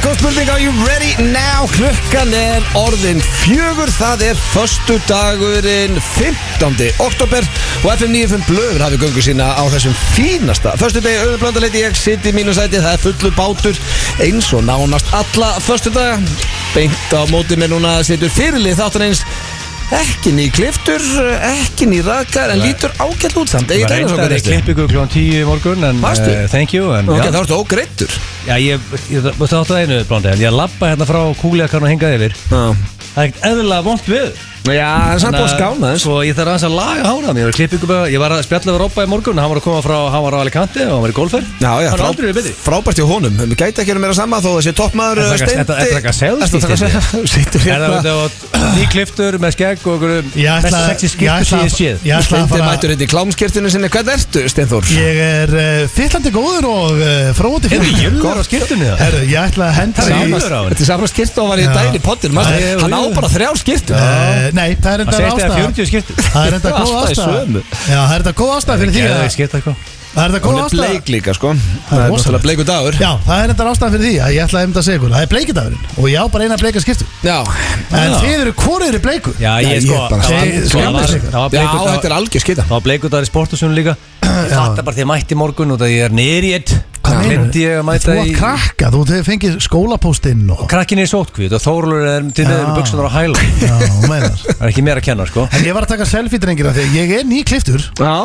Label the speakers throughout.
Speaker 1: you ready now? Klukkan er orðin fjögur Það er förstu dagurinn 15. oktober Og FM 95 blöður hafið göngu sína á þessum fínasta Förstu degi auðvitað blöndaleiti Ég sitt í mínu sæti, það er fullu bátur Eins og nánast alla förstu daga Beint á móti með núna Sittur fyrirlið þáttan eins Ekki ný kliftur, ekki ný rakar En lítur ágætt út samt Egil
Speaker 2: Ég reyndar
Speaker 1: Einarsson, hvernig
Speaker 2: í
Speaker 1: er þetta?
Speaker 2: klippingu klón 10 í morgun en
Speaker 1: Varstu?
Speaker 2: eh, thank you en,
Speaker 1: Ok,
Speaker 2: já,
Speaker 1: þá ertu ógreittur
Speaker 2: já, ég, ég, ég þáttu að einu blóndi en ég lappa hérna frá kúliakarn og hengað yfir
Speaker 1: Já,
Speaker 2: það er ekkert eðlilega vond við
Speaker 1: það er samt búið að skána þess
Speaker 2: Svo sko, ég þarf aðeins að laga hárað mér og klippingu bara, ég var að spjalla við Robba í morgun hann var að koma frá, hann var á Alicante og hann var í golfferð
Speaker 1: Já, já,
Speaker 2: hann
Speaker 1: frá-
Speaker 2: er aldrei verið betri
Speaker 1: frábært hjá honum Við gæti ekki að meira sama þó að sé toppmaður
Speaker 2: Er það ekki- er það- er það ekki að selfie
Speaker 1: Sýttur
Speaker 2: Er það
Speaker 1: hérna
Speaker 2: var ný kliftur með skegg og
Speaker 3: Ég
Speaker 2: einhverju
Speaker 3: ætla
Speaker 2: mest
Speaker 3: að
Speaker 2: sexy skiptur sem ég séð
Speaker 3: Ég ætla að
Speaker 1: Steindi
Speaker 3: fara
Speaker 1: mættur hérna í klámskirtinu sinni Hvernig ertu, Steinþór?
Speaker 3: Ég er uh, fyllandi góður og uh, fróðandi
Speaker 2: Er það
Speaker 3: fyrir
Speaker 2: jölur á skiptunni það?
Speaker 3: Herru, ég ætla að henda
Speaker 2: Það er
Speaker 3: í
Speaker 2: jólur. á henni.
Speaker 1: Þetta er saman skirtu og var í
Speaker 3: Já.
Speaker 1: daginn í pottinum
Speaker 2: Já,
Speaker 1: manstu?
Speaker 2: já,
Speaker 1: Hann á
Speaker 2: já.
Speaker 1: bara þrjá skirtu
Speaker 3: Eh, Nei, það er enda
Speaker 2: Það segist eða
Speaker 3: ástæða
Speaker 2: 40 skiptur
Speaker 3: Það er enda góð
Speaker 1: Alltaf í
Speaker 3: ástæða
Speaker 1: sömu.
Speaker 3: Já, það er enda góð ástæða fyrir því
Speaker 2: Geðveik
Speaker 3: að-
Speaker 2: skipta eitthvað
Speaker 3: Það er enda
Speaker 1: Hún
Speaker 3: góð
Speaker 1: er
Speaker 3: ástæða
Speaker 1: bleik líka, sko Það er
Speaker 3: rosalegt.
Speaker 1: rosalega bleiku dagur
Speaker 3: Já, það er enda ástæða fyrir því að ég ætla að einmitt að segja ykkur Það er bleikidagurinn og ég á bara eina bleika skiptu
Speaker 1: Já,
Speaker 3: En
Speaker 2: Já.
Speaker 3: þið eru, hvort eru bleiku?
Speaker 2: Já,
Speaker 1: Já,
Speaker 2: ég
Speaker 1: ég
Speaker 2: sko
Speaker 1: er bara
Speaker 2: það
Speaker 3: skammaðist
Speaker 2: var- það var-
Speaker 3: ykkur.
Speaker 2: það var
Speaker 1: já
Speaker 2: bleikur-
Speaker 1: þetta er algjör skita
Speaker 2: Það var bleikur dagur í sportasunum líka Ég fatta bara því að ég mætti í morgun og það ég er nýri í eitt
Speaker 3: Hvað meinarðu?
Speaker 2: Myndi ég að
Speaker 3: Þú
Speaker 2: mæta í
Speaker 3: átt krakka, þú hefur fengið skólapóstinn og
Speaker 2: Krakkinni er sótkvít og Þórulur er til neður með
Speaker 3: Já.
Speaker 2: buksunar á hæla
Speaker 3: Já, þú meinar
Speaker 2: Það er ekki mér að kenna sko
Speaker 3: En ég var að taka selfie drengina því að ég er nýkliftur
Speaker 1: Já,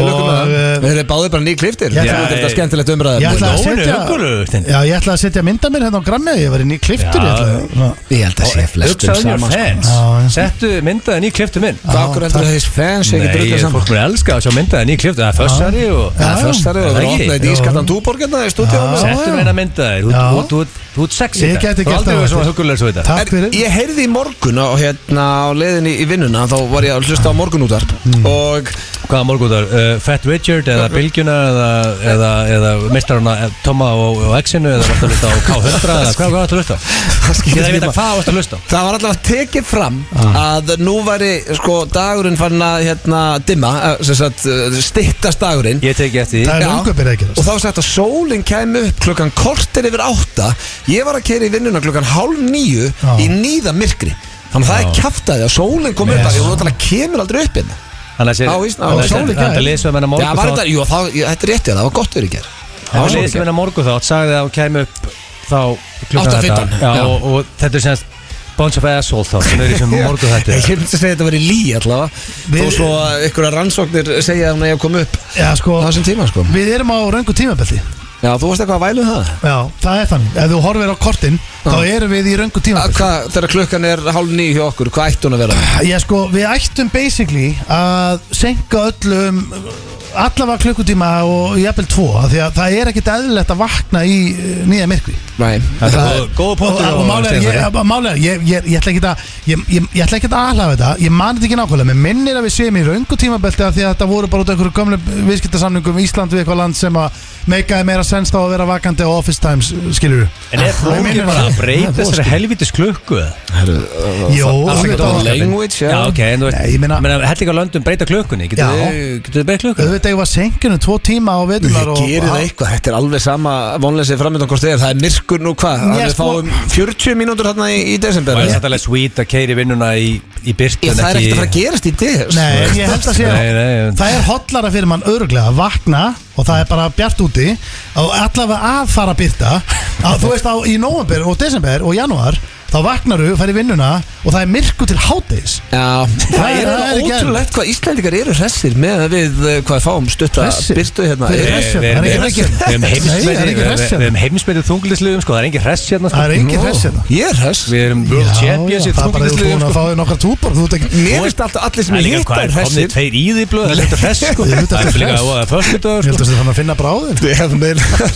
Speaker 3: Og,
Speaker 1: lukkum með það
Speaker 3: eh,
Speaker 1: Við erum báðið bara ný kliftir
Speaker 3: Ég
Speaker 1: Þetta
Speaker 3: ætla-
Speaker 1: er þetta skemmtilegt umræðum
Speaker 3: Ég ætla að
Speaker 2: Lóin er
Speaker 3: setja
Speaker 2: huggulegur, Steindi.
Speaker 3: Já, ég ætla að setja mynda mér hérna á grammi Ég var í nýkliftur
Speaker 2: Já.
Speaker 3: ég ætla að-
Speaker 1: Ég held að sé flestum
Speaker 2: Hugsaðu mér
Speaker 1: saman sko.
Speaker 2: fans
Speaker 3: Já, já.
Speaker 2: Settu myndaðin í kliftu minn
Speaker 1: Hvað okkur heldur þess fans ekki
Speaker 2: Nei,
Speaker 1: drullið saman?
Speaker 2: fólk mér elska að sjá myndaðin í kliftu Það er fössari og
Speaker 1: Það er föstari og
Speaker 2: Það
Speaker 1: við
Speaker 2: er
Speaker 1: erum
Speaker 2: ekki.
Speaker 1: opnaðið í skattan túborgarna hérna í stúdíónu
Speaker 2: Settu mér eina myndaðin
Speaker 3: Já.
Speaker 2: Þú ert sexy
Speaker 3: Ég gæti gert það,
Speaker 2: það Þú er aldrei verið svona
Speaker 3: þetta.
Speaker 2: huggulegur svo í dag
Speaker 3: Takk fyrir
Speaker 1: Ég heyrði í morgun á, hérna, á leiðinni í vinnuna þá var ég að hlusta á morgunútarp
Speaker 3: Hmm.
Speaker 1: og
Speaker 2: Hvaða morgundar? Uh, Fat Richard eða Bilgjuna eða, eða, eða mistaruna Toma og, og Exinu eða vartu að hlusta á K100 eða hvað vartu að hlusta á? Ég þarf að vita hvað vartu að hlusta á
Speaker 1: það var allavega tekið fram
Speaker 3: Ah.
Speaker 1: að nú væri sko dagurinn fann að hérna, dimma, eh, sem sagt eh, styttast dagurinn
Speaker 2: Ég teki eftir
Speaker 3: Það
Speaker 2: því
Speaker 3: er
Speaker 1: Já.
Speaker 3: umgöpir að
Speaker 1: og
Speaker 3: gerast
Speaker 1: þá var sagt að sólinn kæmi upp klukkan kortir yfir átta ég var að keira í vinnuna klukkan hálf nýju
Speaker 3: Já.
Speaker 1: í nýða myrkri þannig að það er kæftæði að sólinn kom
Speaker 3: Ah.
Speaker 1: upp
Speaker 3: Yes.
Speaker 1: af því að hún náttúrulega kemur aldrei upp hérna
Speaker 2: Þannig að
Speaker 1: Á
Speaker 2: sér-
Speaker 1: Ísland-
Speaker 2: þannig að
Speaker 1: á
Speaker 3: Íslandi
Speaker 2: sér- þannig að
Speaker 3: gær.
Speaker 2: lesum hennar
Speaker 1: Já, var
Speaker 2: morgun
Speaker 1: þetta,
Speaker 2: þátt
Speaker 1: jú, þá, ég- þetta er rétt ég, það var gott verið í gerð
Speaker 2: Þannig að lesum hennar morgun þátt sagði að hún kæmi upp þá klukkan
Speaker 1: 8:15,
Speaker 2: þetta
Speaker 1: já.
Speaker 2: Já, og- og þetta er semst Bunch of Asshole þá sem er í sem morgun þetta
Speaker 1: Ég myndi að segja að þetta veri lí allavega Þó
Speaker 3: Við-
Speaker 1: svo að ykkur rannsóknir segja að hún eigi að koma upp
Speaker 3: Já, sko
Speaker 1: á þessum tíma sko
Speaker 3: Við erum á röngu tímabelti
Speaker 1: Já, þú varst eitthvað að vælu um það
Speaker 3: Já, það er þannig Ef þú horfir á kortin Þá erum við í röngu
Speaker 1: Að
Speaker 3: tímabelti
Speaker 1: Hvað, þegar klukkan er hálf nýju hjá okkur, hvað ætti hún að vera?
Speaker 3: Ég sko, við ættum basically að senka öllum allavega klukkutíma og jafnvel tvo af því að það er ekkit eðlilegt að vakna í eh, nýja myrkvi
Speaker 1: Nei,
Speaker 2: Þetta er góð- góð punktur
Speaker 3: og, og málega, ég,
Speaker 2: Stefán.
Speaker 3: að- málega ég, ég, ég ætla ekki að ég, ég, ég ætla ekki að aðhlafa þetta, ég mani þetta ekki nákvæmlega mér minnir að við séum í raungu tímabelti af því að þetta voru bara út af einhverju gömlu viðskiptasamningum Ísland við eitthvað land sem að meikaði meira sens þá að vera vakandi á Office Times skilur
Speaker 2: En er flókið
Speaker 3: minnir-
Speaker 2: bara að breyta
Speaker 3: Það er
Speaker 2: þessari helvitis klukku eða?
Speaker 1: uh,
Speaker 3: Jó,
Speaker 1: þetta var
Speaker 3: auðvitað
Speaker 1: language, já
Speaker 2: Já, ok, en þú
Speaker 3: Nei, ég meina-
Speaker 2: veist Hellinga löndum breyta klukkunni Getur
Speaker 3: Já.
Speaker 2: þið breyta klukkunni?
Speaker 3: auðvitað ég var senkinu tvo tíma á veturnar
Speaker 1: Ég
Speaker 3: og-
Speaker 1: gerir það eitthvað, þetta er alveg sama vonleysið framöndan hvort þegar, það er myrkur nú hvað
Speaker 3: Ég,
Speaker 1: Við
Speaker 3: sko-
Speaker 1: fáum 40 mínútur hérna í, í desember
Speaker 2: Það er
Speaker 1: eða?
Speaker 2: satt alveg sweet að keiri vinnuna í, í byrtu
Speaker 1: Ég, Það er ekkert að fara að gerast í des
Speaker 3: Nei, en ég held að segja
Speaker 2: Nei, nei, en-
Speaker 3: Það er hotlara fyrir mann öruglega að vakna og það er bara bjart úti og allavega að fara að byrta að þú veist á í november og desember og janúar þá vaknaru, færi vinnuna og það er myrku til hátdeis
Speaker 1: Já, það
Speaker 3: er-
Speaker 1: er
Speaker 3: það er ekki
Speaker 1: ótrúlegt hvað Íslendingar eru hressir með að við eh, hvað fáum stutta
Speaker 3: Hressir?
Speaker 1: byrtu hérna
Speaker 3: Þeir
Speaker 1: Ég-
Speaker 3: eru- Það
Speaker 2: Við
Speaker 3: er engin hress hérna.
Speaker 2: hefum
Speaker 3: Nei, það er
Speaker 2: heimsmeiti
Speaker 3: engin
Speaker 2: Við
Speaker 3: hress hérna.
Speaker 2: við hefum heimsmeiti þunglisliðum sko, það er engin hress hérna sko.
Speaker 3: Það er engin
Speaker 2: Nú.
Speaker 3: hress hérna.
Speaker 1: Ég er hress
Speaker 2: Við erum world champions
Speaker 3: það
Speaker 2: í
Speaker 3: er bara þú
Speaker 2: þunglisliðum
Speaker 3: búin að
Speaker 2: sko.
Speaker 3: fá þér nokkra túbor þú ert ekki
Speaker 1: Mér finnst alltaf allir sem
Speaker 2: Það er
Speaker 1: ég
Speaker 2: líka
Speaker 1: hitta
Speaker 2: hvað
Speaker 1: er
Speaker 2: er komnið
Speaker 1: hressir
Speaker 2: tveir í því blöð Það er lítið hress sko.
Speaker 3: Auðvitað
Speaker 2: Það
Speaker 3: ertu
Speaker 2: er líka
Speaker 3: hress.
Speaker 2: að fyrstu
Speaker 3: Ég held
Speaker 2: dag
Speaker 3: að það er að finna bráðin
Speaker 1: Ég hef meira-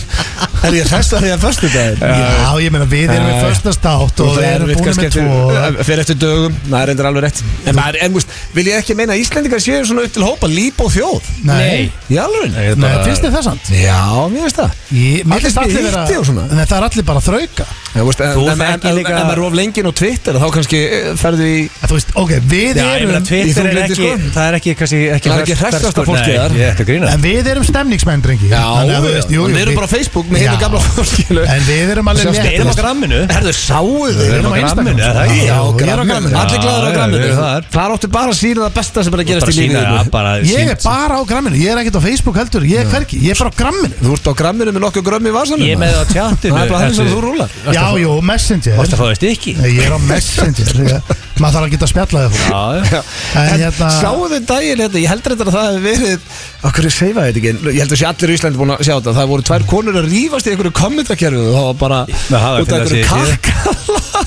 Speaker 1: Er ég hress að því að förstu dagir?
Speaker 3: Já, ég meina við erum í
Speaker 2: Já.
Speaker 3: förstast átt og
Speaker 1: Þú
Speaker 3: við erum
Speaker 1: erfitt
Speaker 3: búin
Speaker 1: kannski
Speaker 3: með
Speaker 1: eftir,
Speaker 3: tvo
Speaker 1: eh, Fer eftir dögum, það er endur alveg rétt En maður, en múst, vil ég ekki meina að Íslendingar séu svona upp til hópa líp og þjóð
Speaker 3: Nei,
Speaker 1: Í alveg?
Speaker 2: Ég er
Speaker 3: nei,
Speaker 2: bara-
Speaker 3: finnst þið það samt?
Speaker 1: Já, mér veist það
Speaker 3: Ég- mér
Speaker 1: Allir
Speaker 3: finnst
Speaker 1: spila
Speaker 3: vera-
Speaker 1: hitti og svona.
Speaker 3: Nei, það er allir bara að þrauka
Speaker 1: Já, veist, en,
Speaker 2: Þú
Speaker 1: en, en, en,
Speaker 2: þekkir
Speaker 1: en,
Speaker 2: líka-
Speaker 1: maður rof lengin á Twitter þá kannski eh, ferðu í
Speaker 3: En Þú veist, ok, við
Speaker 2: Já, ég meina
Speaker 3: erum
Speaker 2: Twitter er
Speaker 1: þunglyndi,
Speaker 2: ekki,
Speaker 1: sko.
Speaker 2: það er ekki, kannski, ekki
Speaker 1: Það er ekki
Speaker 2: hresst-
Speaker 1: hressasta
Speaker 2: ferskur-
Speaker 1: fólkið þar.
Speaker 2: Nei, ég er ekki að grína
Speaker 3: En við erum stemningsmenn, drengi Þannig að þú veist, jú, jú,
Speaker 1: Við erum
Speaker 3: við-
Speaker 1: bara á Facebook með hinn
Speaker 3: Já.
Speaker 1: gamla fólkilu
Speaker 3: En við erum alveg
Speaker 1: Sjást,
Speaker 3: létt-
Speaker 2: Við erum á gramminu
Speaker 1: Herðu, sáu
Speaker 2: Við
Speaker 1: þið
Speaker 2: erum á gramminu, er það ekki?
Speaker 1: Já,
Speaker 3: Já, ég er á
Speaker 1: gramminu
Speaker 3: gramminu.
Speaker 1: Allir glæður á
Speaker 2: Já,
Speaker 1: gramminu
Speaker 2: við erum þar.
Speaker 1: Þar áttu bara að sína það besta sem er að
Speaker 2: Bara
Speaker 1: gerast í
Speaker 2: sína,
Speaker 1: lífið
Speaker 2: bara
Speaker 3: Ég
Speaker 2: sín-
Speaker 3: er bara á gramminu, ég er ekkert á Facebook heldur Ég er hverki, ég er bara á gramminu
Speaker 1: Þú ert á gramminu með nokkuð grömmi í vasanum
Speaker 2: Ég er með það á tjattinu
Speaker 1: Það er bara þannig sem þú rúlar
Speaker 3: Já, jú, Messenger
Speaker 2: Varst að fá veist ekki?
Speaker 3: Nei, Ég er á Messenger ég- Maður þarf að geta að spjalla þér fólk.
Speaker 2: Já, já
Speaker 3: En
Speaker 1: En
Speaker 3: hérna-
Speaker 1: Sáu þið daginn hérna, ég heldur þetta að það hefur verið Okkur er seifa þetta ekki, en ég heldur þessi allir í Íslandi búin að sjá þetta Það voru tvær konur að rífast í einhverju kommentarkerfi og það var bara
Speaker 2: það var
Speaker 1: út af
Speaker 2: fyrir
Speaker 1: einhverju
Speaker 2: að sé
Speaker 1: kakka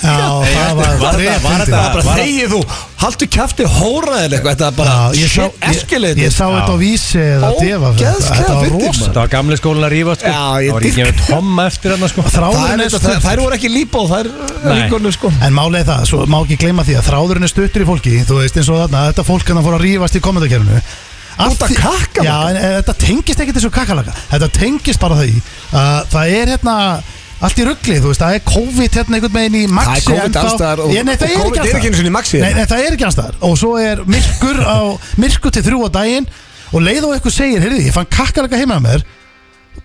Speaker 3: Já, það var
Speaker 2: Var þetta- var
Speaker 3: þrefindi.
Speaker 2: þetta-
Speaker 1: Það var bara
Speaker 2: Var-
Speaker 1: þegið þú, haldu kæfti hóraðið eitthvað Þetta er bara,
Speaker 3: Já, ég sá-
Speaker 1: shit,
Speaker 3: Ég
Speaker 1: eskilit
Speaker 3: ég sá þetta á vísi eða deva
Speaker 1: Ógeðslega
Speaker 3: Þetta var
Speaker 1: fyndið,
Speaker 3: rosa
Speaker 1: maður.
Speaker 2: Það var gamle skólan að rífast sko.
Speaker 1: Já, ég
Speaker 2: Það var ekki
Speaker 1: dýrka-
Speaker 2: gefið tomma eftir hann sko.
Speaker 1: Það er
Speaker 3: Þráðurinn er
Speaker 1: þetta, þær-
Speaker 3: stuttur
Speaker 1: þær voru ekki lípa og þær
Speaker 2: Nei.
Speaker 1: líkonur sko
Speaker 3: En málið er það, svo má ekki gleyma því að þráðurinn er stuttur í fólki Þú veist eins og þarna, þetta fólk hann fór að rífast í kommentarkerfinu
Speaker 1: Út af
Speaker 3: Allt í-
Speaker 1: kakkalaka?
Speaker 3: Já, en eh, þetta tengist ekkert þessu kakalaka Þetta tengist bara því að það er hérna Allt í ruggli, þú veist, það er COVID hérna einhvern veginn í
Speaker 1: Það
Speaker 3: maxi
Speaker 1: er COVID
Speaker 3: ennþá.
Speaker 1: allstaðar
Speaker 3: Ég- Nei, það er ekki
Speaker 1: COVID er ekki einu
Speaker 3: allstaðar
Speaker 1: sinni í maxi
Speaker 3: Nei, nei, það er ekki hans þar Og svo er myrkur, á, myrkur til þrjú á daginn Og leið og eitthvað segir, heyrði, ég fann kakalaka heima með mér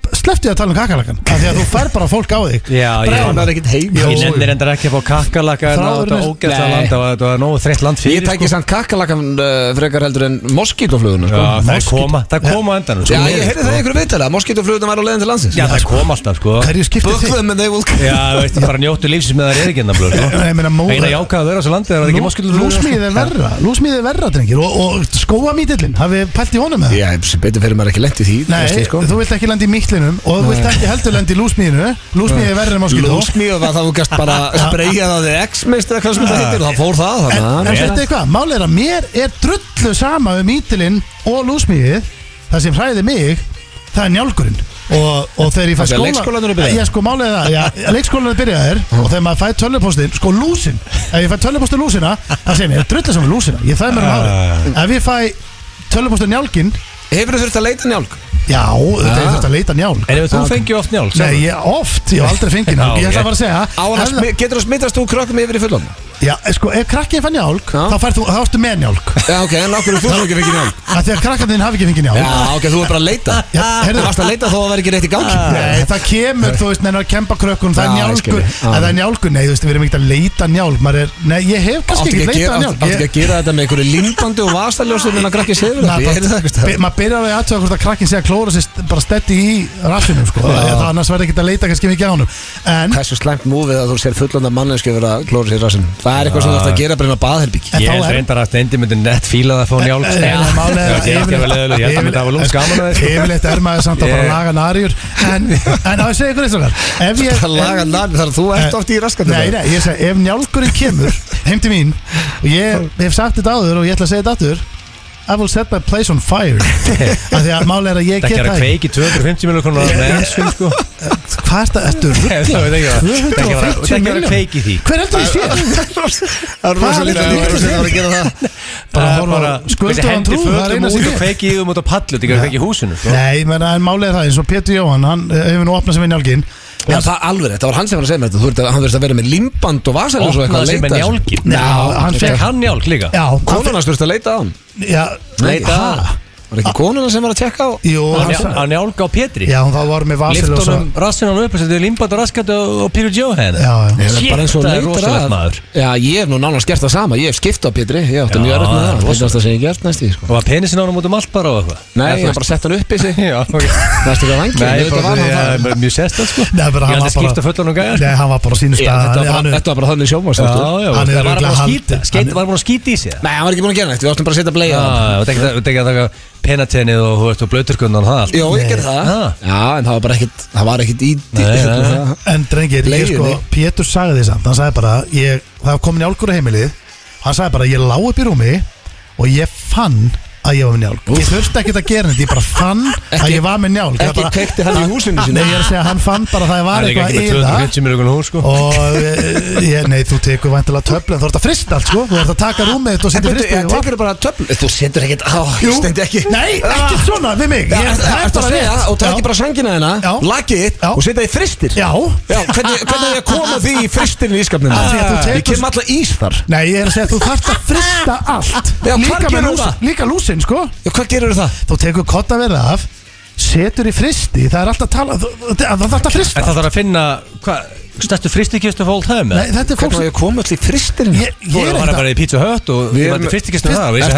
Speaker 3: Sleppti að tala um kakalakan Af því að þú fær bara fólk á þig
Speaker 2: Já,
Speaker 1: Nei,
Speaker 2: ég
Speaker 1: hann er ekkert heim
Speaker 2: Ég nefnir endar ekki að fá kakkalaka en Það
Speaker 3: Þráðurinn
Speaker 2: var
Speaker 3: er-
Speaker 2: ógæðslega
Speaker 1: Nei.
Speaker 2: land Það var- þetta var nógu þreytt land
Speaker 1: Ég
Speaker 2: fyrir
Speaker 1: tæki
Speaker 2: sko.
Speaker 1: samt kakkalakan uh, frekar heldur en moskítoflugunar sko.
Speaker 2: Já, Það
Speaker 3: Moskít-
Speaker 2: koma Það koma á endanum sko.
Speaker 1: Já, ég heyrði það í einhverju viðtala Moskítoflugunar var á leiðin til landsins
Speaker 2: Já, það kom alltaf sko
Speaker 3: Hverju skiptir þig?
Speaker 1: Bökðum en þeir voru
Speaker 2: Já, þú veist, bara njóttu lífsins með það er ekki sko. ennablu
Speaker 3: Nei, ég meina, móða-
Speaker 2: Eina jákað að vera á þessu landi Það er ekki moskildur
Speaker 3: Lúsmíðið er verra, lúsmíðið er verra drengir og, og skóamítillin, hafið þið pælt í honum með það?
Speaker 1: Já, sem betur fyrir maður ekki lent í því
Speaker 3: Nei,
Speaker 1: veist ég, sko.
Speaker 3: þú vilt ekki landa í miklinum og þú vilt ekki heldur landa í lúsmíðinu Lúsmíðið er verra en moskító
Speaker 1: Lúsmíð var það þú gæst bara spreyja það þig X-meist eða hvað sem það heitir og það fór það
Speaker 3: En, en
Speaker 1: þannig að-
Speaker 3: þetta er hvað, málið er að mér er drullu sama um mítilinn og lúsmíðið Það sem hræði mig, það er njálgurinn Og, og þegar ég fæ
Speaker 1: Það er
Speaker 3: skóla
Speaker 1: leikskólanum er byrjaður.
Speaker 3: Já, sko, málið er það, já, leikskólan er byrjaðir Og þegar maður fæ tölvupóstin, sko lúsin Ef ég fæ tölvupóstin lúsina, það segir mér, ég er drullu sama um lúsina Ég það er mér um
Speaker 1: Ah.
Speaker 3: árið Ef ég fæ tölvupóstin njálginn
Speaker 1: Hefur þú þurft að leita njálg? Ah.
Speaker 3: Já, þetta er þetta að leita njálg
Speaker 2: En ef þú fengið oft njálg
Speaker 3: Nei, ég oft, ég hef aldrei fengið njálg Ég ætla bara að segja ef það-
Speaker 1: Getur þú smittast úr krökkum yfir í fullon?
Speaker 3: Já, sko, ef krakkin fann njálg
Speaker 1: Já.
Speaker 3: Þá færð þú, þá ertu með njálg
Speaker 1: Já, ok, en okkur þú ekki fengið njálg
Speaker 3: Af Því að krakkan þinn hafi ekki fengið njálg
Speaker 1: Já, ok, þú er bara að leita
Speaker 3: Já,
Speaker 1: Þú
Speaker 3: heyrðu-
Speaker 1: varst að leita þó að það væri ekki rétt í gangi
Speaker 3: Nei, það kemur, þú veist, neina að kempa krökkun Það er
Speaker 1: Ah. Já, ég skil
Speaker 3: njálgur,
Speaker 1: þig. Ah. Já.
Speaker 3: að það er njálgur Nei, þú veist, við erum ekkert að leita njálg maður er, Nei, ég hef kannski
Speaker 1: Áttu
Speaker 3: ekkert leitað að
Speaker 1: ekki, að gera-
Speaker 3: njálg
Speaker 1: áttu ekki
Speaker 3: Ég-
Speaker 1: að gera þetta með einhverju lindandi og vasaljósum en að krakki séður þetta, ég heyrði það eitthvað
Speaker 3: Be-
Speaker 1: stað
Speaker 3: Maður byrjar alveg aðtöða hvort að krakkin sé að klóra sér st- bara stetti í rassinu sko. Það annars verður ekkert að leita kannski mikið á honum En
Speaker 1: Hversu slæmt múfið að þú sér fullanda mannesku verið að klóra sér í rassin Það er eitthvað sem þú ætti að gera bara inn á baðherbygg
Speaker 3: En
Speaker 2: Ég
Speaker 3: þá
Speaker 2: held
Speaker 3: er- Eh,
Speaker 2: reyndar að Steindi myndi nett fíla það að fá njálg
Speaker 3: En- en málið er-
Speaker 2: Ég held ekki að vera leðileg, ég held að
Speaker 3: eh,
Speaker 2: myndi hafa lúms gaman að því
Speaker 3: Yfirleitt er maður samt að fara að
Speaker 2: Ég-
Speaker 3: laga narjur En, en á ég segja ykkur eitt okkar Ef ég
Speaker 1: Það laga
Speaker 3: en-
Speaker 1: nafn, þar að þú ert oft í raskandi
Speaker 3: Nei, nei, ég segi, ef njálkurinn kemur heim til mín og ég hef sagt þetta áður og ég ætla að segja þetta áður I will set my place on fire af því að máli er að ég
Speaker 2: Það
Speaker 3: get
Speaker 2: gera
Speaker 3: það ekki.
Speaker 2: kveiki 250 miljónu konar með ennsum sko Það
Speaker 3: Hvað er þetta, ertu ruggla?
Speaker 2: er ekki að- það er ekki að fara- það er
Speaker 3: 250
Speaker 2: ekki að vera
Speaker 3: milljón
Speaker 2: kveiki í því
Speaker 3: Hver heldur ég sé?
Speaker 1: Það er
Speaker 3: rosa
Speaker 1: rosa
Speaker 3: lítið
Speaker 1: lítið
Speaker 3: líkur sem
Speaker 1: að gera það
Speaker 3: Bara
Speaker 2: Það er
Speaker 3: horfa á skuldu
Speaker 2: Viltu
Speaker 3: á hann
Speaker 2: hendi
Speaker 3: trú, það er
Speaker 2: fötum
Speaker 3: eina sem
Speaker 2: út
Speaker 3: ég
Speaker 2: og kveiki í þum út á pallu Það er ekki að kveiki í húsinu sko
Speaker 3: Nei, menna, en máli er það eins og Pétur Jóhann, hann eh, hefur nú opnað sem við njálginn
Speaker 1: Já, það alveg, þetta var hann sem var að segja mér þetta Þú ert að, hann verðist að vera með limband og vasaljós og eitthvað
Speaker 2: Opnaði
Speaker 1: að
Speaker 2: sig með
Speaker 1: leita að þessu.
Speaker 2: njálgin
Speaker 3: Já, hann
Speaker 2: Fekk
Speaker 3: fekk
Speaker 2: hann njálg líka
Speaker 3: Já, hann
Speaker 1: Konan hans þurfti að leita á hann
Speaker 3: fekk- Já,
Speaker 1: Nei,
Speaker 2: Leita að-
Speaker 1: ha? Var ekki konan sem var að tjekka á
Speaker 3: Ah. Jú,
Speaker 2: Hann
Speaker 3: hann
Speaker 2: njál-
Speaker 3: sagði
Speaker 2: hann njálg á Pétri
Speaker 3: Já, hún þá var með vasiljósa
Speaker 2: Liftunum rassinum upp Þetta er limbat og raskat og og Peter hérna.
Speaker 3: Já,
Speaker 2: Johan
Speaker 3: já.
Speaker 1: Ég er
Speaker 2: Shit,
Speaker 1: bara eins og
Speaker 2: það er
Speaker 1: leitar
Speaker 2: rosalegt
Speaker 1: að-
Speaker 2: maður
Speaker 1: Já, ég hef nú nánast gert það sama Ég hef skipt á Pétri, ég átti
Speaker 2: Já,
Speaker 1: mjög erfitt með
Speaker 2: það er
Speaker 1: það Það
Speaker 2: rosalegt.
Speaker 1: er það sem ég hef gert næst í sko.
Speaker 2: Og var penisin á hann út um allt bara og eitthvað
Speaker 1: Nei,
Speaker 2: Eða
Speaker 1: ég
Speaker 2: þú
Speaker 1: hef bara sett hann upp í sig
Speaker 2: veist- Já, ok
Speaker 1: Næstu hvað vangi,
Speaker 2: Nei,
Speaker 1: ég veit að var hann það
Speaker 2: bara- mjög sérstæð sko
Speaker 3: Nei, bara hann
Speaker 2: Ég
Speaker 3: var
Speaker 2: held að
Speaker 3: bara-
Speaker 2: skipta fullan og gæðar
Speaker 3: Nei, hann var bara á sínu
Speaker 1: Ég-
Speaker 3: stað hann-
Speaker 1: Þetta var bara-
Speaker 3: hann-
Speaker 1: þetta var bara þannig sjóma
Speaker 2: já,
Speaker 3: Hann er
Speaker 2: það var bara
Speaker 3: örugglega
Speaker 2: að
Speaker 3: hald-
Speaker 2: skýta Skeit
Speaker 3: hann-
Speaker 2: var bara að skýta í sig
Speaker 1: Nei, hann var ekki búin að gera nægt, við áttum bara að setja
Speaker 2: Já,
Speaker 1: að bleið
Speaker 2: þetta er ekki- þetta er ekki að taka penatennið og þú veist og blauturkundan og það allt
Speaker 1: Jó, ég gerði það
Speaker 2: Ah.
Speaker 1: Já, en það var bara ekkert, það var ekkert í sko.
Speaker 2: Nei, nei, nei.
Speaker 3: En drengir, ég sko,
Speaker 1: Leiðinni.
Speaker 3: Pétur sagði því samt Hann sagði bara, ég, það kom njálgur á heimilið Hann sagði bara, ég lá upp í rúmi Og ég fann að ég var með njálg Ég þurfti ekkert að gera þetta, ég bara fann að ég var með njálg
Speaker 1: ekki kveikti hann í húsinu sínu?
Speaker 3: Nei, ég er að segja að hann fann bara að það
Speaker 2: Það
Speaker 3: var
Speaker 2: er líka
Speaker 3: eitthvað
Speaker 2: ekki
Speaker 3: að
Speaker 2: með
Speaker 3: yða
Speaker 2: 250 miljonar hús sko
Speaker 3: Og eh, ég, nei, þú tekur væntilega töflun Þú ert að frista allt, sko Þú ert að taka rúmið þitt og
Speaker 1: En
Speaker 3: setja
Speaker 1: byrju,
Speaker 3: frista
Speaker 1: ég tekur bara töfl Þú setur ekkert á,
Speaker 3: Jú.
Speaker 1: stendi ekki
Speaker 3: Nei, ekki svona við mig
Speaker 1: Já,
Speaker 3: Ég
Speaker 1: er-
Speaker 3: það er
Speaker 1: Ertu að
Speaker 3: bara
Speaker 1: segja
Speaker 3: rétt.
Speaker 1: og
Speaker 3: Já.
Speaker 1: taki bara sængina
Speaker 3: Já.
Speaker 1: þina Lakið þitt
Speaker 3: Já.
Speaker 1: og setja í fristir
Speaker 3: Já
Speaker 1: Já, hvernig, hvernig er ég að koma því í fristirinn í ískapninu?
Speaker 3: Af því að þú tekur-
Speaker 1: Ég kem alltaf ís þar
Speaker 3: Nei, ég er að segja að þú þarft að frista allt
Speaker 1: Já, hvar
Speaker 3: Líka með
Speaker 1: gerum
Speaker 3: lúsin-
Speaker 1: það?
Speaker 3: Líka lúsin, sko
Speaker 1: Já, hvað gerur það?
Speaker 3: Þú tekur kottaverða af Setur í fristi, það er alltaf tala þú- þú- Það þarf að frista
Speaker 2: En það þarf að finna hvað, stærstu fristikistu fólk hefum
Speaker 3: Nei, þetta er fólk
Speaker 1: Hvernig á
Speaker 3: sem
Speaker 1: ég að koma alltaf í fristirinn?
Speaker 3: Ég,
Speaker 2: Þú
Speaker 3: ég er
Speaker 2: erum bara
Speaker 3: ekkert að
Speaker 2: bara í Pizza Hut og þú mætti fristikistu það
Speaker 1: Erst þú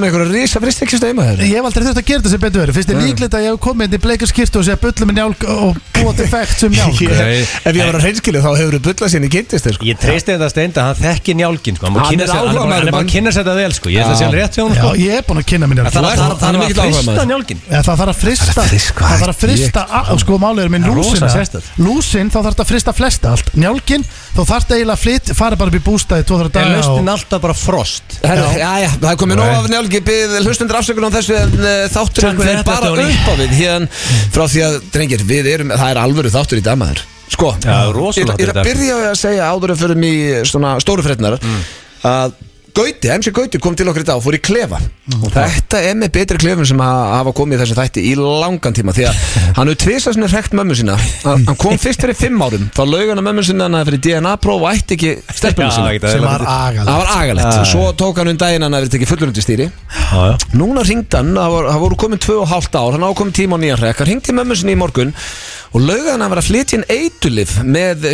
Speaker 1: með einhverja risa fristikist heima þér?
Speaker 3: Ég hef aldrei þurft að gera þetta sem betur verið Fyrst er líklegt að ég hef komið inn í bleika skýrtu og segja bullu með njálg og búa til fækt sem njálg
Speaker 2: Ég- Nei.
Speaker 1: Ef ég var að reynskilu þá hefur þú bullað sín í kynntist þér sko
Speaker 2: Ég treysti þetta steind að hann þekki njálgin sko. hann,
Speaker 1: Hann
Speaker 2: hann,
Speaker 1: er
Speaker 2: sér, hann, er bara- hann er bara
Speaker 1: áhugamaður,
Speaker 2: að kynna sér þetta vel sko. Ég ætla að sé hann rétt hjá hann
Speaker 3: Já,
Speaker 2: sko.
Speaker 3: ég er búin að kynna mér
Speaker 2: En
Speaker 3: njálg
Speaker 2: Það
Speaker 1: ert-
Speaker 2: þarf-
Speaker 1: hann er
Speaker 2: þarf að
Speaker 1: mikill
Speaker 2: frista
Speaker 1: áhugamaður.
Speaker 2: njálgin
Speaker 3: Já, það þarf að frista
Speaker 1: Það er frist- hvað
Speaker 3: Það þarf að
Speaker 1: er
Speaker 3: frista all, Sko málið er minn
Speaker 2: Það er rosa
Speaker 3: lúsina
Speaker 2: sérstakt.
Speaker 3: Lúsin þá þarf það að frista flesta allt Njálgin þá þarf það eiginlega að flyt Fara bara upp í bústæði tvo þarf
Speaker 2: Er
Speaker 3: daga
Speaker 2: lausnin
Speaker 3: og
Speaker 2: alltaf bara frost
Speaker 1: Herru, já, já, það er komið nóg
Speaker 2: Nei.
Speaker 1: af njálgi Bið hlustundur afsökunum þessu en uh,
Speaker 2: Takk
Speaker 1: þátturinn
Speaker 2: fyrir
Speaker 1: fer
Speaker 2: þetta,
Speaker 1: bara
Speaker 2: Tony.
Speaker 1: upp á við hérna frá því að, drengir, við erum það er alvöru þáttur í damaður Sko,
Speaker 2: Já, rosalega þáttur í
Speaker 1: ég er að
Speaker 2: dag.
Speaker 1: byrja á að segja áður en fyrir mig svona stóru frednar
Speaker 2: Mm.
Speaker 1: að Gauti, MC Gauti kom til okkur í dag og fór í klefa
Speaker 2: Mm.
Speaker 1: og þetta er með betri klefum sem að hafa komið í þessum þætti í langan tíma því að hann hefur tvisað svona hrekt mömmu sína hann hann kom fyrst fyrir fimm árum þá laug hann að mömmu sína hann að fyrir DNA próf og ætti ekki stelpunum sína
Speaker 3: Sem var agalegt
Speaker 1: Það var agalegt,
Speaker 2: Já, já.
Speaker 1: svo tók hann um daginn hann að verið tekið fullur undir stýri
Speaker 2: agalegt
Speaker 1: Núna ringd hann, það voru, það voru komin tvö og hálft ár, hann ákomin tíma á nýjan hrekk Hann ringdi mömmu sinni í morgun og laugði hann að vera að flytja inn eitulif með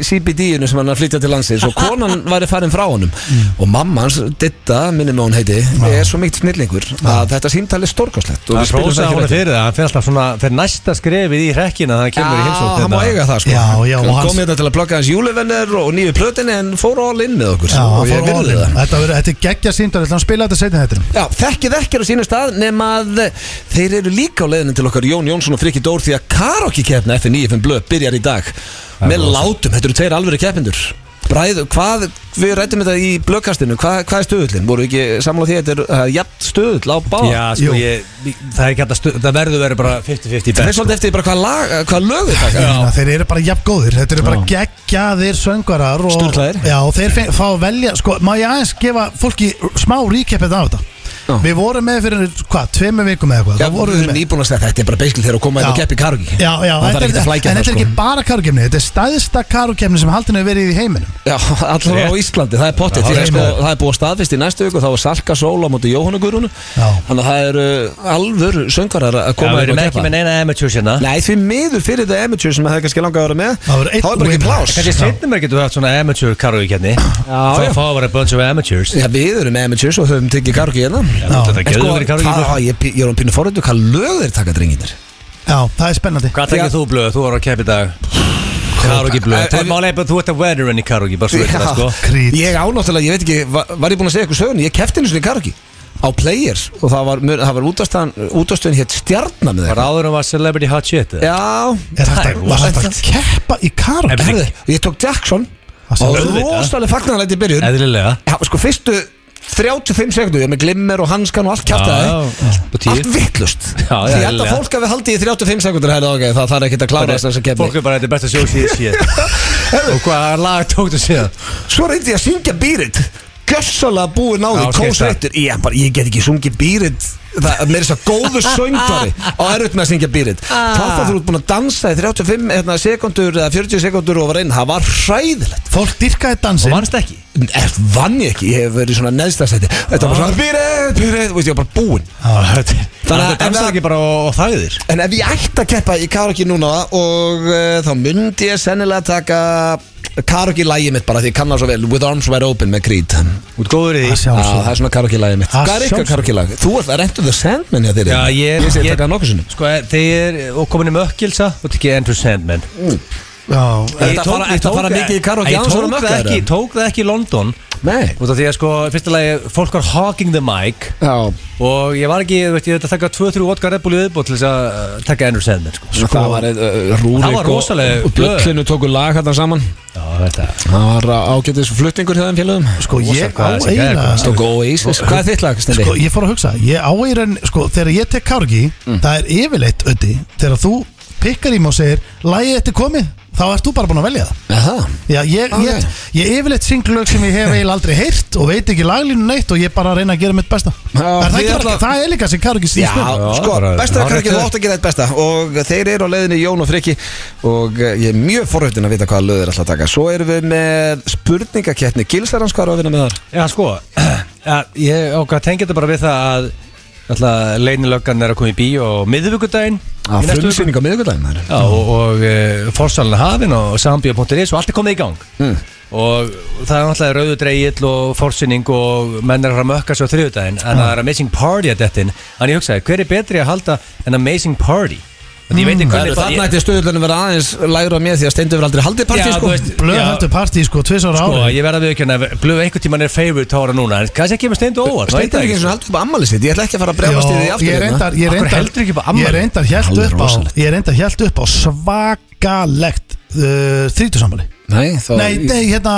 Speaker 1: CBD-inu sem hann er að flytja til landsins og konan væri farin frá honum
Speaker 3: Mm.
Speaker 1: og mamma hans, Ditta, minni með hún heiti er svo mikið snillingur að þetta símtali er stórkáslegt
Speaker 2: Það prósa hún fyrir það, hann fyrir alltaf svona fyrir næsta skrefið í hrekkina þannig að hann kemur í heimsókn
Speaker 1: hann má
Speaker 2: hérna.
Speaker 1: eiga það sko
Speaker 3: Já, já, og
Speaker 1: Hann
Speaker 3: hans-
Speaker 1: kom hérna til að blokka hans júlivenner og nýju plötin en fór all in með okkur
Speaker 3: Já,
Speaker 1: og
Speaker 3: hann
Speaker 1: ég
Speaker 3: fór all
Speaker 1: virði
Speaker 3: in.
Speaker 1: það
Speaker 3: Þetta verður- þetta er geggja síndar Þannig að spila þetta setja þetta
Speaker 1: Já, þekkið ekkert á sínu stað nema að þeir eru líka á leiðinu til okkar Jón Jónsson og Frikki Dór því að karaoke keppna F95 Blöð byrjar í dag með látum, þetta eru tveir alvöru keppindur Bræðu, hvað, við rættum þetta í blöðkastinu, hvað, hvað er stöðullin? Voru ekki samla því að þetta er uh, jafn stöðull á báða?
Speaker 2: Já,
Speaker 3: Jú.
Speaker 2: sko, ég, það er ekki hægt að stu, það verður verið bara 50-50
Speaker 1: Það er
Speaker 2: best sko.
Speaker 1: svolítið eftir bara hvað, lag, hvað lög við taka
Speaker 3: Þannig að Þeir eru bara jafn góðir Þetta eru bara geggjaðir söngvarar og-
Speaker 1: Sturlaðir.
Speaker 3: Já, og þeir fe- fá að velja Sko, má ég aðeins gefa fólki smá recapið á þetta
Speaker 1: Já.
Speaker 3: Við vorum með fyrir, hvað, tveimur vikum eða eitthvað
Speaker 1: Já,
Speaker 3: Þá
Speaker 1: voru
Speaker 3: vorum
Speaker 1: við nýbúin að segja þetta er bara basically þegar að koma inn og
Speaker 3: Já.
Speaker 1: keppi karaoke
Speaker 3: Já, já, þetta
Speaker 1: Það þarf
Speaker 3: er,
Speaker 1: ekki að flækja
Speaker 3: en
Speaker 1: það
Speaker 3: þetta er
Speaker 1: sko
Speaker 3: ekki bara karukefni Þetta er staðista karukefni sem haldin hefur verið í heiminum
Speaker 1: Já, allavega á Íslandi, það er pottitt
Speaker 2: Já,
Speaker 1: því að
Speaker 2: það er
Speaker 1: sko,
Speaker 2: með.
Speaker 1: það er búið að staðfist í næstu viku þá er Salka Sól á móti Jóhannugurunu
Speaker 3: Já.
Speaker 1: þannig að það eru uh, alvöru söngvarar að
Speaker 2: Já,
Speaker 1: koma
Speaker 2: við
Speaker 1: inn
Speaker 2: erum
Speaker 1: og
Speaker 2: ekki
Speaker 1: keppa.
Speaker 2: með neina amateurs hérna
Speaker 1: Nei, því miður fyrir það amateur sem það er kannski langað að vera með
Speaker 3: Það verður einn
Speaker 1: þá er bara ekki
Speaker 3: winner.
Speaker 1: plás
Speaker 2: Kanski setnum er getur við haft svona amateur karaoke kjarni
Speaker 1: já.
Speaker 2: Þá fá að vera a bunch of amateurs
Speaker 1: Já, við erum amateurs og höfum tekið kargi hérna
Speaker 2: Já, þetta
Speaker 1: En
Speaker 2: getur
Speaker 1: sko,
Speaker 2: verið
Speaker 1: það,
Speaker 2: karaoke
Speaker 1: á, ég, ég er um pínu forröndu hvað lög þeir taka drenginir
Speaker 3: Já, það er spennandi
Speaker 2: Hvað takkir
Speaker 1: Já.
Speaker 2: þú blöð? Þú voru að keppa í dag Karaoke blöð
Speaker 1: Ef-
Speaker 2: Það er málega bara að þú ert að veteran í karaoke Bara svo veitir það sko
Speaker 3: Krít.
Speaker 1: Ég ánáttúrulega, ég veit ekki, var, var ég búin að segja eitthvað sögun Ég kefti einu sinni kargi á Players og það var, það var útastöðin hétt Stjarnan
Speaker 2: Bara
Speaker 1: eða eitthvað.
Speaker 2: áður en var celebrity hot shit eða?
Speaker 1: Já,
Speaker 3: Er þetta,
Speaker 2: Það er
Speaker 3: var þetta að keppa í
Speaker 2: En-
Speaker 3: karukefni?
Speaker 1: Herðu, ég tók Jackson
Speaker 3: Það sé
Speaker 1: og
Speaker 3: auðvitað.
Speaker 1: rosalega fagnarlæti í byrjun
Speaker 2: Eðlilega
Speaker 1: Já, sko, fyrstu 35 sekundu, ég er með glimmer og hanskan og allt kjartaði
Speaker 2: Og
Speaker 1: Allt
Speaker 2: tíð
Speaker 1: vittlust
Speaker 2: Já, já,
Speaker 1: Því ég held að
Speaker 2: eðlilega.
Speaker 1: fólk hafi haldið í 35 sekundur herri, okay, Það þarf ekkert að klára þess að kemni
Speaker 2: Fólk er bara þetta er besta sjó síðan síðan Og hvað lag tók þú síðan?
Speaker 1: Svo reyndi ég að syngja býrit Gjössalega búið náði,
Speaker 2: Já, ok,
Speaker 1: kósreittur ég, bara- ég get ekki sungið býrit Það er þess að góðu söngvari og erut með að syngja býrit Þá þá þú ert búin að dansa í 35 hérna, sekundur eða 40 sekundur og var einn Það var hræðilegt
Speaker 3: Fólk dyrkaði dansin
Speaker 2: Og vannst ekki?
Speaker 1: Er, vann ég ekki, ég hef verið í svona neðstastætti
Speaker 2: Ah.
Speaker 1: Þetta var bara svona Byrrið, byrrið, veist ég var bara búinn
Speaker 2: Þannig að
Speaker 1: Þannig að-
Speaker 2: þú dansar ekki bara og og þagðir
Speaker 1: En ef ég ætti að keppa í karaoke núna Og uh, þá myndi ég sennilega taka Karaoke lægið mitt bara Því ég kann það svo vel With arms wide open með Creed Já,
Speaker 2: Þú ert góður í
Speaker 3: Að
Speaker 2: því
Speaker 3: sjálfsögðu.
Speaker 1: Það er svona karaoke lægið mitt
Speaker 3: Ah,
Speaker 1: Hvað er ykkar
Speaker 3: sjálfsögðu.
Speaker 1: karaoke lag? Þú ert að rentu The Sandman hjá þér hérna.
Speaker 2: Já, ég,
Speaker 1: Ég sé að taka nokkuð sinni
Speaker 2: Sko, eh, þeir og komin í mökkilsa Þú ert ekki Andrew Sandman
Speaker 3: Já,
Speaker 1: Ertu að fara- ertu að fara mikið í karaoke
Speaker 2: Ég
Speaker 1: án þess að vera
Speaker 2: um tók það
Speaker 1: mökkaður,
Speaker 2: ekki,
Speaker 1: eða?
Speaker 2: tók það ekki í London
Speaker 1: Nei.
Speaker 2: Út af því að sko, í fyrsta lagi, fólk var hogging the mic
Speaker 4: Já,
Speaker 2: Og ég var ekki, þú veist, ég þetta taka 2-3 vodka Red Bull í viðbót til þess að uh, taka ennur seðmenn sko.
Speaker 4: sko, það var
Speaker 1: eh,
Speaker 4: uh,
Speaker 2: Það
Speaker 4: rúrik
Speaker 2: var rosaleg
Speaker 4: og, og bjöllinu tóku lag hérna saman
Speaker 2: Já, þetta
Speaker 4: Það var ágætis flutningur hjá þeim félögum
Speaker 3: Sko ég á
Speaker 2: hvað þessi gæjar
Speaker 3: eiginlega
Speaker 1: Sko,
Speaker 4: Stók Oasis Hvað er þitt lag, Stendi?
Speaker 3: Uh, Sko ég fór að hugsa Ég á eiginlega Sko þegar ég tek kárgi Það er yfirleitt öddi Þegar þú pikkar í mig og segir Lægi eftir komið Þá ert þú bara búin að velja það
Speaker 4: Það
Speaker 3: Já, ég,
Speaker 4: Ok.
Speaker 3: ég, ég yfirleitt synglög sem ég hef eiginlega aldrei heyrt og veit ekki laglínu neitt og ég bara reyna að gera mitt besta
Speaker 4: Já,
Speaker 3: Er það,
Speaker 1: ég
Speaker 3: ekki,
Speaker 1: ætla-
Speaker 3: ætla... það er líka sem Kargi
Speaker 1: Já,
Speaker 3: síðan
Speaker 1: sko,
Speaker 2: bara-
Speaker 1: besta
Speaker 2: já,
Speaker 1: er ekki
Speaker 2: rétt
Speaker 1: þú
Speaker 2: er.
Speaker 1: átt að gera eitt besta og þeir eru á leiðinni Jón og Frikki og eh, ég er mjög forhautin að vita hvaða löð er alltaf að taka Svo erum við með spurningakettni Gilsarans, hvað er að vinna með þar?
Speaker 2: Já, sko, ja, ég ákvað að tengja þetta bara við það að Alltaf leinilöggan er að koma í bíó á miðvíkudaginn í næstu viku.
Speaker 4: Frumsýning á miðvikudaginn
Speaker 2: Já, og, og e, forsalina hafin og sambjó.is og allt er komið í gang
Speaker 1: Mm.
Speaker 2: og það er náttúrulega rauðu dreigill og forsinning og menn er að fara að mökka svo þriðudaginn en það er Amazing Party að dettin en ég hugsaði, hver er betri að halda en Amazing Party? Þannig ég veit ekki hvernig
Speaker 1: Þannig ætti stöðlunum vera aðeins lægra mér því að Stendi verður aldrei haldið partí
Speaker 2: Já,
Speaker 1: sko
Speaker 2: þú veist,
Speaker 3: Blöð
Speaker 2: já,
Speaker 3: heldur partí sko, tvis ára
Speaker 2: sko,
Speaker 3: ári
Speaker 2: ég verða við ekki að blöðu einhvern tíman er favorite ára núna en kannski ekki sko. með steindu óvart
Speaker 1: Stendi er ekki eins og haldið upp á ammali sitt, ég ætla ekki að fara að brefast í því
Speaker 3: Já,
Speaker 1: aftur
Speaker 3: ég
Speaker 1: hérna.
Speaker 3: reyndar, ég
Speaker 2: Af hverju
Speaker 3: reyndar,
Speaker 2: heldurðu ekki upp á
Speaker 3: ég
Speaker 2: afmæli?
Speaker 3: reyndar hjælt
Speaker 1: Alveg
Speaker 3: upp á
Speaker 1: rosalegt.
Speaker 3: ég reyndar hjælt upp á svakalegt uh, þrítusamali
Speaker 1: Nei, þá
Speaker 3: nei, nei, hérna,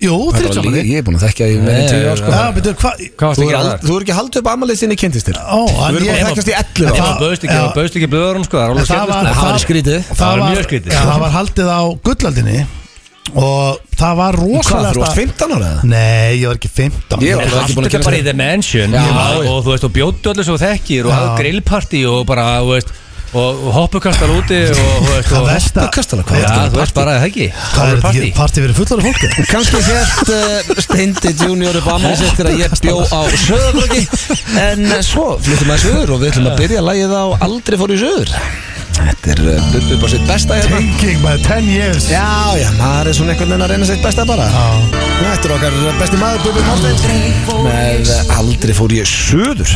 Speaker 3: jú,
Speaker 1: Það var líka-
Speaker 3: þrítusamali
Speaker 1: Ég er búin að þekkja í meira en
Speaker 2: Nei,
Speaker 1: 10 ár sko
Speaker 3: Já, betur, hvað
Speaker 2: Hvað varst
Speaker 1: Þú
Speaker 2: ekki
Speaker 1: er
Speaker 2: að
Speaker 1: ald-
Speaker 2: það?
Speaker 1: þú er ekki haldið upp á ammali sinni kynntistir
Speaker 3: Ó, en
Speaker 1: Við erum búin að
Speaker 3: ég-
Speaker 1: þekkast í 11
Speaker 2: Ef
Speaker 1: ár
Speaker 3: Það-
Speaker 2: þú baust ekki,
Speaker 3: já.
Speaker 2: ef þú baust ekki blöðurum sko, það er
Speaker 3: En
Speaker 2: alveg
Speaker 3: það
Speaker 2: skemmtilegt
Speaker 3: var-
Speaker 1: Nei, það er skrítið
Speaker 2: Það var
Speaker 3: var-
Speaker 2: mjög skrítið.
Speaker 3: Já, það var haldið á gullaldinni og það var
Speaker 1: Hvað, þú
Speaker 3: rosalega
Speaker 1: varst 15 ára eða?
Speaker 3: Nei, ég var ekki 15
Speaker 2: Ég
Speaker 1: Ég var alveg ekki
Speaker 2: haldi
Speaker 1: búin að
Speaker 2: þetta
Speaker 1: kynna
Speaker 2: bara í
Speaker 1: sér
Speaker 2: The Mansion
Speaker 1: Já,
Speaker 2: ég var,
Speaker 1: já.
Speaker 2: og þú veist, og bjóttu öllu svo þekkir og
Speaker 3: Já.
Speaker 2: hafði grillparti og bara, þú veist og og hoppukastar úti og, þú veist,
Speaker 3: Það
Speaker 2: og
Speaker 3: versta
Speaker 1: Hoppukastala, hvað
Speaker 2: Já,
Speaker 1: er
Speaker 2: þú veist bara, það ekki
Speaker 3: Það er
Speaker 2: partí
Speaker 3: partí Partí fyrir fullara fólki
Speaker 1: Kanski hérst uh, Steindi Junior upp ammali sitt þegar ég bjó á söðurblöki En eh, svo flyttum að söður og við ætlum að byrja lagið á Aldrei fór í söður Þetta er uh, bubbi upp á sitt besta hérna
Speaker 3: Thinking by 10 years
Speaker 1: Já, já, maður er svona einhvern veginn að reyna sitt besta bara Þetta er okkar besti maður Bubi Málsteinn Með eh, aldrei fór ég söður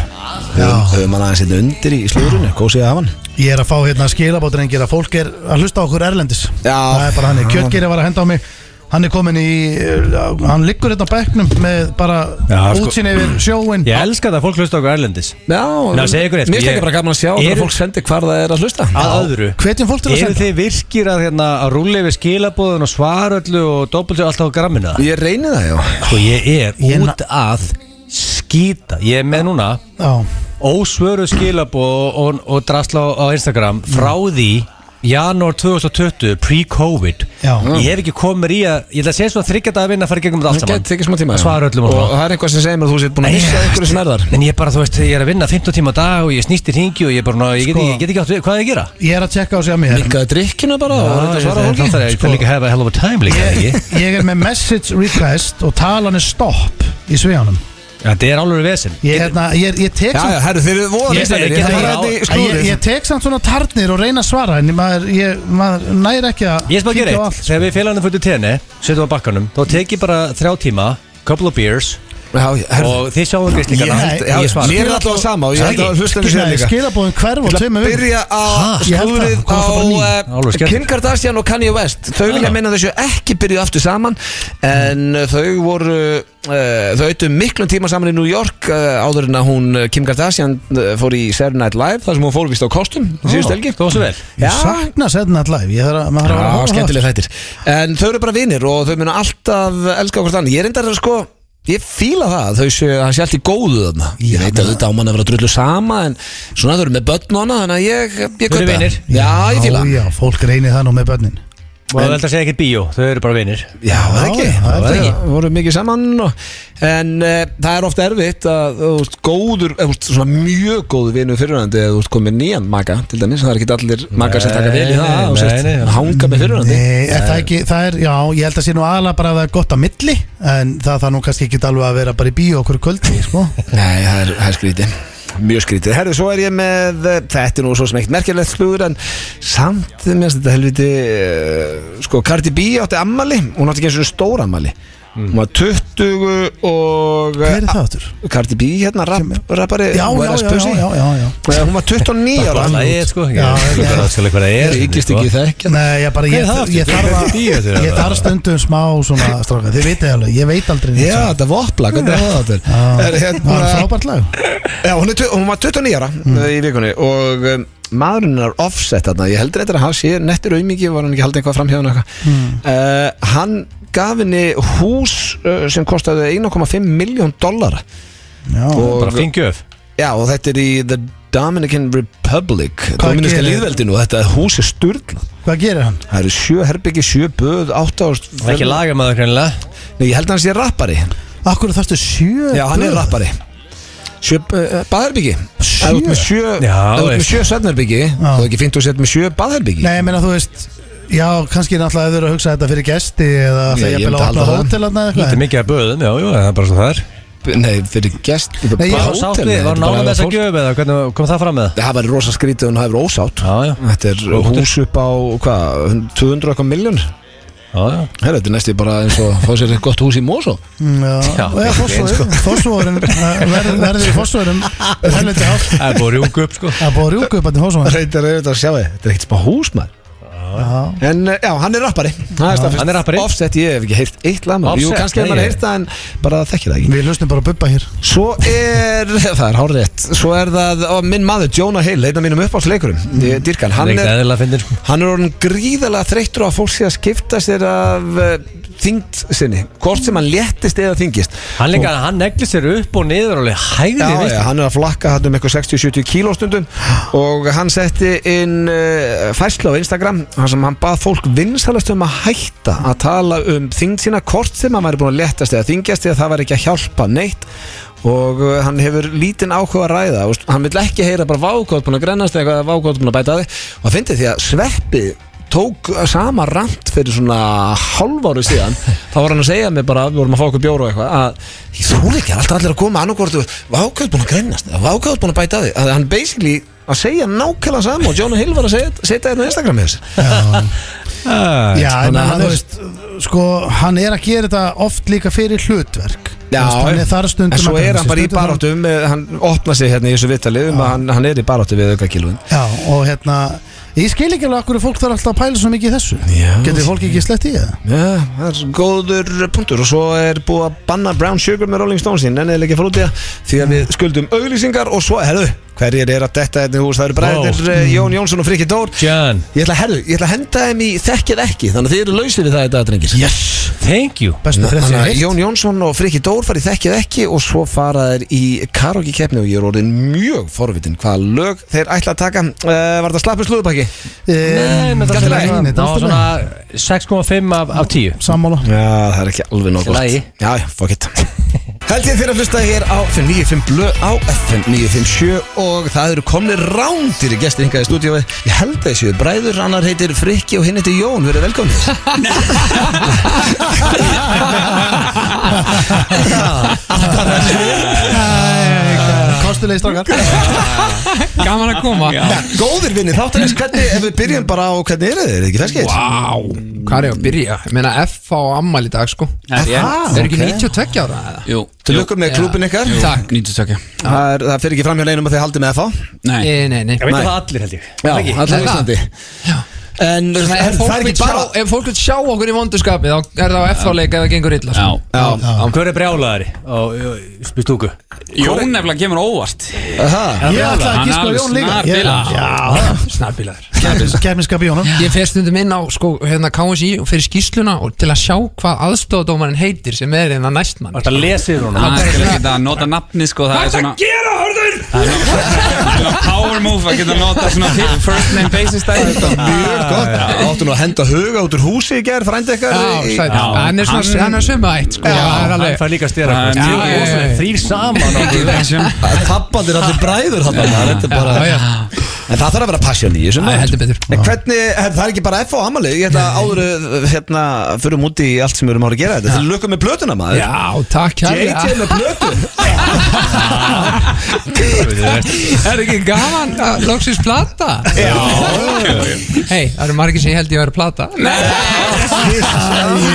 Speaker 3: Já.
Speaker 1: Höfum hann aðeins hérna undir í slúrunni Kósið af hann
Speaker 3: Ég er að fá hérna skilabótrengir að fólk er að hlusta á okkur erlendis
Speaker 1: Já.
Speaker 3: Það er bara hann Kjötgeri var að henda á mig Hann er komin í uh, Hann liggur hérna á bekknum með bara
Speaker 2: Já, sko.
Speaker 3: útsýn yfir sjóin
Speaker 2: Ég elska það að fólk hlusta okkur erlendis
Speaker 1: Já,
Speaker 2: Ná, segðu ykkur eitt, sko,
Speaker 1: Mér
Speaker 2: ég-
Speaker 1: stekir bara gaman að sjá
Speaker 2: Eru-
Speaker 1: þegar fólk sendir hvar það er að hlusta
Speaker 2: að öðru
Speaker 3: Hvetjum fólk til að
Speaker 2: Eru
Speaker 3: senda
Speaker 2: þið virkir að, hérna, að rúla yfir skilabóðun og svara öllu og doppeltu alltaf á grammina?
Speaker 1: Ég reyni það, já
Speaker 2: Sko ég er
Speaker 3: Ég na-
Speaker 2: út að skýta Ég er með núna
Speaker 3: Já,
Speaker 2: ósvöru skilabóð og, og drasla á á Instagram frá
Speaker 1: Mm.
Speaker 2: því janúar 2020 pre-covid
Speaker 3: Já.
Speaker 2: ég hef ekki komið mér í að ég ætla að segja svona þryggjata að vinna að fara í gegnum þetta allt
Speaker 1: Það
Speaker 2: saman
Speaker 1: geti ekki smá tíma
Speaker 2: Að
Speaker 1: já.
Speaker 2: svara öllum
Speaker 1: Og
Speaker 2: og svona
Speaker 1: það er eitthvað sem segir mér að þú sétt búin að
Speaker 2: Nei,
Speaker 1: missa
Speaker 2: ég-
Speaker 1: einhverju snærðar
Speaker 2: en ég bara þú veist ég er að vinna 15 tíma á dag og ég snýst í hringi og ég bara ná, ég get,
Speaker 3: Sko.
Speaker 2: ekki, ég get ekki átt við hvað er að gera
Speaker 3: ég er að tjekka á sig að mér
Speaker 1: Minkaði drikkina bara og
Speaker 2: Já,
Speaker 1: reynda að
Speaker 2: ég-
Speaker 1: svara
Speaker 2: það-
Speaker 1: fólki
Speaker 2: það þarf ég- ég
Speaker 3: Sko.
Speaker 2: þarf líka að hafa hell of a time líka ekki
Speaker 3: Ég, ég er með message request og talan er stopp í sviðanum
Speaker 2: Já, þetta er alveg vesinn
Speaker 3: Ég, hérna, ég, ég tek
Speaker 1: Já,
Speaker 3: samt
Speaker 1: já, herru, þeir eru voða
Speaker 3: Ég-
Speaker 1: listanir,
Speaker 2: ég- ég-
Speaker 1: ég ætla að fara hérna í
Speaker 3: Æ, Ég,
Speaker 1: slúrið.
Speaker 3: ég tek samt svona tarnir og reyna að svara en maður, ég, maður næri ekki að
Speaker 2: Ég spá að gera
Speaker 3: kíkja á
Speaker 2: eitt,
Speaker 3: allt, sko.
Speaker 2: þegar við félagarnir fyrir tenni, setjum á bakkanum, þá tek ég bara þrjá tíma, couple of beers
Speaker 1: Já, herru,
Speaker 2: og þið sjáum gríslingana,
Speaker 3: Ég-
Speaker 2: ég,
Speaker 1: já,
Speaker 2: ég svara.
Speaker 1: Mér er alltaf sama og ég held að hlusta þessu
Speaker 3: Nei,
Speaker 1: líka
Speaker 3: skilabóðin hverf og
Speaker 1: Ég ætla
Speaker 3: tveimur
Speaker 1: að
Speaker 3: vikum
Speaker 1: byrja á
Speaker 3: Ég held
Speaker 1: slúrið
Speaker 3: það,
Speaker 1: á
Speaker 3: komast bara ný.
Speaker 2: Alveg
Speaker 1: eh,
Speaker 2: skellur.
Speaker 1: Kim Kardashian og Kanye West Þau
Speaker 3: Ah.
Speaker 1: vilja meina þessu ekki byrjuð aftur saman En eh, þau voru eh, Þau auðvitað miklum tíma saman í New York eh, Áður en að hún eh, Kim Kardashian eh, fór í Saturday Night Live Þar sem hún fór vist á kostum
Speaker 3: Ah,
Speaker 1: Síðust helgi
Speaker 2: Þú var svo vel
Speaker 3: Ég sakna setna allæg Ég þarf að maður þarf að horfa
Speaker 1: Já,
Speaker 3: á það.
Speaker 1: skemmtilega þættir En þau eru bara vinir og þau munu alltaf elska okkur þannig Ég reyndar að sko Ég fíla það, þau séu, hann sé allt í góðu þarna Ég veit að þetta á mann að vera drullu sama En svona þau eru með börn og hana Þannig að ég, ég
Speaker 2: Þau eru
Speaker 1: kaupa það.
Speaker 2: vinir.
Speaker 1: Já, ég fíla það.
Speaker 3: Já, já, fólk reynir það nú með börnin
Speaker 2: Og það er alltaf að segja ekkert bíó, þau eru bara vinir
Speaker 1: Já, það er ekki,
Speaker 3: Já,
Speaker 1: það er
Speaker 3: það er
Speaker 1: ekki Við vorum mikið saman og, En e, það er ofta erfitt að þú veist, góður, eða, þú veist, svona mjög góður vinur fyrirhandi eða þú veist komið nýjan maka til dæmis, það er ekki allir makar sem taka vel í
Speaker 2: Nei,
Speaker 1: það og
Speaker 2: nei,
Speaker 1: sérst,
Speaker 2: nei.
Speaker 1: hanga með fyrirhandi
Speaker 3: Nei, er það ekki, það er, já, ég held að sé nú aðalega bara að það er gott á milli En það þarf nú kannski ekki alveg að vera bara í bíó okkur kvöldi, sko
Speaker 1: Nei, það er, það er skrítið Mjög skrítið, herðu, svo er ég með eh, Þetta er nú svo sem ekkert merkilegt slúður En eh, samt, minnst þetta helviti eh, Sko, Cardi B átti ammali Hún átti ekki eins og stór ammali Hún var 20 og
Speaker 3: Mm.
Speaker 1: eh,
Speaker 3: Hver er það áttur?
Speaker 1: Cardi B hérna, rap, rappari
Speaker 3: Já,
Speaker 1: hún var
Speaker 3: já, já,
Speaker 1: SPC.
Speaker 3: já, já, já.
Speaker 1: Eh, Hún var 29 ára
Speaker 2: Það er sko
Speaker 3: Já,
Speaker 2: Ég
Speaker 3: já.
Speaker 2: er bara að skilja hvað það er
Speaker 4: Ríkist ekki þekkja
Speaker 3: Nei, ég bara, ég,
Speaker 2: Hver er það aftur?
Speaker 3: ég þarf að
Speaker 2: Í þessu,
Speaker 3: Ég
Speaker 2: eða?
Speaker 3: þarf stundum smá svona stráka Þið vitið alveg, ég veit aldrei neitt
Speaker 1: Já,
Speaker 3: svona.
Speaker 1: þetta er vopla, hvernig er það þetta?
Speaker 3: Það
Speaker 1: Er
Speaker 3: var
Speaker 1: hérna,
Speaker 3: frábært lag
Speaker 1: já, hún, er, tve- hún var 29 ára
Speaker 3: Mm.
Speaker 1: eh, í vikunni og um, maðurinn er offset þarna, ég heldur eitthvað að hann sé nettur aumingi, var hann ekki haldið eitthvað framhjáðan eitthvað
Speaker 3: Mm.
Speaker 1: uh, Hann gaf henni hús uh, sem kostaði 1,5 miljón dollara
Speaker 3: Já,
Speaker 1: og,
Speaker 2: Bara fingjöf
Speaker 1: já, og þetta er í The Dominican Republic
Speaker 3: Hvað
Speaker 1: Dominika
Speaker 3: gerir-
Speaker 1: líðveldinu og þetta hús er sturglað
Speaker 3: hvað gerir hann?
Speaker 1: Það eru sjö herbyggi, sjö böð, átta ást
Speaker 2: Það er ekki lagamæður greinilega
Speaker 1: Nei, ég held að hann sé rappari
Speaker 3: Akkur þarftu sjö
Speaker 1: Já, hann er
Speaker 3: böð?
Speaker 1: rappari Sjö uh, baðherbyggi
Speaker 3: Sjö?
Speaker 1: Ef þú ert með sjö,
Speaker 2: Já,
Speaker 1: ef þú ert með
Speaker 2: veist.
Speaker 1: sjö svefnherbyggi Þá er ekki fint að setja með sjö baðherbyggi
Speaker 3: Nei, ég meina þú veist Já, kannski er náttúrulega að þau eru að hugsa þetta fyrir gesti eða
Speaker 1: Nei,
Speaker 3: það
Speaker 1: ég
Speaker 3: ég vil
Speaker 1: myndi
Speaker 3: að opna
Speaker 1: halda það.
Speaker 3: hótel þarna eða
Speaker 2: Þetta er
Speaker 3: eitthvað
Speaker 2: mikið að böðum, já, já, það er bara svo það er
Speaker 1: Nei, fyrir gest
Speaker 3: Nei, ég
Speaker 2: Var
Speaker 3: var
Speaker 2: hún sátt við, var hún ánum þess að gjöf eða hvernig kom það fram með það?
Speaker 1: Það var rosa skrítið hún hafði ósátt
Speaker 2: Já, já,
Speaker 1: Þetta er hús upp á, hvað, 200 eitthvað miljón
Speaker 2: já, já
Speaker 1: Herra, þetta er næstu bara eins og fá sér eitt gott hús í Mosó
Speaker 3: Mm, Já,
Speaker 2: Já,
Speaker 3: já
Speaker 1: sko.
Speaker 3: fórsvoðurinn Fórsvoðurinn verður í fórsvoðurinn Helviti hátt
Speaker 2: Það er búið að rjúngu upp sko
Speaker 3: Það búið að rjúka upp hérna að til fórsvoðurinn
Speaker 1: Reyndar er þetta að sjá þið, þetta er ekkert smá hús maður
Speaker 3: Já,
Speaker 1: En eh, já, hann er rappari Það er staðfest.
Speaker 2: hann er rappari.
Speaker 1: Offset, ég hef ekki heyrt eitt lag maður. Jú,
Speaker 2: Offset,
Speaker 1: kannski
Speaker 2: nei,
Speaker 1: hefur maður
Speaker 2: ég-
Speaker 1: heyrt það en bara þekkir það ekki
Speaker 3: Við lustum bara að bubba hér
Speaker 1: Svo er, það er hárétt Svo er það, ó, minn maður, Jonah Hill Einn af mínum uppáhaldsleikurum, mm. Dyrkan
Speaker 2: Það
Speaker 1: Hann
Speaker 2: er ekkert
Speaker 1: er,
Speaker 2: eðlilega að finna sko
Speaker 1: hann er orðin gríðalega þreyttur á að fólk sé að skipta sér af uh, þyngd sinni Hvort sem hann léttist eða þyngist
Speaker 2: Hann líka, hann negli sér upp og niður alveg hægði
Speaker 1: Já,
Speaker 2: veist.
Speaker 1: já, hann er að flakka hann um eitthvað 60-70 kílóstundum og hann setti inn uh, færslu á Instagram þar sem hann bað fólk vinsalast um að hætta að tala um þyngd sína kort sem hann væri búin að léttast eða þyngjast eða það væri ekki að hjálpa neitt og uh, hann hefur lítinn áhuga að ræða og hann vil ekki heyra bara vágótt búin að grennast eða eitthvað vágótt búin að bæta að þig og hann fyndi því að sveppi tók sama rant fyrir svona hálfáru síðan þá var hann að segja mér bara, við vorum að fá okkur bjóru og eitthvað að ég þúl ekki, það er alltaf allir að koma annarkvort og vákvæðt búin að greinast, vákvæðt búin að bæta að því að hann basically að segja nákvæðan sama og Jonah Hill var að segja, setja þetta á Instagram með þessu
Speaker 2: Já,
Speaker 3: Já, en
Speaker 1: þannig að
Speaker 3: hann,
Speaker 1: hann
Speaker 3: þú
Speaker 1: er-
Speaker 3: veist, sko, hann er að gera þetta oft líka fyrir hlutverk
Speaker 1: Já,
Speaker 3: þannig þar stundum
Speaker 1: en svo
Speaker 3: að
Speaker 1: er
Speaker 3: grenja
Speaker 1: hann
Speaker 3: sig,
Speaker 1: bara í
Speaker 3: stundum þarf-
Speaker 1: baráttu um, eh, hann opna sig hérna í þessu vitali um að hann, hann er í baráttu við auka kílun
Speaker 3: Já, og hérna, ég skil ekki alveg okkur fólk þarf alltaf að pæla svo mikið í þessu
Speaker 1: Já.
Speaker 3: Getur fólk ekki slett í það?
Speaker 1: Já, það er góður punktur og svo er búið að banna Brown Sugar með Rolling Stones en eða ekki að fara út í það því að við skuldum auglýsingar og svo, herðu, hverjir er að detta hérna í hús, það eru bræðir Jón Jónsson og Frikki Dór
Speaker 2: mm. John,
Speaker 1: Ég ætla, herðu, ég ætla að henda þeim í þekkið ekki Þannig að þið eru lausir við það í dag, drengir
Speaker 3: Yes!
Speaker 2: thank you
Speaker 3: Bestu frétt sem
Speaker 1: Þannig
Speaker 3: ég
Speaker 1: að
Speaker 3: heilt
Speaker 1: Jón Jónsson og Frikki Dór farið þekkið ekki Og svo fara þeir í karaoke keppni Og ég er orðin mjög forvitin Hvaða lög þeir ætla að taka uh, Var þetta slappið slúðupakki?
Speaker 2: Nei, menn,
Speaker 3: Gæti
Speaker 2: það
Speaker 3: lagi. Eh,
Speaker 2: er
Speaker 3: Nei, þetta er
Speaker 2: svona
Speaker 3: allt í lagi.
Speaker 2: 6,5 af, af 10
Speaker 3: Sammála
Speaker 1: Já, það er ekki alveg nóg
Speaker 2: Í lagi.
Speaker 1: gott Já, já, fuck it Held ég þér að hlusta hér á FM 95 blö á FM 957 og það eru komni rándir í gestir hingað í stúdíói Ég held að þessu bræður, annar heitir Frikki og hinn heitir Jón, verið velkomni
Speaker 3: Kostulegi strákar
Speaker 4: Gaman að koma
Speaker 1: Góðir vinni, þáttanins, hvernig, ef við byrjum bara á hvernig eru þeir, ekki ferskið?
Speaker 5: Vá, hvað er ég að byrja? Ég meina F á ammæli í dag sko
Speaker 6: Það er ég.
Speaker 5: Það er ekki
Speaker 1: ok.
Speaker 5: 92 ára eða?
Speaker 6: Jú
Speaker 1: Til lukkum með klúbin ykkar
Speaker 5: Jú. Takk.
Speaker 6: 92
Speaker 1: það, er, það fyrir ekki framhjá neinum að þið haldið með það
Speaker 6: Nei
Speaker 5: Nei, nei, nei
Speaker 2: Ég veit að það allir held ég
Speaker 1: Já,
Speaker 5: Er
Speaker 1: allir í
Speaker 5: það?
Speaker 1: Íslandi En
Speaker 5: Svona,
Speaker 1: það
Speaker 5: Ef fólk
Speaker 1: er
Speaker 5: vill
Speaker 1: ekki
Speaker 5: sjá,
Speaker 1: bara
Speaker 5: ef fólk vil sjá okkur í vonduskapi þá er það á F á leik ef það gengur illa
Speaker 6: Já
Speaker 5: sko.
Speaker 1: Já,
Speaker 2: Hver er brjálaðari á stúku?
Speaker 6: Jón nefnilega kemur á óvart
Speaker 1: það sko,
Speaker 3: Ég ætla að
Speaker 6: Hann
Speaker 3: gíska á
Speaker 6: er
Speaker 3: Jón líka
Speaker 6: alveg snarbilaður.
Speaker 3: Já,
Speaker 5: Snarbilaður
Speaker 3: kemminskap í honum
Speaker 5: Ég fer stundum inn á sko, hérna KSI og fyrir skýsluna og til að sjá hvað aðstofadómarinn heitir sem er hérna næstmann
Speaker 2: Var þetta lesið hún?
Speaker 6: Hann skal ekki að nota nafni sko Það er svona Hvað það gera, hörður? Power move að geta nota svona fi- First name basis dæmi sko.
Speaker 1: Mjög gott Áttu nú að henda huga út úr húsi í gerð frændi ykkar
Speaker 5: Já,
Speaker 1: í-
Speaker 5: sæt.
Speaker 6: Já.
Speaker 5: Hann er
Speaker 6: Hann-
Speaker 5: svona hann er sömu ætt sko. Það er
Speaker 2: Hann
Speaker 5: alveg-
Speaker 2: fær líka að stera
Speaker 6: Hann- Já, já, já,
Speaker 5: já.
Speaker 2: Þrýr saman á-
Speaker 6: Ekki þessum
Speaker 1: Pappandir allir bræður hann Þetta er bara
Speaker 5: Já, já.
Speaker 1: En það þarf að vera passion í þessu
Speaker 5: Æ, heldur betur.
Speaker 1: En hvernig, her, það er ekki bara F á amali Ég ætla áður uh, hérna Fyrir múti í allt sem við erum ára að gera þetta Þið lukum með plötuna maður
Speaker 5: Já, takk kærlega.
Speaker 1: JJ með plötun
Speaker 5: Er ekki gaman að loksins plata? Já Hei, það eru margir sem ég held ég að vera plata Nei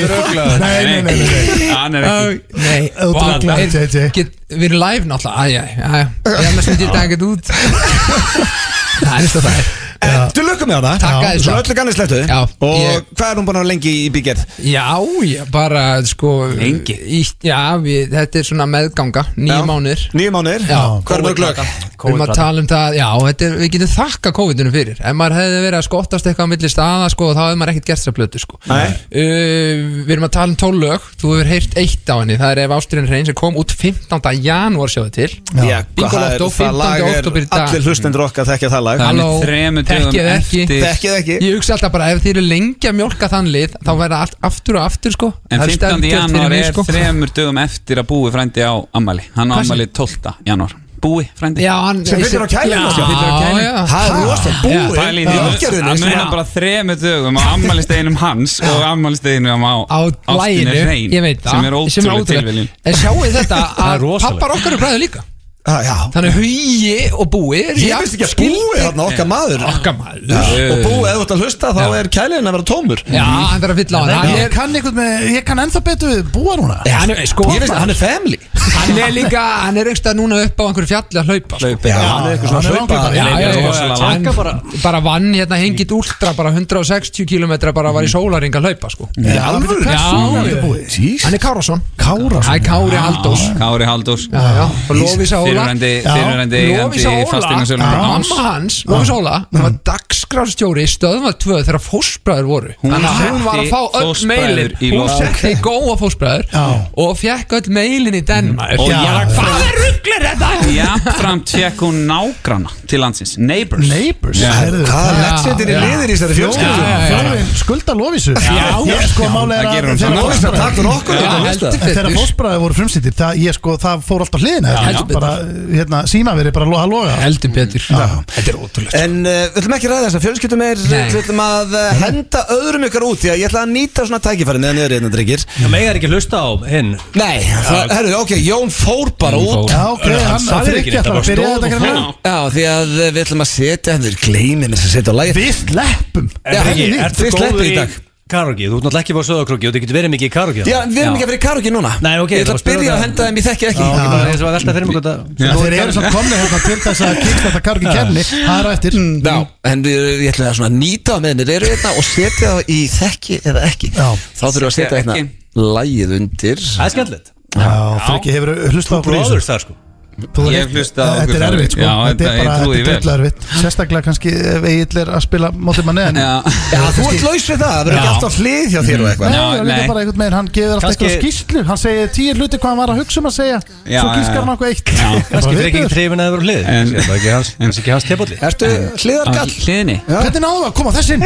Speaker 6: Ruglaður.
Speaker 3: Nei, nei, nei, nei,
Speaker 6: Hann er ekki
Speaker 5: Nei,
Speaker 3: Þú
Speaker 5: vá,
Speaker 3: drugglar,
Speaker 5: er-
Speaker 3: JJ.
Speaker 5: get- Við erum live náttúrulega Æja, æja Ég annars myndi ég taka þetta út Það er næsta það
Speaker 1: En Þú lögum með hana
Speaker 5: Takk aðeins
Speaker 1: Svo
Speaker 5: það.
Speaker 1: öllu kannið slettu
Speaker 5: Já,
Speaker 1: Og
Speaker 5: ég-
Speaker 1: hvað er hún búin að vera lengi í bígerð?
Speaker 5: Já, já, bara sko
Speaker 6: Lengi.
Speaker 5: ítt- Já, við, þetta er svona meðganga Nýja mánir
Speaker 1: Nýju mánuðir
Speaker 5: Já.
Speaker 1: Hvað er mörg lög?
Speaker 5: Við erum að tala um það, já, þetta er, við getum þakka COVID-19 fyrir Ef maður hefði verið að skottast eitthvað á milli staða sko, þá hefði maður ekkert gert sér blötu sko. uh,
Speaker 1: Nei.
Speaker 5: Við erum að tala um tólög Þú hefur heyrt eitt á henni, það er ef Ástriðin Reyn sem kom út 15. janúar sjáðu til
Speaker 1: Já,
Speaker 5: Bingo
Speaker 1: hvað
Speaker 5: Lotto,
Speaker 1: er- það
Speaker 5: 15.
Speaker 1: lag er
Speaker 5: október í dag.
Speaker 1: Allir hlustendur okkar þekkja það lag
Speaker 5: Það-
Speaker 6: Hann er
Speaker 5: Halló,
Speaker 6: þremur
Speaker 5: þekkið
Speaker 6: dögum
Speaker 5: ekki.
Speaker 6: eftir
Speaker 1: Þekkið ekki
Speaker 5: Ég hugsa alltaf bara ef þið eru lengi að mjólka þann lið þá verða allt aftur og aftur sko.
Speaker 6: En
Speaker 5: Það er
Speaker 6: 15.
Speaker 5: sterkt fyrir
Speaker 6: janúar
Speaker 5: mig,
Speaker 6: er
Speaker 5: sko.
Speaker 6: þremur dögum eftir að búi frændi á ammali Hann á
Speaker 5: Hvað
Speaker 6: ammali 12. janúar Búi frændi
Speaker 5: Já, hann
Speaker 1: Sem fyllir á kælinu,
Speaker 5: Já,
Speaker 1: sem fyllir á
Speaker 6: kælinu.
Speaker 5: já.
Speaker 1: Það er rosa
Speaker 6: Pæli
Speaker 1: búið
Speaker 6: í
Speaker 1: í
Speaker 6: því
Speaker 1: aðgerðinni,
Speaker 6: Hann
Speaker 1: sko.
Speaker 6: munar bara þremur dögum á ammalisteginum hans og ammalisteginum á
Speaker 5: á læginu,
Speaker 6: Reyn
Speaker 5: ég veit það
Speaker 6: sem er ótrúlega tilviljun
Speaker 5: en sjáu þetta
Speaker 2: Það er
Speaker 5: að
Speaker 2: rosalegt.
Speaker 5: pappar okkar er bræður líka
Speaker 1: Ah, Já
Speaker 5: þannig að hugi og búi er
Speaker 1: Ég
Speaker 5: jafn
Speaker 1: veist ekki að
Speaker 5: skyldir.
Speaker 1: búið þarna okkar maður
Speaker 5: okkar maður
Speaker 1: Já, Og búið, ef þú ert að hlusta þá er kælirinn að vera tómur
Speaker 5: já, hann þarf að fylla á hann hann
Speaker 3: Ég
Speaker 5: er,
Speaker 3: kann einhvern með, ég kann ennþá betur við búa núna
Speaker 5: hann er, sko,
Speaker 1: Ég veist að hann er family
Speaker 5: hann er líka hann er einhverstað núna upp á einhverju fjalli að hlaupa sko.
Speaker 1: Já, hann er
Speaker 3: hann er
Speaker 1: eitthvað svona
Speaker 3: langhlaupari.
Speaker 1: hlaupa
Speaker 5: já, já,
Speaker 6: rosalega
Speaker 5: hann bara vann hérna hengið últra bara 160 km bara var í sólaring að hlaupa sko
Speaker 1: Í alvöru?
Speaker 5: já, já.
Speaker 3: Jís,
Speaker 5: hann er Kárasson
Speaker 3: Kára
Speaker 5: hann er Kári
Speaker 1: Ah.
Speaker 5: Haldós
Speaker 6: Kári Haldós
Speaker 5: Já, já, og Lofís Óla
Speaker 6: Fyrirverandi
Speaker 3: Já.
Speaker 6: Fyrirverandi
Speaker 5: Lofís Óla,
Speaker 6: eigandi
Speaker 5: Mm.
Speaker 6: fasteignasölu
Speaker 5: mamma hans Lofís Óla, hún var dagskrárstjóri í stöðum að tvö þegar fósbræður voru
Speaker 6: Hún
Speaker 5: Þannig að hún var að
Speaker 6: setti
Speaker 5: fá öll
Speaker 6: fóstbræður
Speaker 5: meilin
Speaker 6: í
Speaker 5: hún
Speaker 6: Lofís.
Speaker 5: setti í góa fósbræður
Speaker 3: Já.
Speaker 5: og fekk öll meilin í Danmark
Speaker 6: Og
Speaker 5: Já.
Speaker 6: jafnframt-
Speaker 5: hvað er rugglir þetta?
Speaker 6: Jafnframt fekk hún nágrana til landsins Neighbors
Speaker 3: Neighbors
Speaker 6: Já.
Speaker 3: Herðu,
Speaker 1: Hvað er
Speaker 5: Já,
Speaker 1: legendir í
Speaker 5: já.
Speaker 1: liðir í þessari
Speaker 5: Já,
Speaker 1: fjölskyldu?
Speaker 5: já, já.
Speaker 3: Þjálfin skulda lofísu Ég sko
Speaker 6: já,
Speaker 3: málega
Speaker 6: það
Speaker 3: er
Speaker 6: gerir hún
Speaker 3: að þegar
Speaker 6: samt.
Speaker 1: Nú veist að
Speaker 3: fóstbræður-
Speaker 1: takk fyrir okkur
Speaker 5: Já,
Speaker 1: þetta lista.
Speaker 5: heldur
Speaker 3: En þegar
Speaker 5: betur
Speaker 3: fósbræði voru frumsýttir það, ég, sko, það fór alltaf hliðina þetta,
Speaker 5: heldur
Speaker 3: bara, hérna, síma verið bara að loga
Speaker 5: heldur betur þetta er ótrúlegt
Speaker 1: En uh, við ætlum ekki að ræða þessar fjölskyldu meir
Speaker 5: Nei.
Speaker 1: Við ætlum að uh, henda öðrum ykkur út Því að ég ætla að nýta svona tækifæri meðan niður einna hérna, drengir
Speaker 2: Það megar ekki hlusta á hinn
Speaker 1: Nei, það, herru, ok, Jón fór bara út
Speaker 3: Já, ok, hann
Speaker 2: sagði
Speaker 3: Frikki
Speaker 2: ekki neitt,
Speaker 3: ætlar
Speaker 2: það
Speaker 3: að
Speaker 2: bara
Speaker 3: byrja
Speaker 2: stóð
Speaker 3: þetta
Speaker 2: og
Speaker 3: að gera
Speaker 2: fór.
Speaker 3: lag.
Speaker 1: Já, því að uh, við ætlum að setja henni Gleimir þess að setja á lagi
Speaker 3: Við sleppum
Speaker 1: Já,
Speaker 2: Er ekki,
Speaker 1: nýtt,
Speaker 2: ertu
Speaker 1: þið sleppið
Speaker 2: góður
Speaker 1: í
Speaker 2: í
Speaker 1: dag.
Speaker 2: karaoke? Þú ert náttúrulega ekki fór söðakrúki og þú getur verið mikið í karaoke
Speaker 1: Já, við erum ekki að fyrir karaoke núna
Speaker 2: Nei, ok,
Speaker 1: Ég ætla
Speaker 2: bara
Speaker 1: að byrja
Speaker 2: spyrja
Speaker 1: að
Speaker 2: það.
Speaker 1: henda þeim í þekki ekki
Speaker 2: Ég bara eins og að velta fyrir mig hvort að-
Speaker 3: Þeir eru samt komni hérna til þess að kýrst þetta kargi kemni Það er á eftir
Speaker 1: Já, en við, ég ætla að svona nýta það með henni reyru hérna og setja það í þekki eða ekki
Speaker 3: Já.
Speaker 1: Þá þurfum við að setja
Speaker 6: Setja
Speaker 1: hérna
Speaker 6: ekki.
Speaker 1: lagið undir
Speaker 2: Það er skemmtilegt
Speaker 3: Já, Frikki hefur hlustað okkur í þessu.
Speaker 2: Brothers þar sko
Speaker 3: Þú
Speaker 6: Ég
Speaker 3: veist,
Speaker 6: hlusta á
Speaker 3: Þetta er
Speaker 6: ykkur það.
Speaker 3: erfitt sko
Speaker 6: Já,
Speaker 3: Þetta
Speaker 6: þetta-
Speaker 3: er
Speaker 6: ég
Speaker 3: bara,
Speaker 6: trúi því
Speaker 3: þetta er
Speaker 6: vel.
Speaker 3: döllu erfitt Sérstaklega kannski ef Egil er að spila mótið manni en
Speaker 6: Já.
Speaker 1: Já, þú ert laus við það, það verður ekki alltaf hlið hjá þér og
Speaker 3: Nei,
Speaker 1: eitthvað
Speaker 6: Já,
Speaker 3: já, líka
Speaker 6: nei.
Speaker 3: bara einhvern veginn, hann gefur alltaf
Speaker 2: Kannski-
Speaker 3: eitthvað skýslu Hann segir tíu hluti hvað hann var að hugsa um að segja
Speaker 6: Já,
Speaker 3: Svo
Speaker 6: já,
Speaker 3: gískar
Speaker 6: já.
Speaker 3: hann okkur eitt
Speaker 2: Kannski fyrir ekki trefin að vera hlið
Speaker 6: En-
Speaker 2: Það er ekki hans- kannski ekki hans tepalli
Speaker 1: Ertu
Speaker 6: Á
Speaker 1: hliðarkall?
Speaker 6: hliðinni
Speaker 3: Hvernig náðu að koma
Speaker 1: Mm.
Speaker 3: þessin?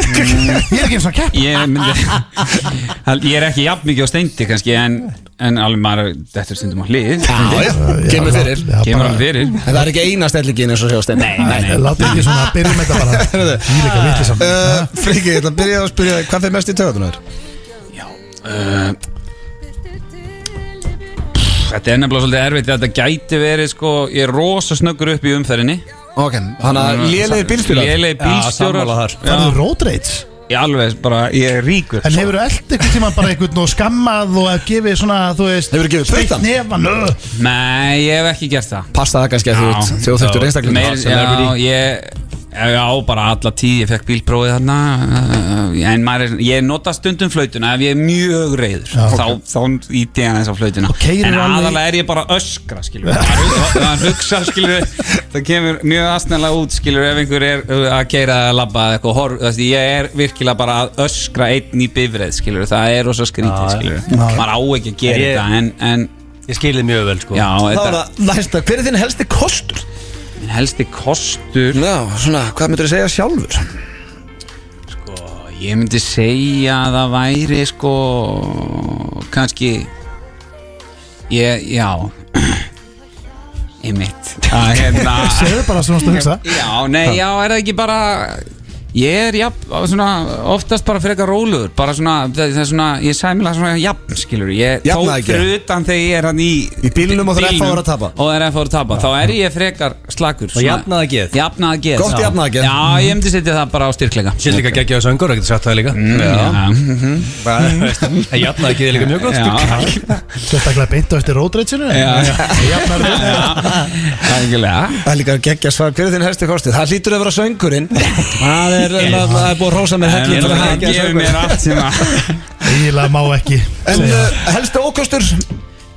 Speaker 3: Ég er ekki eins og að kepp
Speaker 6: Ég myndi Hal- Ég er ekki jafn mikið á steindi kannski En, en alveg maður Þetta er stundum á hlið
Speaker 1: Já, já, kemur fyrir
Speaker 3: Já,
Speaker 6: Kemur
Speaker 3: bara-
Speaker 6: alveg fyrir
Speaker 1: En það er ekki eina stellingin eins og sjá stein Nei,
Speaker 3: Nei, Láttu ekki svona, byrjum þetta bara Því líka vitlisam
Speaker 1: Uh, Friki, ég ætla að byrja að spyrja þig, hvað fyrir mest í töðunar?
Speaker 6: uh, Þetta er nefnilega svolítið erfitt Þetta gæti verið sko Ég er rosa snöggur upp í umferðinni Mm,
Speaker 1: Ok, hann að lélegir bílstjórar
Speaker 6: Lélegir bílstjórar
Speaker 2: sammála þar.
Speaker 3: Það eru road rage
Speaker 6: Ég alveg bara Ég er ríkur
Speaker 3: En hefur þú eld einhvern tíma bara einhvern og skammað og að gefið svona, þú veist
Speaker 1: Hefurðu gefið puttann?
Speaker 3: Nefan,
Speaker 6: Nei, ég hef ekki gert það
Speaker 1: Passa það kannski að þú ert þjóðþögtur einstaklingur
Speaker 6: Meir- Já, ég Já, bara alla tíð, ég fekk bílprófið þarna uh, En maður er, ég nota stundum flautuna Ef ég er mjög reyður Þá, þá ít ég aðeins á flautuna
Speaker 3: keyrir
Speaker 6: En
Speaker 3: alveg-
Speaker 6: aðalega er ég bara að öskra, skilur Það hugsa, skilur Það kemur mjög astnælega út, skilur Ef einhver er uh, að keira að labba eða eitthvað, horf, það, Ég er virkilega bara að öskra einn í bifrið, skilur Það er rosa
Speaker 2: Já,
Speaker 6: skrítið,
Speaker 2: já.
Speaker 6: skilur
Speaker 3: Já.
Speaker 6: Maður á ekki að gera
Speaker 2: Ég-
Speaker 6: þetta En, en
Speaker 2: Ég skilði mjög vel sko
Speaker 6: já,
Speaker 1: Þá er
Speaker 6: þetta
Speaker 1: það næsta, hver er þinn helsti kostur?
Speaker 6: minn helsti kostur
Speaker 1: Já, svona, hvað myndur þú segja sjálfur?
Speaker 6: Og Sko, Ég myndi segja að það væri sko kannski ég, já ég mitt að hérna
Speaker 3: Segðu bara svona að hugsa
Speaker 6: já, nei, já, er það ekki bara Ég er jafn, svona, oftast bara frekar róluður Bara svona, það það er svona, ég er sæmilega svona jafn, skilur ég,
Speaker 1: Jafnaði ekki.
Speaker 6: Þó fyrir utan þegar ég er hann í
Speaker 1: Í bílnum og þegar
Speaker 6: bílnum
Speaker 1: FH er að tapa.
Speaker 6: Og þegar FH er að tapa, þá er ég frekar slakur
Speaker 2: Og jafnaðargeð.
Speaker 6: Jafnaðageð
Speaker 1: Gott jafnaðargeð.
Speaker 6: Já, ég myndi setja það bara á styrkleika Mm,
Speaker 2: Sér Mhm. líka geggja á söngur, ekkert sagt það líka
Speaker 1: Mhm.
Speaker 2: Það jafnaði ekki þig líka mjög gott
Speaker 6: Já,
Speaker 3: Sérstaklega beint á eftir rótreitsinu
Speaker 6: það er ekki lega
Speaker 1: Það er líka geggja svar, hver er þinn helsti kostið? Það hlýtur að vera söngurinn Það er, það er búið að rósa mér helling
Speaker 6: Ég
Speaker 1: fyrir
Speaker 6: er
Speaker 1: hann.
Speaker 6: að gefa mér allt sem að
Speaker 3: Ígilega má ekki
Speaker 1: En
Speaker 3: segja.
Speaker 1: uh, helsti ókostur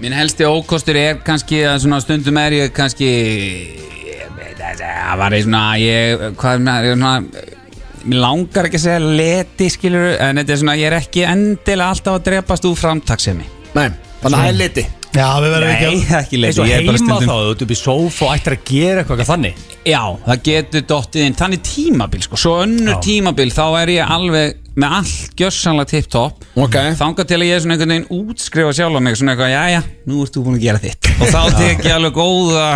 Speaker 6: Minn helsti ókostur er kannski að svona stundum er ég kannski ég veit að það var ég svona ég, hvað er maður, ég svona mér langar ekki að segja leti skilur en þetta er svona, ég er ekki endilega alltaf að drepast úr framtaksemi
Speaker 1: Nei, þannig að það er liti
Speaker 3: Já, við verðum ekki að
Speaker 6: Nei, ekki
Speaker 2: Eins
Speaker 6: leti,
Speaker 2: og
Speaker 6: ég er
Speaker 2: heima
Speaker 6: bara
Speaker 2: þá,
Speaker 6: stundum
Speaker 2: þú ert upp í sófa og ættir að gera eitthvað eitthvað þannig
Speaker 6: Já, það getur dottið inn, þannig tímabil sko Svo önnur
Speaker 2: Já.
Speaker 6: tímabil, þá er ég alveg með allt gjössanlega tipptopp
Speaker 1: Ok.
Speaker 6: Þangað til að ég er svona einhvern veginn útskrifa sjálf á mig Svona eitthvað, jæja, nú ert þú búin að gera þitt Og þá tek ég alveg góða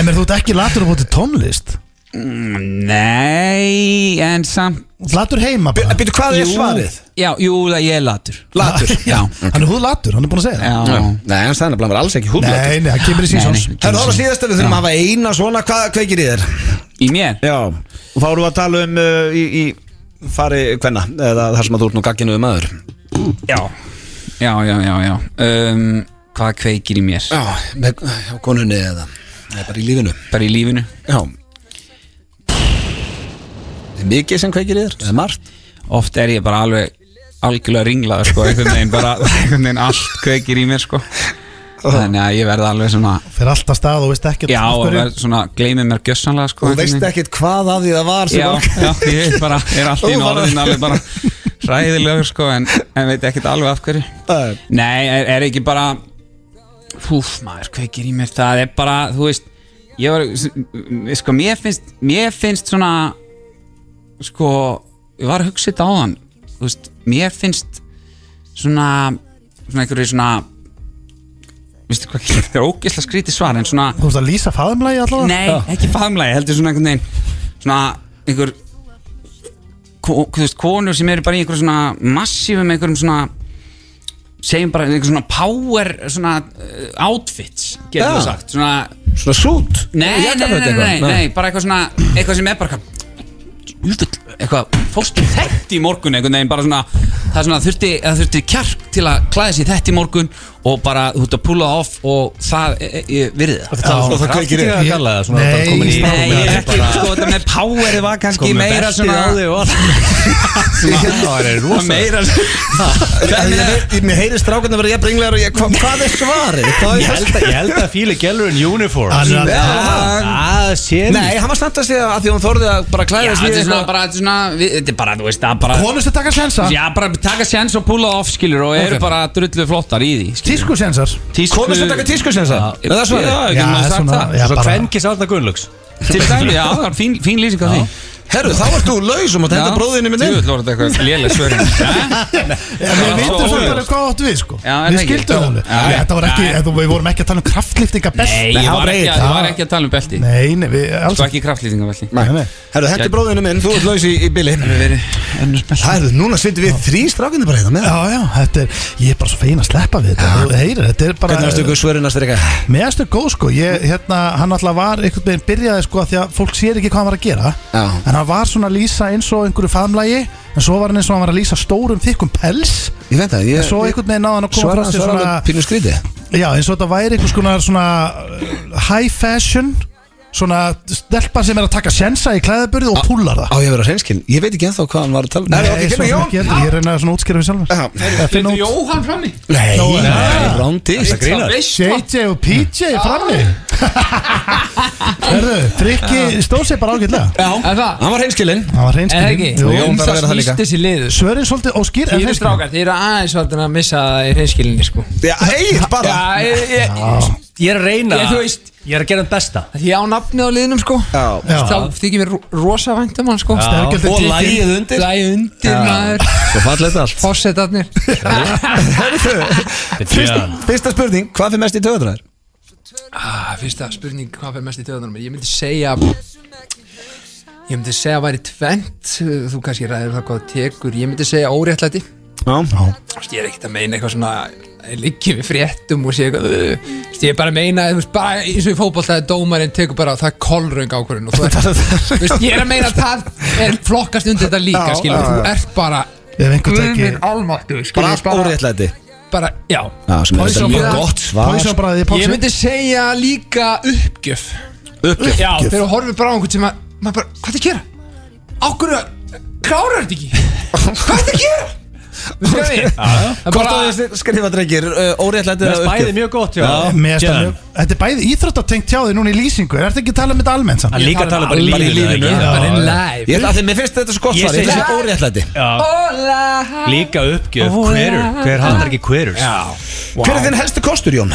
Speaker 3: En mér þú ert ekki latur að bóti tónlist
Speaker 6: Mm, Nei, en samt
Speaker 3: Latur heima bara
Speaker 1: Býtu, hvað er
Speaker 6: Jú.
Speaker 1: svarið?
Speaker 6: Já, jú, það ég er latur
Speaker 1: Latur
Speaker 6: Já,
Speaker 3: Hann er húðlatur, hann er búin að segja það
Speaker 6: já
Speaker 1: Nei, en það er bara alls ekki húðlatur
Speaker 3: Nei, nei, það kemur í sísons
Speaker 6: Nei, nei.
Speaker 1: Það er það að síðast að við þurfum að hafa eina svona, hvað kveikir í þér?
Speaker 6: Í mér
Speaker 1: Já, og þá erum við að tala um uh, í, í fari hvenna, eða þar sem að þú ert nú gagginu um aður
Speaker 6: Já, já, já, já, já. Um, Hvað kveikir í mér?
Speaker 1: Já, með hjá konunni eða eða bara í lífinu
Speaker 6: Bara í lífinu
Speaker 1: Já Er mikið sem kveikir í þér? Eða margt?
Speaker 6: Oft er ég bara alveg algjörlega ringlaður sko einhvern veginn bara, einhvern veginn allt kveikir í mér sko þannig að ég verði alveg svona
Speaker 3: Fyrir alltaf stað og veist ekki
Speaker 6: já, og verð svona, gleymi mér gjössanlega sko
Speaker 1: Þú
Speaker 6: einhvern
Speaker 1: veist
Speaker 6: veginn.
Speaker 1: ekkit hvað af því það var sem
Speaker 6: já,
Speaker 1: var-
Speaker 6: já, ég bara, er allt í
Speaker 1: Þú bara-
Speaker 6: norðin alveg bara ræðilegur sko en, en veit ekkert alveg af hverju
Speaker 1: Nei.
Speaker 6: Nei, er, er ekki bara Húf maður, kveikir í mér Það er bara, þú veist Ég var, s- sko, mér finnst Mér finnst svona Sko, ég var að hugsa þetta á þann Þú veist, mér finnst Svona, svona einhverju svona Vistu hvað, þetta er ógeðslega skrítið svar En svona,
Speaker 3: Þú veist að lýsa faðumlægi allavega
Speaker 6: Nei, ekki faðumlagi, heldur svona einhvern veginn Svona einhver ko- Þú veist, konur sem eru bara í einhver svona Massífum einhverjum svona Segjum bara einhver svona power Svona uh, outfits Getur
Speaker 1: Já.
Speaker 6: þú sagt Svona,
Speaker 1: Svona sút?
Speaker 6: nei, nei, nei,
Speaker 1: Jakkaföt
Speaker 6: nei,
Speaker 1: eitthvað?
Speaker 6: nei, nei Bara eitthvað svona, eitthvað sem er bara eitthvað Júfull, eitthvað, fórstu þett í morgun einhvern veginn, bara svona það er svona þurfti, það þurfti kjark til að klæða sér þett í morgun og bara þú ert að pulla það off og það e, e, virði það
Speaker 1: Og það kveikir í
Speaker 2: Ég
Speaker 1: þér?
Speaker 2: að kalla það, svona
Speaker 3: Nei,
Speaker 2: bara komin í
Speaker 6: Nei, ég er ekki,
Speaker 2: bara-
Speaker 6: sko, þetta með powerið var
Speaker 1: Sko,
Speaker 6: kannski
Speaker 2: Komið
Speaker 6: meira
Speaker 2: beltið
Speaker 6: svona
Speaker 2: á þig og allt. Það er
Speaker 6: Það
Speaker 2: rosa
Speaker 6: meira svona
Speaker 1: Ég- ég- ég- Mér heyrist strákurinn að vera jafn ringlegar og ég, hva, hvað er svarið? Hvað
Speaker 2: Ég
Speaker 1: er
Speaker 2: held að- ég held að fíli gælur en uniform
Speaker 3: Hann er alveg-
Speaker 2: Það sér
Speaker 1: Nei, hann var slæmt að segja að því hún þorði að bara
Speaker 6: Já,
Speaker 1: klæða
Speaker 6: þetta er svona bara, þetta er svona við- Þetta er bara, þú veist, það er bara
Speaker 3: Konust að taka sensa
Speaker 6: Já, bara taka séns og pulla off, skilur Og eru bara drullu flottar í því skilur.
Speaker 3: Tísku sensar
Speaker 6: Tísku
Speaker 1: Komist að taka tísku sem það?
Speaker 6: Já,
Speaker 1: er svarið
Speaker 6: já, getur maður sagt það
Speaker 3: já,
Speaker 2: Svo
Speaker 3: bara-
Speaker 2: kvenkis Arna Gunnlaugs
Speaker 6: Til dæmi, já, það er fín, fín lýsing á því
Speaker 1: Herru, þá ert þú laus um að þetta bróðinu minn
Speaker 6: Þú ætlur þetta eitthvað lélega svörin
Speaker 3: Já, Við
Speaker 6: Já,
Speaker 3: veitum
Speaker 6: svo
Speaker 3: samt
Speaker 6: óljós.
Speaker 3: alveg hvað átt við sko
Speaker 6: Já, er
Speaker 3: Við
Speaker 6: það ekki?
Speaker 3: skildum það alveg
Speaker 6: Já,
Speaker 3: Nei,
Speaker 6: já.
Speaker 3: Þetta var ekki, þetta- við vorum ekki að tala um kraftliftinga best
Speaker 6: Nei, ég var ekki, að- ég var ekki að tala um belti
Speaker 3: Nei, nei, við alls
Speaker 6: Svo ekki kraftlýtingavelti
Speaker 3: Nei.
Speaker 1: Herru, þetta er bróðinu minn, þú ert laus í, í bili Herru, núna sittum við þrý strákurinn bara hérna með
Speaker 3: Já, já, þetta er, ég er bara svo fein að sleppa við þetta Þú heyrir, þetta er bara
Speaker 1: Hvernig erstu ykkur svörin að styrka?
Speaker 3: Mér erstu góð sko, ég, hérna, hann alltaf var einhvern veginn byrjaði sko að því að fólk sér ekki hvað hann var að gera
Speaker 1: Já.
Speaker 3: En hann var svona að lýsa eins og einhverju faðmlægi En svo var hann eins og hann var að lýsa stórum þykkum pels
Speaker 1: Ég veit það,
Speaker 3: En
Speaker 1: ég
Speaker 3: svo einhvern veginn náði hann að koma
Speaker 1: svara,
Speaker 3: fram til
Speaker 1: svara
Speaker 3: svona
Speaker 1: alveg pínu skríti
Speaker 3: Já, eins og þetta væri einhvers konar svona uh, high fashion Svona stelpa sem er að taka sensa í klæðaburði og púlar það
Speaker 1: Á ég að vera hreinskinn, Ah. ég veit ekki ennþá hvað hann var að tala um. Nei,
Speaker 3: Nei,
Speaker 1: ok,
Speaker 3: svo
Speaker 1: kemur
Speaker 3: sem
Speaker 1: Jón
Speaker 3: ekki heldur, ég reyna svona að útskýra við sjálfur
Speaker 1: Já.
Speaker 3: Að finna út-
Speaker 6: Jóhann frammi
Speaker 1: Nei, Ah. rándist
Speaker 3: JJ og PJ frammi Herðu,
Speaker 1: Ah.
Speaker 3: Frikki stóð sér bara ágætlega
Speaker 6: Já,
Speaker 5: Er það?
Speaker 1: Hann var hreinskillinn
Speaker 3: Það var
Speaker 5: Er það ekki?
Speaker 3: reynskilin Jú,
Speaker 1: Jón þarf að vera það líka.
Speaker 5: snýst þessi liður
Speaker 3: svörin svolítið óskýr en
Speaker 5: Þið eru
Speaker 3: hreinskilin.
Speaker 5: strákar, þið eru aðeins vartin að missa það í hreinskilinni sko
Speaker 1: Já, eigið bara
Speaker 5: Já, ég, ég,
Speaker 2: Ég er að reyna
Speaker 5: Ég, þú veist-
Speaker 2: Ég er að gera um besta
Speaker 5: því ég á nafni á liðnum sko
Speaker 1: Já.
Speaker 5: Þá þykir mér ro- rosa vænt um hann sko
Speaker 3: Sterkjöld er
Speaker 1: Og
Speaker 3: tekinn.
Speaker 1: lægið undir
Speaker 5: Það er undir maður
Speaker 1: Svo fallið allt
Speaker 5: Fossetarnir
Speaker 1: fyrsta, fyrsta spurning, hvað fyrir mest í töðunar?
Speaker 5: ah, Fyrsta spurning, hvað fyrir mest í töðunum Ég myndi segja Ég myndi segja að væri tvent Þú kannski ræður það hvað þú tekur Ég myndi segja óréttlæti
Speaker 1: Já.
Speaker 5: Þú veist, Ég er ekkert að meina eitthvað svona ég Liggi við fréttum og sé eitthvað "Ugh." Þú veist, Ég er bara að meina, þú veist, bara eins og í fótbolta að Dómarinn tekur bara, það er kolröng ákvörðun Og þú ert, þú veist, ég er að meina að það er flokkast undir þetta líka,
Speaker 1: Já,
Speaker 5: skilur
Speaker 1: já, já.
Speaker 5: Þú ert bara,
Speaker 3: Ef einhver
Speaker 5: guð
Speaker 3: tekir
Speaker 5: minn almáttu,
Speaker 1: Bara
Speaker 5: skilur
Speaker 1: allt óréttlæti Já,
Speaker 5: Bara, já
Speaker 1: sem er þetta
Speaker 5: Poison
Speaker 1: mjög
Speaker 5: bara-
Speaker 1: gott svar
Speaker 3: Pósa bara því
Speaker 5: Ég
Speaker 3: Pósa
Speaker 5: myndi segja líka uppgjöf
Speaker 1: Uppgjöf.
Speaker 5: Já, þegar þú horfir bara á einhvern sem að maður bara, hvað er að gera? Ákvörðu, klárar þetta ekki? Hvað er að gera? Þú veist hvað ég við? Það er
Speaker 1: Hvort á
Speaker 5: bara,
Speaker 1: því að skrifa drengir uh, óréttlætið
Speaker 2: Það er bæði mjög gott, já.
Speaker 3: Mér finnst það mjög- Þetta er bæði íþróttatengt hjá þig núna í lýsingu Er þetta ekki að tala um þetta almennt samt?
Speaker 2: Hann líka
Speaker 1: um
Speaker 2: tala bara í lífinu.
Speaker 5: ég er
Speaker 2: ekki?
Speaker 5: bara in
Speaker 2: Já,
Speaker 1: Ég
Speaker 5: live
Speaker 1: ætla að því, mér finnst þetta svo gott
Speaker 2: Ég
Speaker 1: svar Ég
Speaker 2: segi-
Speaker 1: ætla að segja óréttlæti
Speaker 5: Óla
Speaker 2: Líka uppgjöf, hverur, hver hattar ekki hverur Já,
Speaker 1: Hver er þinn helstu kostur, Jón?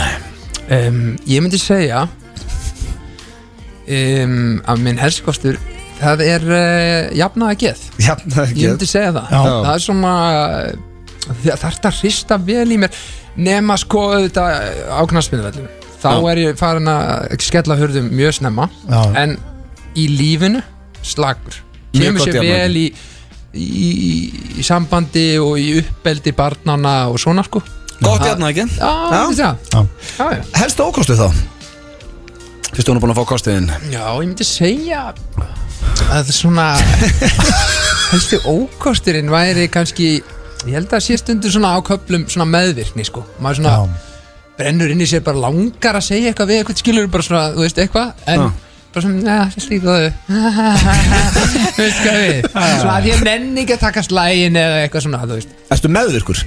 Speaker 5: um, Ég myndi segja um, að minn herskostur það er uh, jafna að geð
Speaker 1: Já, það er
Speaker 5: Ég myndi segja það
Speaker 3: Já.
Speaker 5: Það er svona Það þarf að hrista vel í mér Nema sko auðvitað á knarsmiðvellum Þá er ég farin að skella hörðum mjög snemma
Speaker 3: Já.
Speaker 5: En í lífinu slagur
Speaker 1: Mjög
Speaker 5: Kemur
Speaker 1: gott
Speaker 5: sér
Speaker 1: jafnvægi.
Speaker 5: vel í, í, í sambandi og í uppbeldi barnana og svona sko
Speaker 1: Gott játna, ekki?
Speaker 5: Já, ég myndi segja
Speaker 3: Já.
Speaker 5: það. Já, já.
Speaker 1: Helstu ókostu þá? Fyrst hún er búin að fá kostiðin
Speaker 5: Já, ég myndi segja að það er svona helstu ókosturinn væri kannski ég held að sé stundur svona á köflum svona meðvirkni sko, maður svona brennur inn í sér bara langar að segja eitthvað við eitthvað skilur bara svona, þú veist, eitthvað en bara svona, neða, þessi líka góðu þú veist hvað við svona að ég nenni ekki að taka slægin eða eitthvað svona, þú veist
Speaker 1: Erstu meðvirkur?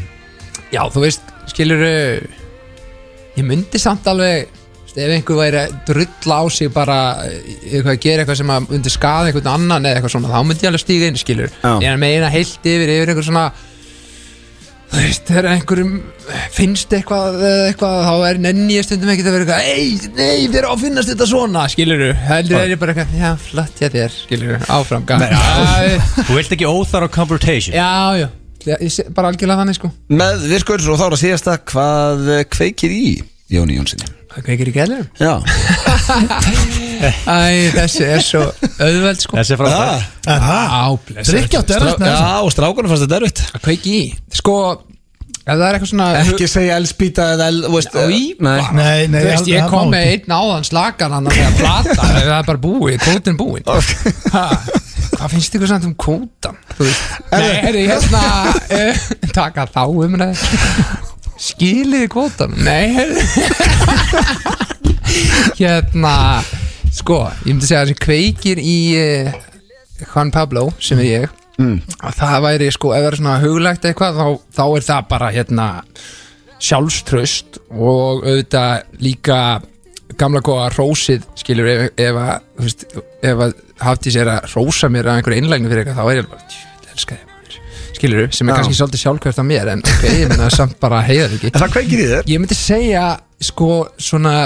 Speaker 5: já, þú veist, skilur ég myndi samt alveg þú veist, ef einhver væri að drulla á sig bara eh, eitthvað að gera eitthvað sem að undir skaða einhvern annan eða eitthvað svona þá myndi ég alveg stíga inn, skilur
Speaker 1: Já.
Speaker 5: ég er að meina heilt yfir, yfir einhver svona þú veist, þegar einhverjum finnst eitthvað, eða eitthvað þá er nenni ég stundum ekkert að vera eitthvað ei, nei, þér á að finnast þetta svona, skilur heldur er ég bara eitthvað, já, flott, já, þér skilur, áfram, gaf
Speaker 2: Þú vilt ekki óþar á confrontation
Speaker 5: já, já, ég sé- bara algjörlega þannig, sko
Speaker 1: Meðvirkur og þá er að síðasta hvað eh, kveikir í Jóni Jónssoni
Speaker 5: hvað kveikir í gæðlega?
Speaker 1: Já
Speaker 5: Æ, þessi er svo auðveld sko
Speaker 2: Þessi er frá
Speaker 3: Ah,
Speaker 2: það
Speaker 5: Á, blessa
Speaker 3: Drikkjátt er þetta
Speaker 1: Já, og strákunum fannst þetta erfitt
Speaker 5: Að kveiki í Sko, ef það er eitthvað svona
Speaker 1: segja elspýta eða el, veist
Speaker 5: Já,
Speaker 1: eh,
Speaker 5: Ah, í-
Speaker 1: Nei
Speaker 3: Nei, nei
Speaker 5: Þú veist, ég
Speaker 3: það má
Speaker 5: kom með
Speaker 3: ekki.
Speaker 5: einn áðan slagan hann að það plata ef Það er bara búið, kótin búinn Ha, Hvað finnst ykkur samt um kótan? Þú veist, nei, heyrðu, hérna uh, Taka þá umræði Skiliði kótan? Nei, heyrðu Hérna Sko, ég myndi segja að þessi kveikir í uh, Juan Pablo, sem er ég að það væri sko, ef það er svona huglægt eitthvað þá, þá er það bara hérna sjálfströst og auðvitað líka gamla góða rósið skilur ef, ef að, þú veist, ef að hafði sér að rósa mér að einhverju innlægni fyrir eitthvað, þá er ég bara, tjú, elska þig maður." skilur, sem er kannski svolítið sjálfkvæft af mér, en ok, ég meina samt bara heiðar ekki
Speaker 1: Það kveikir í þér
Speaker 5: ég myndi segja sko svona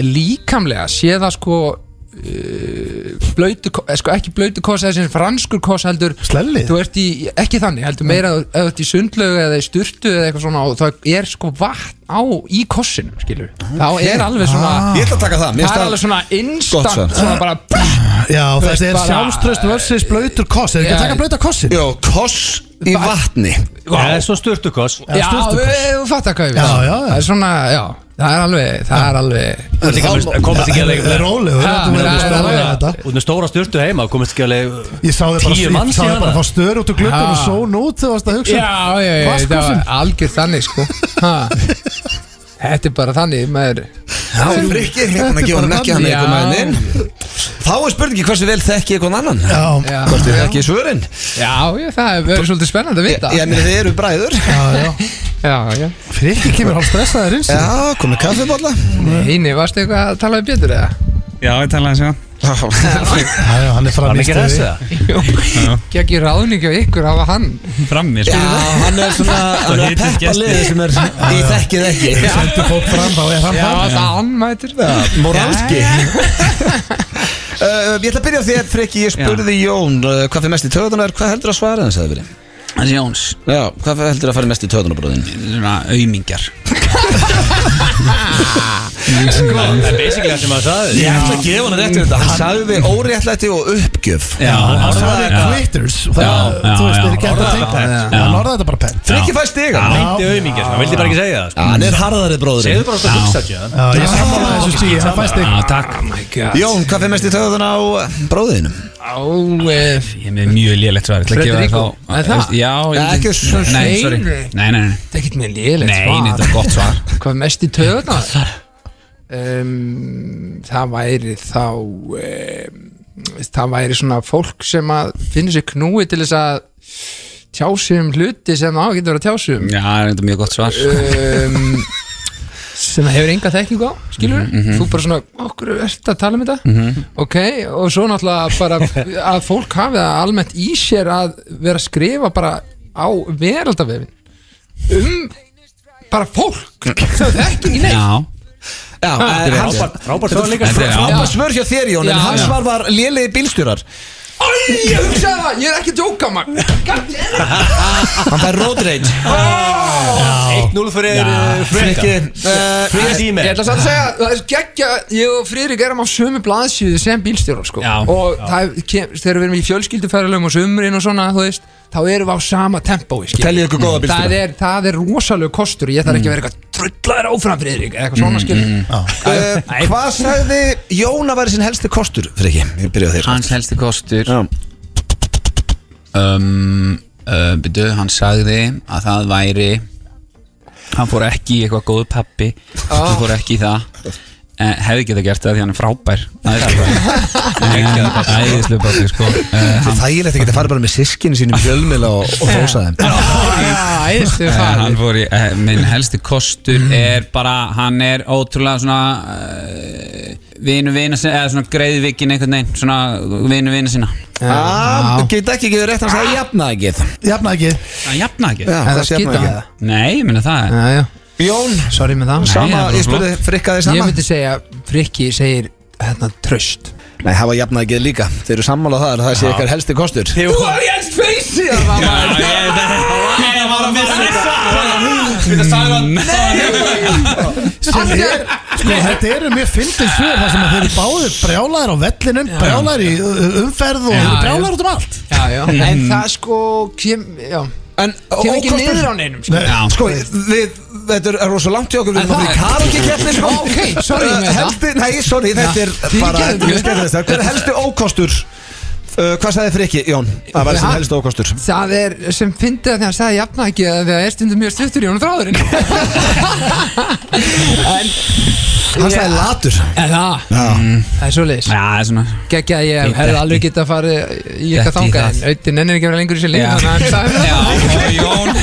Speaker 5: líkamlega sé það sko uh, blöytu, ko- eh, sko ekki blöytu kos eða sem franskur kos heldur
Speaker 3: Slellið?
Speaker 5: þú ert í, ekki þannig, heldur meira ef þú ert í sundlögu eða í sturtu eða eitthvað svona og það er sko vatn á í kossinum, skilur þá er alveg svona
Speaker 1: Ah. Ég ætla að taka það Mér
Speaker 5: það er
Speaker 1: stað
Speaker 5: alveg svona
Speaker 1: Gott svar.
Speaker 5: instant svona bara pff,
Speaker 3: Já,
Speaker 5: veist
Speaker 3: þetta er
Speaker 5: bara-
Speaker 3: sjálfströst versus blöytur koss Er ekki að
Speaker 5: Já.
Speaker 3: taka blöyta kossin?
Speaker 1: Jó, koss í
Speaker 5: Ba-
Speaker 1: vatni
Speaker 2: Það er svo sturtukoss
Speaker 5: já,
Speaker 3: sturtu
Speaker 5: við-
Speaker 3: koss.
Speaker 5: þú fattar hvað ég við
Speaker 3: Já, já, já.
Speaker 5: það er svona, já, það er alveg það er alveg
Speaker 2: Komist ekki alveg
Speaker 3: Það er rólegur,
Speaker 5: Ha,
Speaker 3: þetta er
Speaker 5: já,
Speaker 3: alveg stóra
Speaker 5: já, já.
Speaker 3: þetta
Speaker 2: Út með stóra sturtu heima Komist ekki alveg
Speaker 3: Ég sá þið bara,
Speaker 2: Tíu mann
Speaker 3: ég sá þið bara
Speaker 2: síðan
Speaker 3: að
Speaker 2: það.
Speaker 3: fá stör út úr glöggum
Speaker 5: Ha.
Speaker 3: og són út þegar varst að hugsa
Speaker 5: hérna.
Speaker 3: um
Speaker 5: Já, já, já,
Speaker 3: Vaskur
Speaker 5: það
Speaker 3: sem-
Speaker 5: var algjör þannig sko ha. Þetta er bara þannig maður
Speaker 1: Já, frikki Hérna gefur hann ekki hann
Speaker 5: Já.
Speaker 1: eitthvað með henn Þá er spurningi hversu vel þekki eitthvað annan
Speaker 3: Já,
Speaker 5: Já,
Speaker 1: Hvort þið þekki svörin
Speaker 5: já, já það er verið svolítið spennandi að
Speaker 1: Ég,
Speaker 5: vita
Speaker 1: ég meni þið eru bræður
Speaker 3: já, já
Speaker 5: Já, já
Speaker 3: Frikki kemur hálf stressaður inn sér
Speaker 1: Já, komið kaffibólla
Speaker 5: Hínni, varstu eitthvað að tala við Pétur eða?
Speaker 6: Já, ég talaði þessu
Speaker 3: Já, já, hann er
Speaker 2: Var
Speaker 3: fram
Speaker 2: hann
Speaker 3: í
Speaker 2: ekki
Speaker 3: stöði
Speaker 2: ressa?
Speaker 5: Gekki ráðning á ykkur hafa hann
Speaker 6: Frammi,
Speaker 1: Já,
Speaker 6: sko
Speaker 1: hann er svona Hann er að
Speaker 6: hitist
Speaker 1: peppa
Speaker 6: gesti.
Speaker 1: liðið sem er Í þekkið ekki
Speaker 3: Sendu fólk fram, þá er hann
Speaker 5: Já,
Speaker 3: fram
Speaker 5: það hann mætur
Speaker 1: Moralski Uh, ég ætla að byrja á þér, Freki, ég spurði Jón uh, hvað fyrir mest í töðunar, hvað heldur að svara þess að það verið?
Speaker 6: Hans Jóns,
Speaker 1: Já, hvað heldur að fara mest í töðunar, bróðin?
Speaker 6: svona aumingar
Speaker 1: Sko,
Speaker 2: Það er basically það sem hann sagði
Speaker 1: Ég ætla að gefa hann rétt fyrir þetta Hann sagði við óréttlæti og uppgjöf
Speaker 6: Já,
Speaker 3: Hann sagði
Speaker 6: já.
Speaker 3: quitters Það,
Speaker 6: Já,
Speaker 3: þú veist,
Speaker 6: já,
Speaker 3: þeir ekki hægt að
Speaker 2: orðaði
Speaker 3: tengja
Speaker 2: það pent.
Speaker 3: Hann orðaði þetta bara pent
Speaker 1: Friggi fæ stiga
Speaker 2: Það meinti auðmingja, það vildi bara ekki segja það sko.
Speaker 1: Hann er harðari bróðurinn
Speaker 2: Segðu bara að það hugsa tjóðan
Speaker 3: Já, Ég sammála þessu stíði, hann fæst
Speaker 6: Já,
Speaker 3: ekki
Speaker 6: takk
Speaker 1: Jón, hvað fyrir mest í töðun á bróðinum?
Speaker 5: Á, eh,
Speaker 6: Ég er með mjög lélegt svar Ég ætla að gefa
Speaker 5: Frederico,
Speaker 6: þá-
Speaker 5: er það?
Speaker 6: Já,
Speaker 1: Já,
Speaker 6: ég-
Speaker 1: ekki svo
Speaker 6: Nei, sorry
Speaker 5: hreinu.
Speaker 6: Nei, nei, nei
Speaker 5: þetta er ekkert með lélegt
Speaker 6: Nei, nei, þetta er gott svar
Speaker 5: Hvað mest í töðuna? Um, það væri þá um, það væri svona fólk sem að finnur sér knúi til þess að tjá sig um hluti sem á getur verið að tjá sig um
Speaker 6: Já, það er þetta mjög gott svar
Speaker 5: um, sem hefur enga þekkingu á skilur,
Speaker 6: Mhm,
Speaker 5: þú bara svona okkur ert að tala um þetta ok, og svo náttúrulega bara að fólk hafi það almennt í sér að vera að skrifa bara á veraldavefin um bara fólk sem það ekki í neitt
Speaker 6: Já,
Speaker 1: Já, en hann
Speaker 2: Rábart svo líka
Speaker 6: þetta er
Speaker 1: Hann bara svör hjá þér Jón En
Speaker 5: Já,
Speaker 1: hans
Speaker 5: já.
Speaker 1: svar var lélegi bílstjórar
Speaker 5: Æ, ég hugsaði það, ég er ekki að djóka maður
Speaker 2: hérna.
Speaker 6: Ah.
Speaker 1: Hann fær road rage
Speaker 2: 1-0 fyrir eh,
Speaker 1: Friggi
Speaker 2: Frikki
Speaker 1: eh,
Speaker 2: Frikki
Speaker 5: Ég
Speaker 2: Dímer
Speaker 5: ætla samt að segja, það er geggja Ég og Friðrik erum á sömu blaðsíðu sem bílstjórar sko.
Speaker 6: Já,
Speaker 5: Og það kem, þegar við erum í fjölskylduferðalögum og sömurinn og svona þú veist, Þá erum við á sama tempói skilur.
Speaker 1: Teljið ykkur góða bílstjóra.
Speaker 5: það er, það er rosalega kostur Ég þarf ekki að vera eitthvað trullaður áfram Friðrik eða Eitthvað
Speaker 1: Mm,
Speaker 5: svona skilur
Speaker 1: Eh, Hvað sagði Jón að væri sinn helsti kostur, Friggi? Ég byrja á þér
Speaker 6: hans helsti kostur
Speaker 1: Já.
Speaker 6: um, uh, byrju, hann sagði að það væri hann fór ekki í eitthvað góðu pappi hann fór ekki í það en hefði geta gert það því hann er frábær æðislu pappi sko. uh,
Speaker 1: Það er þægilegt að geta farið bara með sískinu sínum fjölmila og, og hrósa þeim
Speaker 5: Já, æðstu
Speaker 6: Eh,
Speaker 5: farið
Speaker 6: hann fór í, eh, minn helsti kostur
Speaker 5: Mm.
Speaker 6: er bara, hann er ótrúlega svona uh, vinu vina sinna, eða svona greiðvikin einhvern veginn, svona vinu vina sinna
Speaker 1: Það geta Ah, ekki gefið rétt hans að jafna ekki
Speaker 3: Jafna ekki
Speaker 6: hann jafna ekki?
Speaker 5: En það skita hann það
Speaker 6: Nei, ég meina það
Speaker 5: Já, já,
Speaker 1: Jón,
Speaker 5: sorry með það
Speaker 6: Nei,
Speaker 1: sama,
Speaker 6: það er
Speaker 1: ég spurði frikka þig
Speaker 5: Ég
Speaker 1: sama
Speaker 5: myndi segja, Frikki segir hérna, tröst
Speaker 1: Nei, hafa jafna ekki líka Þeir eru sammála á það, það sé ykkar helsti kostur
Speaker 5: Þú var ég elst feysi
Speaker 6: Ég var að missa þetta Þetta sagði hann
Speaker 3: sem er, sko, þetta eru mjög fyndin svör þar sem að þeir eru báðir brjálæðir á vellinum, brjálæðir í uh, umferð og brjálæðir út um allt
Speaker 5: Já, já, en það sko kem, já,
Speaker 1: En
Speaker 5: kem ekki
Speaker 1: ókostur-
Speaker 5: niður á neinum sko.
Speaker 6: Já,
Speaker 1: Sko, við, þetta er- er rosa langt hjá okkur Við
Speaker 5: En
Speaker 1: erum að fyrir
Speaker 5: það er-
Speaker 1: karaoke keppni sko.
Speaker 5: Ok, sorry
Speaker 1: Eh,
Speaker 5: með það.
Speaker 1: helsti, Nei, sorry, þetta er
Speaker 5: fyrirgefðu
Speaker 1: bara
Speaker 5: mér.
Speaker 1: Ég skemmti þetta Hver er helsti ókostur? Uh, hvað sagði Friki, Jón? Það var sem
Speaker 5: Ha?
Speaker 1: helsti ókostur
Speaker 5: Það er sem fyndið að því að hann sagði jafna ekki að það er stundum mjög stuttur í honum þráðurinn
Speaker 1: Hann sagði latur
Speaker 5: En það, það er svo leis
Speaker 6: Mm. Já, það er svona
Speaker 5: Gekki að ég
Speaker 6: Ég
Speaker 5: hefði
Speaker 6: detti.
Speaker 5: alveg getað að fara í
Speaker 6: Detti í
Speaker 5: eitthvað þangað
Speaker 6: það.
Speaker 5: En auðvitað nennir ekki að vera lengur í sér lengur Þannig að hann sagði
Speaker 6: Já,
Speaker 5: það
Speaker 6: og Jón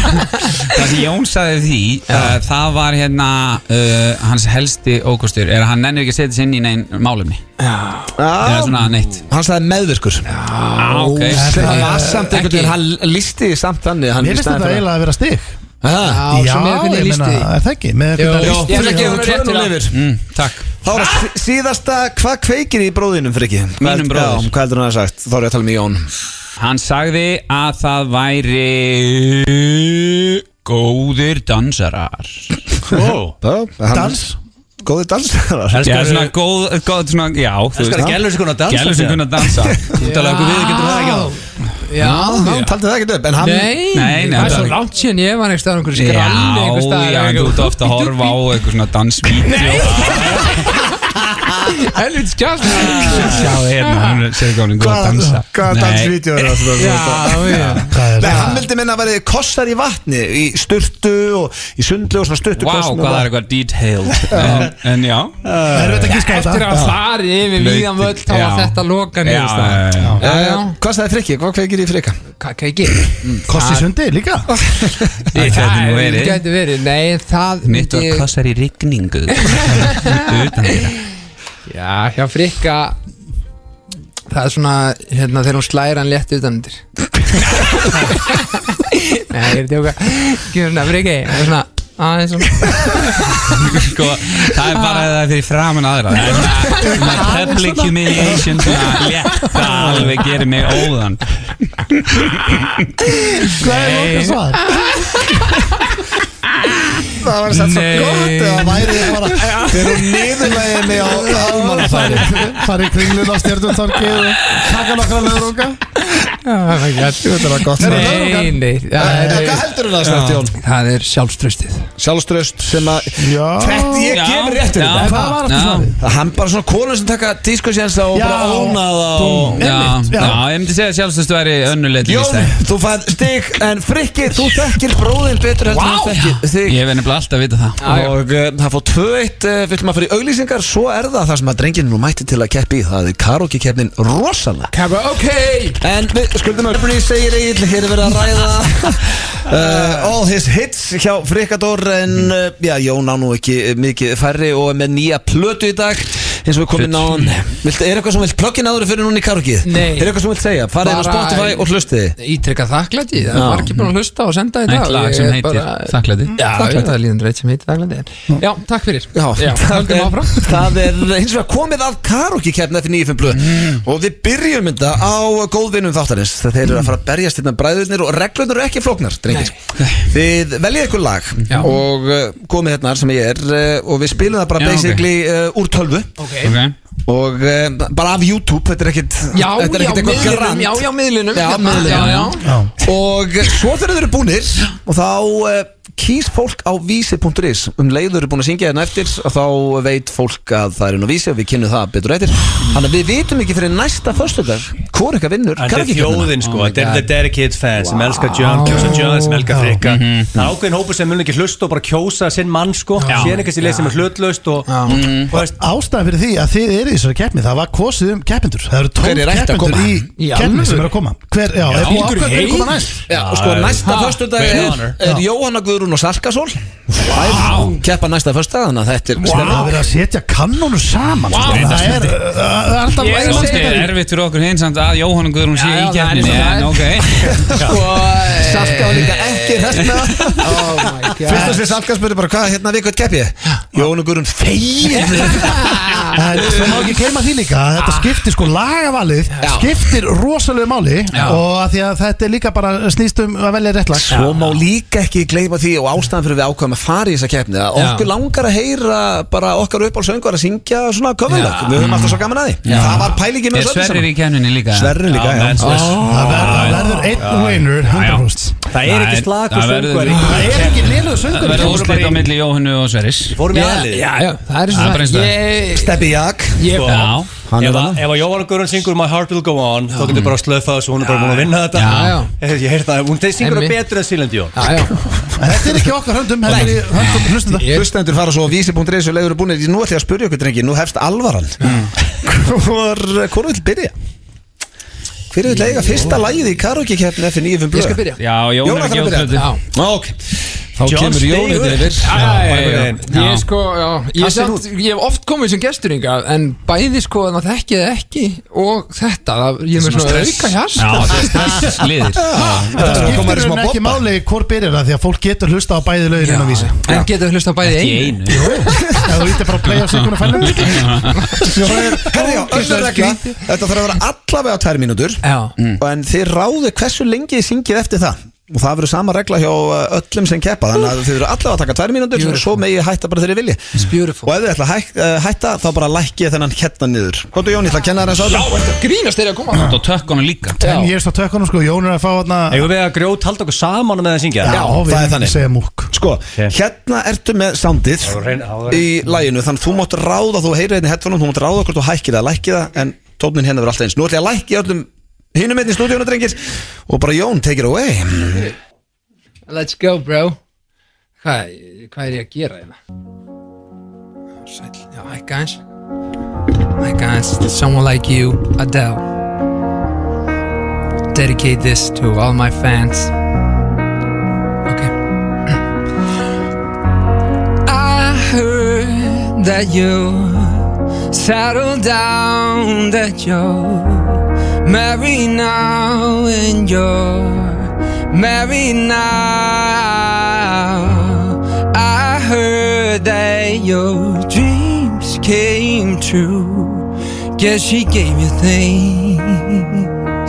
Speaker 6: Það sem Jón sagði við því uh, Það var hérna uh, Hans helsti ókostur Er að hann nennir ekki að setja sér inn í negin málumni Eða
Speaker 1: Já,
Speaker 6: svona neitt
Speaker 1: hann sagði meðvirkur
Speaker 6: ah, okay.
Speaker 1: Það var samt einhvern
Speaker 5: Ekki.
Speaker 1: veginn, hann lísti því samt þannig hann
Speaker 3: Mér finnst
Speaker 1: staðinn
Speaker 3: þetta
Speaker 1: fyrir-
Speaker 3: eiginlega að vera stig
Speaker 1: Ha?
Speaker 5: Já,
Speaker 3: Já,
Speaker 5: svo með hvernig
Speaker 3: ég
Speaker 5: ég lísti því
Speaker 3: er það ekki með
Speaker 5: Jó,
Speaker 3: hvernig
Speaker 5: jó,
Speaker 3: lísti
Speaker 1: Ég ætla að
Speaker 5: Já,
Speaker 1: gefa
Speaker 5: rétt
Speaker 1: hann rétt til
Speaker 5: til
Speaker 1: yfir
Speaker 6: mm, Takk
Speaker 1: Þá var það sí- síðasta, hvað kveikir í bróðinum Friki? Hvað-
Speaker 6: Mínum bróður.
Speaker 1: Já, hvað heldur hann að hafa sagt? Þá er ég að tala með Jón
Speaker 6: Hann sagði að það væri Góðir dansarar
Speaker 1: Þá, hann-
Speaker 3: Dans
Speaker 1: Góði dansarar
Speaker 6: Já, svona
Speaker 2: Elskar
Speaker 6: góð, góð svona, já þú veist.
Speaker 2: gælur sig konar að dansa
Speaker 6: Gælur sem kunna að dansa
Speaker 2: Þú talaði okkur við, getur
Speaker 3: Ah.
Speaker 2: það ekki á
Speaker 5: Já,
Speaker 1: Hann taldi það ekki upp En hann
Speaker 5: Nei,
Speaker 6: Nei, nei,
Speaker 5: það er
Speaker 6: það
Speaker 5: svo
Speaker 6: er-
Speaker 5: langt síðan ég var einhverstað einhverju
Speaker 6: Já,
Speaker 5: skralli einhvers staðar,
Speaker 6: já, en þú
Speaker 5: eitthvað-
Speaker 6: ert ofta að horfa á eitthvað svona dansvídeó
Speaker 5: Helvits kjátt
Speaker 6: Sjá hérna, hún er sér gáðin góð að dansa
Speaker 1: Hvaða
Speaker 6: Nei.
Speaker 1: dansvídeó er það? sem þú ert að-
Speaker 5: Já, já
Speaker 3: Hvað er
Speaker 1: Nei, hann
Speaker 3: það?
Speaker 1: vildi minna að verið kossar í vatni Í sturtu og í sundlu og svona sturtu
Speaker 6: Vá, hvað það er eitthvað detailed En- En já
Speaker 3: Það er veit að gíska á
Speaker 5: Eftir
Speaker 3: þetta
Speaker 5: að fari yfir
Speaker 6: Blautir,
Speaker 5: víðan völl þá var
Speaker 6: já.
Speaker 5: þetta loka
Speaker 6: Já, já, já.
Speaker 5: niðurstaðan. Já, já.
Speaker 1: Eh, Hvað sagði Frikki? Hvað kveikir í Frikka?
Speaker 5: Hvað hvað ég gerir?
Speaker 3: Kossi sundi líka
Speaker 6: Það gæti nú
Speaker 5: Það
Speaker 6: verið
Speaker 5: gæti verið, nei það
Speaker 6: Mitt og
Speaker 5: myndi-
Speaker 6: kossar í rigningu Utan þeirra
Speaker 5: Já, hjá Frikka Það er svona, hérna, þegar hún slæðir hann létt utanundir Nei, ég er að tjóka Gjör svona, Frikki, það er svona aðeins svona
Speaker 6: Sko, það er bara það er fyrir framan aðra Það er svona- svona Public humiliation svona létt Það alveg gerir mig óðan
Speaker 3: Hvað er okkar svar?
Speaker 1: það var satt svo
Speaker 5: Nei.
Speaker 1: gott eða það væri bara fyrir hún niðurlegið mig á almannafæri
Speaker 3: farið kringlun á stjörnumtorki og taka nokkra löðrunga
Speaker 5: Oh my god,
Speaker 1: Þetta var gott
Speaker 3: Nei.
Speaker 5: Nei, nei, það
Speaker 1: Hvað
Speaker 5: er,
Speaker 1: heldur þú það, Snart Jón?
Speaker 5: það er sjálfströstið
Speaker 1: Sjálfströst sem að
Speaker 3: Já,
Speaker 1: Þetta ég gef réttur
Speaker 6: já,
Speaker 1: þetta
Speaker 3: hvað var aftur
Speaker 6: já.
Speaker 3: svona?
Speaker 1: Hann bara svona konur sem taka diskosjænsa og
Speaker 3: Já.
Speaker 1: bara óna það og
Speaker 6: Já,
Speaker 3: Einmitt, já.
Speaker 6: já, ég myndi segja að sjálfstöðst væri önnuleit
Speaker 1: Jón, þú fæð stig en Frikki, þú þekkir bróðin betur heldur wow. en þú þekkir þig
Speaker 6: Ég hef nefnilega alltaf að vita það
Speaker 1: og uh, það fór 2-1 uh, vill maður fyrir auglýsingar, svo er það það sem að drengin nú mætti til að keppi í, það er karaoke keppnin rosalega
Speaker 5: Karaoke
Speaker 1: En við skuldum öfni segir Egil, hér er verið að ræða uh, All his hits hjá Frikador En
Speaker 6: Mhm.
Speaker 1: uh, já, Jón á nú ekki eh, mikið færri og er með nýja plötu í dag eins og við komum inn á hann Vilt, Er eitthvað sem vilt plöggin áður fyrir núna í karaokið?
Speaker 5: Nei.
Speaker 1: Er eitthvað sem vilt segja? Farið á
Speaker 5: Bara-
Speaker 1: Spotify og hlustiði
Speaker 5: Ítrekka þakklæti, það
Speaker 1: Já.
Speaker 5: er margir búin að hlusta og senda í dag
Speaker 6: Eitt lag
Speaker 5: Ég
Speaker 6: sem
Speaker 5: er
Speaker 6: heitir
Speaker 5: bara-
Speaker 6: Þakklæti
Speaker 5: Já, ég, það er líðan reitt sem heitir þakklæti en- Já, takk fyrir
Speaker 1: Já, það,
Speaker 5: höldum
Speaker 1: er,
Speaker 5: áfram
Speaker 1: það er hins vegar komið að karaoke keppna eftir 9.5 blöð
Speaker 5: Mm.
Speaker 1: og við byrjum þetta á góðvinum þáttarins þeir eru að fara að berjast hérna bræðurnir og reglurnir eru ekki flóknar drengir þið veljið ykkur lag
Speaker 5: Já.
Speaker 1: og uh, komið hérna sem ég er uh, og við spilum það bara
Speaker 6: Já, ok.
Speaker 1: basically uh, úr tölvu
Speaker 5: okay.
Speaker 6: okay.
Speaker 1: og uh, bara af YouTube þetta er ekkit,
Speaker 5: Já,
Speaker 1: þetta er
Speaker 5: já,
Speaker 1: ekkit eitthvað
Speaker 5: miðlunum
Speaker 1: grand
Speaker 5: Já, já, miðlunum
Speaker 1: Já,
Speaker 5: hérna,
Speaker 1: miðlunum,
Speaker 5: já, já.
Speaker 1: og eh, svo þegar þeir eru búnir og þá uh, kýs fólk á vísi.is um leið þau eru búin að syngja hérna eftir og þá veit fólk að það er inn á vísi og við kynnum það betur eftir þannig að við vitum ekki fyrir næsta föstudag hvor eitthvað vinnur
Speaker 2: En þetta er
Speaker 1: karaoke-keppnina.
Speaker 2: þjóðin
Speaker 3: Oh
Speaker 2: sko, þetta er the dedicated fans sem
Speaker 3: Ah.
Speaker 2: elskar John, kjósa John, sem elskar Frikka
Speaker 3: Mhm.
Speaker 2: Það er ákveðin hópur sem mun ekki hlusta og bara kjósa sinn mann sko, síðan eitthvað sem leið sem er hlutlaust og
Speaker 1: Mm.
Speaker 2: og veist,
Speaker 3: Mm. Ástæðan fyrir því að þið eru í þessari keppni Það var kosið um keppindur Það eru
Speaker 1: Hver er
Speaker 3: 12
Speaker 1: ætti að
Speaker 3: keppendur
Speaker 1: koma?
Speaker 3: í
Speaker 5: Í
Speaker 3: keppni
Speaker 5: alvöru?
Speaker 3: sem eru að koma Hver, já, er búið ákveð hverju koma næst
Speaker 1: Já, og sko næsta
Speaker 2: Ha,
Speaker 1: föstudag
Speaker 2: great
Speaker 1: er,
Speaker 2: honor.
Speaker 1: er Jóhanna Guðrún og Salkasól wow. keppa næsta föstudag þannig að þetta er
Speaker 3: Það er
Speaker 1: stemning.
Speaker 3: verið að setja kannónu saman
Speaker 6: Vá,
Speaker 3: sko.
Speaker 6: þetta
Speaker 3: Það er uh, það er alltaf
Speaker 6: Ég veist
Speaker 3: vægast
Speaker 6: þetta er erfitt fyrir okkur hinn samt að Jóhann og Guðrún sé
Speaker 5: Já,
Speaker 6: í
Speaker 5: já, það er
Speaker 6: kefni
Speaker 5: eins og það
Speaker 6: En
Speaker 5: er.
Speaker 6: ok
Speaker 5: Sko, eh,
Speaker 1: Salka var líka ekki hræst með það
Speaker 5: Oh my
Speaker 1: Fyrst og
Speaker 5: god
Speaker 1: sér hérna. Salka spurði bara hvað hérna við hvað kepp ég Jóhanna Guðrún fegir
Speaker 5: Ah.
Speaker 3: En svo má ekki gleyma því líka að
Speaker 1: Ah.
Speaker 3: þetta skiptir sko lagavalið skiptir rosalega máli og að því að þetta er líka bara snýst um að velja rétt lag
Speaker 1: Svo má líka ekki gleyma því og ástæðan fyrir við ákvæðum að fara í þessa keppni að okkur langar að heyra bara okkar uppálsöngur að syngja svona coverlag við höfum alltaf svo gaman að því það var pælingin
Speaker 6: Er
Speaker 1: með Sverri
Speaker 6: Sverrir
Speaker 1: saman
Speaker 6: í kefninni líka
Speaker 1: Sverri líka,
Speaker 2: Já,
Speaker 1: já
Speaker 2: menn, svo veist.
Speaker 3: Það verður- það verður einn winner 100%
Speaker 2: það er ekki
Speaker 6: Nei,
Speaker 2: slakur
Speaker 6: það verður-
Speaker 2: söngur
Speaker 3: Það er ekki liðlega
Speaker 6: Það
Speaker 3: söngur
Speaker 6: verður úrslit á milli Jóhannu og Sverris
Speaker 2: Fórum í
Speaker 5: Já,
Speaker 2: aðlið
Speaker 5: já, já, það er
Speaker 6: Það er bara
Speaker 5: eins
Speaker 6: eins og
Speaker 5: og
Speaker 6: það
Speaker 5: Ég-
Speaker 1: Steppi Sko. Jak
Speaker 5: Ég
Speaker 6: Já
Speaker 1: Hann er
Speaker 2: Ef að-
Speaker 1: þarna.
Speaker 2: ef að Jóhann Guðrún syngur My Heart Will Go On þá getur bara að slöfa þessu, hún er bara búin að vinna þetta Eh,
Speaker 5: Já, já.
Speaker 2: Ég heyrði það, hún þeir syngur það
Speaker 5: Emmi.
Speaker 2: betur en Silandi Jón
Speaker 5: Já, já
Speaker 3: Þetta er ekki okkar höndum Þetta er í höndum hlustenda
Speaker 5: Ég-
Speaker 1: Hlustendur fara svo á vísi.reis og leiður er búin Nú ætlum ég að spyrja ykkur drengi, nú hefst alvaran Hvor, hvor vil byrja? Hver vil eiga fyrsta lagið í karaoke-keppni eftir 9.5
Speaker 5: Ég
Speaker 1: blöð?
Speaker 5: skal byrja
Speaker 6: Já, Jóhann
Speaker 1: Jónas
Speaker 6: er ekki
Speaker 1: þarf að
Speaker 6: úrslit
Speaker 1: byrja
Speaker 5: Já,
Speaker 1: Ok, þá kemur Jón
Speaker 2: Stígur.
Speaker 1: þetta yfir
Speaker 2: Já, já, já, já.
Speaker 5: Ég sko, já, ég,
Speaker 1: Kastin
Speaker 5: samt,
Speaker 1: út.
Speaker 5: ég hef oft komið sem gestur yngja en bæði sko þannig að þekki það ekki og þetta, það, ég er með svona auka hjast
Speaker 6: Já, það er stress liðir
Speaker 3: Þetta
Speaker 1: Það koma
Speaker 3: skiptir
Speaker 1: þér smá
Speaker 3: hún ekki
Speaker 1: bobba.
Speaker 3: máli hvort byrjar það því að fólk getur hlusta á bæði lögurinn á vísi
Speaker 5: en getur hlusta á bæði
Speaker 6: Í
Speaker 5: einu
Speaker 6: einu
Speaker 3: Ef þú ítir bara að playa á sig og fælum
Speaker 1: Herri, já, önnur regla Þetta þarf að vera allavega tær mínútur
Speaker 5: Já,
Speaker 1: En þið ráðu hversu lengi þið syngið eftir það Og það verður sama regla hjá uh, öllum sem keppa Þannig að þið verður allavega að taka tvær mínútur Og svo megið þið hætta bara þegar þið vilji
Speaker 5: it's
Speaker 1: Og
Speaker 5: beautiful
Speaker 1: ef þið ætla að hæk, uh, hætta þá bara lækki ég þennan hérna niður Hvað er Jón, ég ætla að kenna þér eins og það
Speaker 5: Grínast þeirra að koma
Speaker 6: Og tökkunum líka
Speaker 3: En ég er stáð tökunum sko Jón er að fá þarna
Speaker 2: Eigum við að grjót halda okkur saman með að syngja
Speaker 1: Já,
Speaker 3: við
Speaker 1: það er
Speaker 3: erum
Speaker 1: þannig.
Speaker 3: ekki segja múkk
Speaker 1: Sko, hérna ertu með soundið
Speaker 2: Það var hrein- það var-
Speaker 1: í læginu Þannig þú mátt ráða, þú heyrir hérna í headphoneum Þú mátt ráða okkur, þú hækkið það, lækkið það En tónin hérna verður alltaf eins Nú ætla ég að lækki öllum hinum einn í stúdíónu, drengir Og bara Jón, take it away
Speaker 5: Let's go bro Hvað, hvað er ég að gera hérna? Sæll, já, hækka eins Hækka eins Someone like you, Adele Dedicate this to all my fans Ok I heard that you settled down that you're Marry now and you're married now. I heard that your dreams came true. Guess she gave you things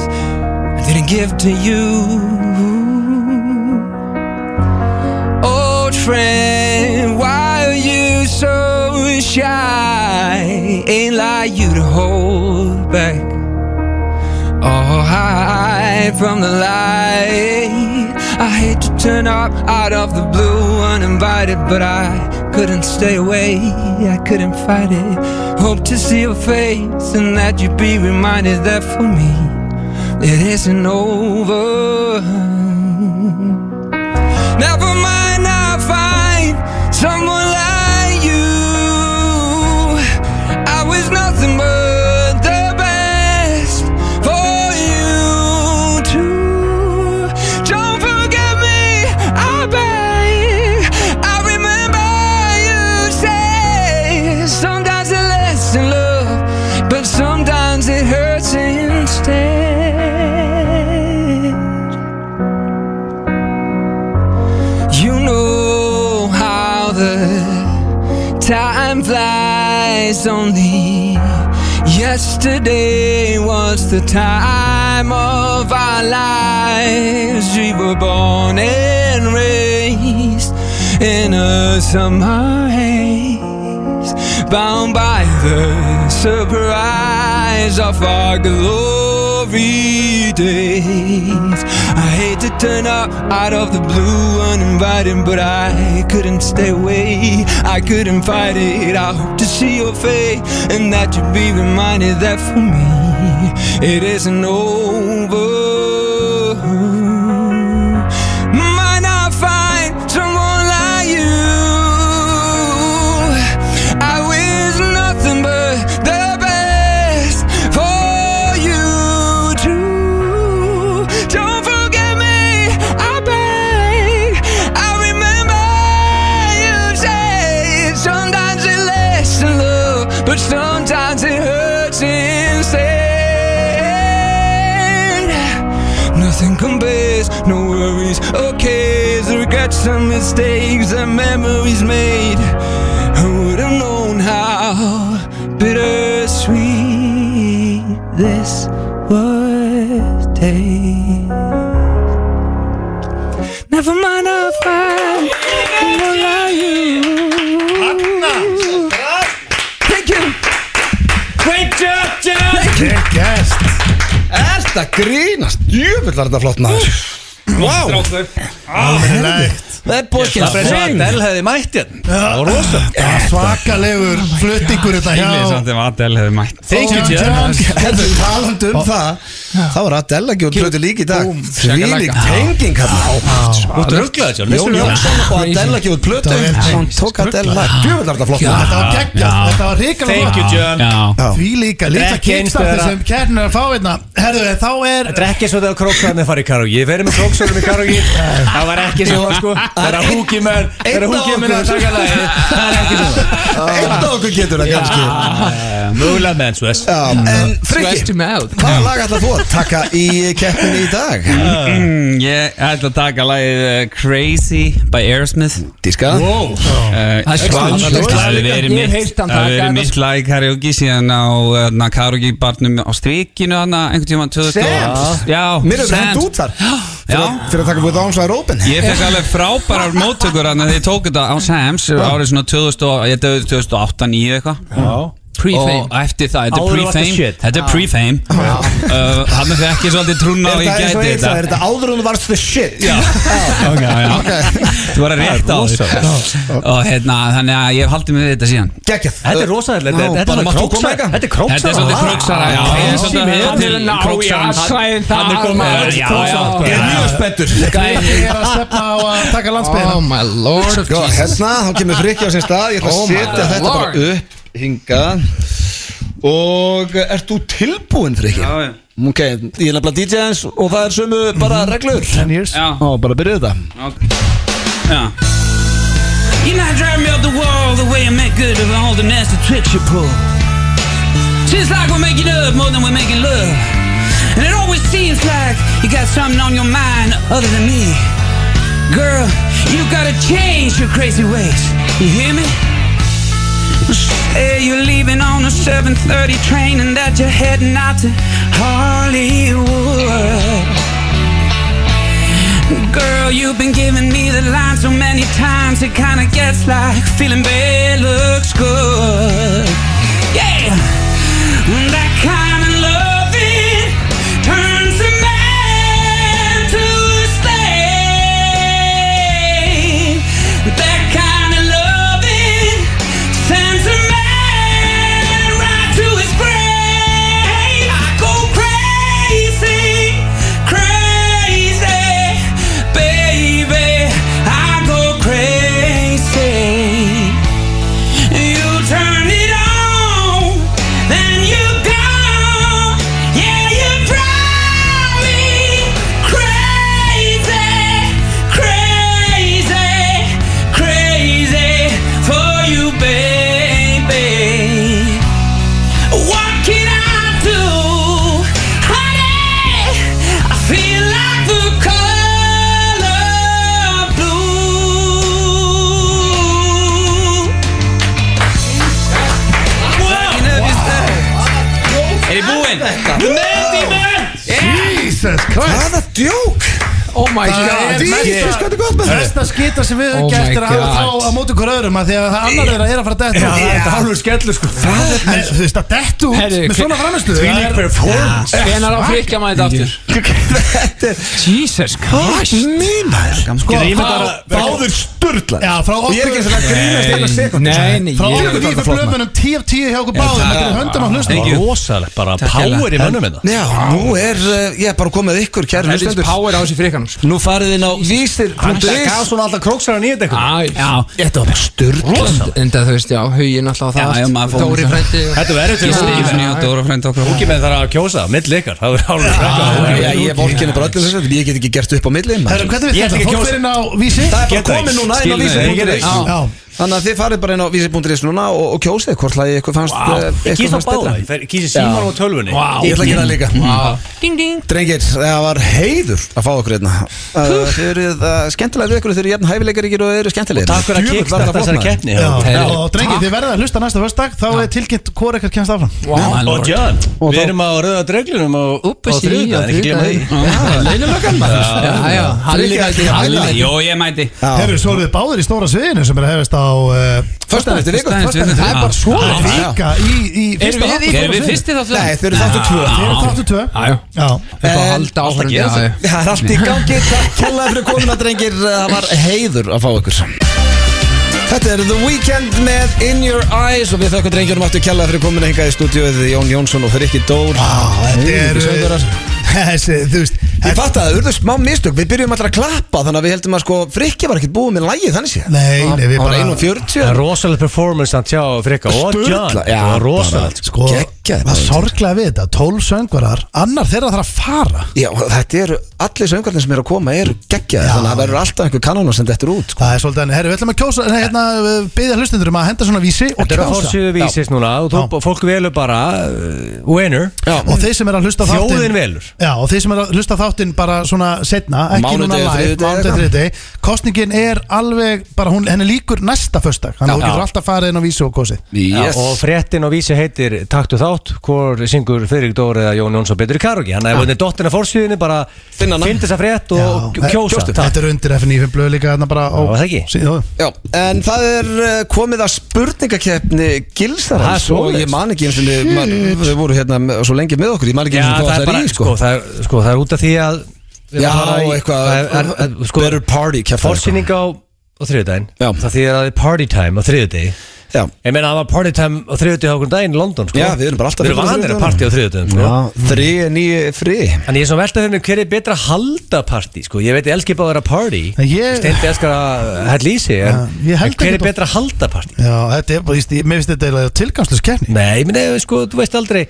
Speaker 5: I didn't give to you. Old friend
Speaker 7: shy ain't like you to hold back or hide from the light. I hate to turn up out of the blue uninvited, but I couldn't stay away. I couldn't fight it. Hope to see your face and that you'd be reminded that for me it isn't over. Never mind, I'll find someone like you. I was nothing but the best for you too. Don't forget me, I beg. I remember you say sometimes it lasts in love, but sometimes it hurts instead. You know how the time flies only. Yesterday was the time of our lives. We were born and raised in a summer haze, bound by the surprise of our glory days. I hate to turn up out of the blue uninvited, but I couldn't stay away. I couldn't fight it. I hope to see your face and that you'd be reminded that for me it isn't over. Might not find someone like you. I wish nothing but the best for you too. Don't forget me, I beg. I remember you say sometimes it lasts in love, but sometimes it hurts instead. Nothing compares, no worries or cares, the regrets and mistakes and memories made. Who would have known how bittersweet this would taste? Never mind, I'll find someone like you. Thank you.
Speaker 3: Gæst
Speaker 1: Er þetta grínast? Jöfull var þetta flott maður Vá,
Speaker 3: Alveg
Speaker 1: það er bókin
Speaker 2: Það er eins og að Adele hefði mætt hérna
Speaker 3: Það var Svakalegur fluttingur þetta
Speaker 6: Ílið
Speaker 3: hjá
Speaker 6: samt ef Adele hefði mætt
Speaker 2: Thank you, Jen.
Speaker 1: Herðu, talandu um það Það var Adele að gefa hluti líka í dag Þvílík tenging hérna
Speaker 2: Þú rugglaði Jón
Speaker 1: Jón Jónsson og Adele að gefa hluti
Speaker 3: Það er
Speaker 1: og hún tók Adele lag Jöfull var þetta flott maður
Speaker 3: Þetta var geggjað, þetta var hrikalega
Speaker 2: Thank you, Jön
Speaker 6: Já
Speaker 1: Já.
Speaker 3: Því líka, litla
Speaker 2: Ekki eins
Speaker 3: kickstarter
Speaker 2: þeirra.
Speaker 3: sem kærnir er að fá hérna Herðu, en þá er
Speaker 2: Þetta er ekki svo þegar króksarnir farið í karógi Ég verið með króksarnum í karógi Það var ekki svo sko Þegar húkimenn Þegar
Speaker 1: Einn af
Speaker 2: húkimenn að
Speaker 1: okkur.
Speaker 2: taka lagi Það er ekki svo
Speaker 1: Eitt af okkur getur það kannski
Speaker 2: Mögulega menn svo þess
Speaker 1: Já, En Friggi,
Speaker 7: him out.
Speaker 1: hvaða lag ætlar þú að taka í keppinni í dag?
Speaker 6: Mm, Ég ætla að taka lagið uh, Crazy by Aerosmith Uh,
Speaker 1: Díska
Speaker 6: Það
Speaker 7: er svakalegt lag líka.
Speaker 6: Það hefur verið
Speaker 7: Ég hef
Speaker 6: mitt
Speaker 7: heyrt hann
Speaker 6: Það hefur
Speaker 7: taka
Speaker 6: verið mitt lag í karaoke síðan á karaoke barnum á strikinu hann einhvern tímann 2000
Speaker 1: Sam's?
Speaker 6: Já,
Speaker 1: Mér hefur hendt
Speaker 6: Sam's.
Speaker 1: út þar
Speaker 6: Já.
Speaker 1: Fyrir- Fyrir að taka búið ánslæður open
Speaker 6: Ég fekk alveg frábærar móttökur hann þegar ég tók þetta á Sams árið svona 2000 og ég döði 2008-2009 eitthvað
Speaker 7: Pre-fame.
Speaker 6: og eftir það, þetta er
Speaker 2: Áður var þetta
Speaker 6: pre-fame
Speaker 2: shit.
Speaker 6: þetta er pre-fame Uh, hann er ekki svolítið trúna og
Speaker 1: Er
Speaker 6: ég
Speaker 1: það eins og
Speaker 6: gæti
Speaker 1: eins
Speaker 6: þetta
Speaker 1: að er þetta áður hún varst the shit?
Speaker 6: Já, ok, já Þú var að rétta á því Og hérna, þannig að ég hef haldið mig við þetta síðan
Speaker 1: Geggjað
Speaker 2: Þetta er rosalega
Speaker 1: Já,
Speaker 2: Þetta
Speaker 1: bara
Speaker 2: er
Speaker 1: mátt þú koma
Speaker 2: króksar
Speaker 1: eitthvað?
Speaker 2: Þetta er
Speaker 6: Þetta
Speaker 2: króksar
Speaker 6: er svolítið króksara Já, ég er svolítið að höfða til króksara
Speaker 2: Hann er komið aðeins
Speaker 6: Já, já,
Speaker 2: króksar
Speaker 6: já.
Speaker 1: Ég er mjög spenntur
Speaker 3: Ég er að stefna á að taka
Speaker 7: Oh
Speaker 3: landsbyðina
Speaker 7: my lord of
Speaker 1: Sko,
Speaker 7: Jesus.
Speaker 1: hérna, þá kemur Frikki á sinn stað Ég ætla að
Speaker 7: Oh my
Speaker 1: setja þetta
Speaker 7: lord.
Speaker 1: bara upp hinga Og ert þú tilbúinn, Frikki?
Speaker 6: Já, já.
Speaker 1: Ok, ég er nefnilega DJ hans og það er sömu bara reglur
Speaker 6: Já,
Speaker 1: Ó, bara byrjuð þetta
Speaker 6: ok Já You know I drive me up the wall The way I make good of all the nasty tricks you pull Seems like we're making up more than we're making love And it always seems like you got something on your mind other than me Girl, you gotta change your crazy ways You hear me? Say you're leaving on a 7.30 train And that you're heading out to Hollywood
Speaker 8: Girl, you've been giving me the line so many times It kinda gets like feeling bad looks good Yeah! That kind of loving turns a man to a slave That kind of loving sends a man right to his grave I go crazy, crazy Baby, I go crazy. You turn it on, then you gone. Yeah, you drive me crazy, crazy, crazy for you, baby. What can I do, honey? I feel like the color blue. Taking up your stuff.
Speaker 6: Er ég búinn?
Speaker 3: Jesus Christ
Speaker 1: Hvaða djók?
Speaker 5: Oh my
Speaker 3: er
Speaker 5: god
Speaker 3: mest-
Speaker 1: Jesus, hvað er gott með þetta?
Speaker 3: Besta skita sem við höfum
Speaker 5: Oh
Speaker 3: gert
Speaker 5: my
Speaker 3: er að hafa
Speaker 5: God.
Speaker 3: þá að móta ykkur öðrum að því að annar þeirra er að fara að detta Það er hálfur skellu sko En þú veist að detta út
Speaker 5: Herri,
Speaker 3: með
Speaker 5: hver-
Speaker 3: svona framistu Það er
Speaker 1: performance
Speaker 5: Hvenar á frikja maður þetta aftur? Jesus Christ
Speaker 1: Mínar
Speaker 3: sko frá-
Speaker 1: Báður sturla
Speaker 3: Já, frá
Speaker 1: Ég er
Speaker 3: okkur
Speaker 1: ekki sem að grínast eina sekund
Speaker 5: Nei, nei,
Speaker 3: Frá
Speaker 5: ég
Speaker 3: okkur nýfum blöðmennum 10 af 10 hjá okkur báðum Þetta er höndum að hlusta
Speaker 2: Það er rosalegt bara Power í mönnum hérna
Speaker 1: Já, nú er uh, ég er bara komið ykkur kæri
Speaker 5: Helvits
Speaker 1: hlustendur
Speaker 5: power á þessi frikjanum sko.
Speaker 1: Nú farið inn á vísir
Speaker 2: Gaf svona alltaf króksaran í þetta eitthvað
Speaker 5: Æ,
Speaker 1: Þetta var bara sturla
Speaker 5: Enda þú veist, já, hugin alltaf á
Speaker 6: Já,
Speaker 5: það
Speaker 6: já,
Speaker 5: allt.
Speaker 6: maður fór
Speaker 5: Dóri
Speaker 6: það.
Speaker 5: frændi og-
Speaker 2: Þetta verður til að
Speaker 5: Gísli.
Speaker 2: stíða
Speaker 6: Ísni og Dóra frænd okkur
Speaker 2: Ekki með það að kjósa, mill ykkar Það er hálfur
Speaker 1: Já,
Speaker 2: frækka
Speaker 1: ég vorkinu bara öllum þessu Ég get ekki gert upp á milli
Speaker 3: Herru,
Speaker 1: maður.
Speaker 3: hvernig við
Speaker 2: Ég
Speaker 3: þetta?
Speaker 2: ætla ekki að
Speaker 3: Fólk
Speaker 2: kjósa.
Speaker 3: verið inn á vísi
Speaker 1: Það er bara
Speaker 2: Geta
Speaker 1: komið
Speaker 2: ekki.
Speaker 1: núna inn á
Speaker 6: Skil
Speaker 1: vísir
Speaker 6: það,
Speaker 1: punktur
Speaker 6: ég get
Speaker 1: is.
Speaker 6: ekki.
Speaker 3: Já,
Speaker 1: Þannig að þið farið bara inn á vísir.is núna og, og kjósið hvort lagi ykkur fannst eh,
Speaker 2: Ég
Speaker 1: ykkur
Speaker 2: kýsa
Speaker 1: fannst
Speaker 2: báða,
Speaker 1: betra.
Speaker 2: ég fer- kýsi síman og tölvunni
Speaker 1: Ég ætla að gera það líka Drengir, það var heiður að fá okkur hérna Uh, Þið eruð uh, skemmtilega við ykkur, þið eru jafn hæfileikaríkir og þið eru skemmtilegir
Speaker 2: Takk fyrir að
Speaker 1: Djöfull var
Speaker 2: kickstart
Speaker 1: þetta
Speaker 2: þessari
Speaker 1: flott, maður.
Speaker 2: keppni
Speaker 3: já,
Speaker 5: Herri,
Speaker 3: já, og drengi
Speaker 5: takk.
Speaker 3: þið verða að hlusta næsta förstak þá er tilkynnt hvor ekkert kemst áfram
Speaker 5: Wow.
Speaker 2: Og John, við erum á rauða dreglunum á
Speaker 5: Úpa, sí, á
Speaker 2: þriðudaginn, ekki glemma
Speaker 5: þriðjudaginn.
Speaker 2: því
Speaker 5: Já, já, Halli mætti Halli mætti
Speaker 6: Jó, ég mæti
Speaker 3: Herru, svo eru þið báðir í stóra sviðinu sem er að hefast á uh,
Speaker 1: Föstudaginn eftir viku
Speaker 6: Föstudaginn eftir viku.
Speaker 1: Það er bara svo
Speaker 6: Já.
Speaker 3: vika í, í fyrsta
Speaker 5: við í-
Speaker 3: þáttum
Speaker 6: Erum við
Speaker 3: stóra sviðinu.
Speaker 6: fyrsti þáttu?
Speaker 1: Nei, þau eru þáttu tvö
Speaker 3: Þið eru þáttu tvö
Speaker 5: Já, já.
Speaker 3: Já,
Speaker 5: Eitthvað að halda áfram
Speaker 1: Já,
Speaker 5: já, já.
Speaker 1: Það er allt í gangi, takk kella fyrir komuna drengir Það var heiður að fá ykkur Þetta er The Weekend með In Your Eyes og við þökkum drengjurum aftur kella fyrir komuna hingað í stúdíóið Jón Jónsson og Frikki Dór
Speaker 3: Á, þetta er
Speaker 1: Söngvarar.
Speaker 3: Þessi, þú veist
Speaker 1: Ég fatt að það urðu smá mistök, við byrjum alltaf að klappa þannig að við heldum að sko Frikki var ekkert búið með lægið þannig sé
Speaker 3: Nei, nei, við
Speaker 1: Hann var
Speaker 3: bara
Speaker 1: 41
Speaker 2: Það er rosalega performance hann tjá frikka Og
Speaker 1: Sturla,
Speaker 2: John,
Speaker 1: já,
Speaker 2: það er
Speaker 1: bara-
Speaker 2: rosalegt sko.
Speaker 3: Sko,
Speaker 1: Geggjaði
Speaker 3: það
Speaker 1: bara.
Speaker 3: sorglega við þetta 12 söngvarar, annar þeirra þarf að fara
Speaker 1: Já, þetta eru, allir söngarnir sem eru að koma eru geggjaði,
Speaker 3: Já.
Speaker 1: þannig að það verður alltaf einhver kanónu sem dettur út sko.
Speaker 3: Það er svolítið, en herru, við ætlum að kjósa Nei, hérna, byggja hlustundur um að henda svona vísi og
Speaker 2: Þetta er að
Speaker 3: kjósa
Speaker 2: fórsýðu vísist núna og þú, fólk velur bara uh, winner
Speaker 3: Og þeir sem er að hlusta á þáttinn
Speaker 2: Þjóðin velur.
Speaker 3: Já, og þeir sem er að hlusta á þáttinn bara svona setna Ekki núna
Speaker 1: Mánudegi,
Speaker 3: live,
Speaker 1: þriðjudegi,
Speaker 3: mánudegi,
Speaker 1: eitthvað.
Speaker 3: þriðdegi Kostningin er alveg, bara hún, henni líkur næsta föstak Þannig að þú
Speaker 6: Já.
Speaker 3: getur alltaf farið inn á vísi og kosið
Speaker 2: Já, og fréttin og vísi heitir Taktu þátt, hvor syngur Friðrik Dóri eða Jón Jónsson betur í karogi Þannig að ef þetta er dottin af fórsýðinni bara
Speaker 1: Finna hana.
Speaker 2: finn þessa frétt
Speaker 3: Já,
Speaker 2: og
Speaker 3: eh,
Speaker 2: kjósa
Speaker 3: kjóstu.
Speaker 2: Takk.
Speaker 3: Þetta er undir FNÍ blöð líka þarna bara á
Speaker 2: Já, það ekki.
Speaker 3: síðu.
Speaker 1: Já, en það er eh, komið að spurningakeppni
Speaker 2: Það er
Speaker 1: gilsarans og
Speaker 2: svoleiðis.
Speaker 1: ég man ekki eins
Speaker 3: Hmm.
Speaker 1: og þau voru hérna með- svo lengi með okkur, ég man ekki
Speaker 2: Já,
Speaker 1: eins og
Speaker 2: það er bara,
Speaker 1: í
Speaker 2: sko,
Speaker 1: sko.
Speaker 2: það er, sko, það er út af því að við
Speaker 1: Já,
Speaker 2: erum að fara í-
Speaker 1: eitthvað
Speaker 2: það er- er- er- sko,
Speaker 1: Better party keppni
Speaker 2: Fórsýning á, á þriðudaginn
Speaker 1: Já.
Speaker 2: Það þýðir að það er party time á þriðudegi
Speaker 1: Já,
Speaker 2: Ég meina það var party time á þriðudegi á okkur daginn í London sko.
Speaker 1: Já, við erum bara
Speaker 2: Við
Speaker 1: alltaf
Speaker 2: erum
Speaker 1: fulla á
Speaker 2: vanir að
Speaker 1: þriðjudögunum.
Speaker 2: party á þriðudegum sko.
Speaker 1: þri, nýju, fri
Speaker 2: Þannig ég er svona veltað hérna hver er betra að halda partí sko. Ég veit ég elskir bara að vera party
Speaker 3: En ég-
Speaker 2: Steindi elskar að hella í sig en,
Speaker 3: Já, ég held
Speaker 2: en
Speaker 3: ekki
Speaker 2: hver er betra að halda partí
Speaker 3: Já, þetta er bara, víst, ég- mér finnst þetta eiginlega tilgangslös keppni
Speaker 2: Nei, ég meina, sko, þú veist aldrei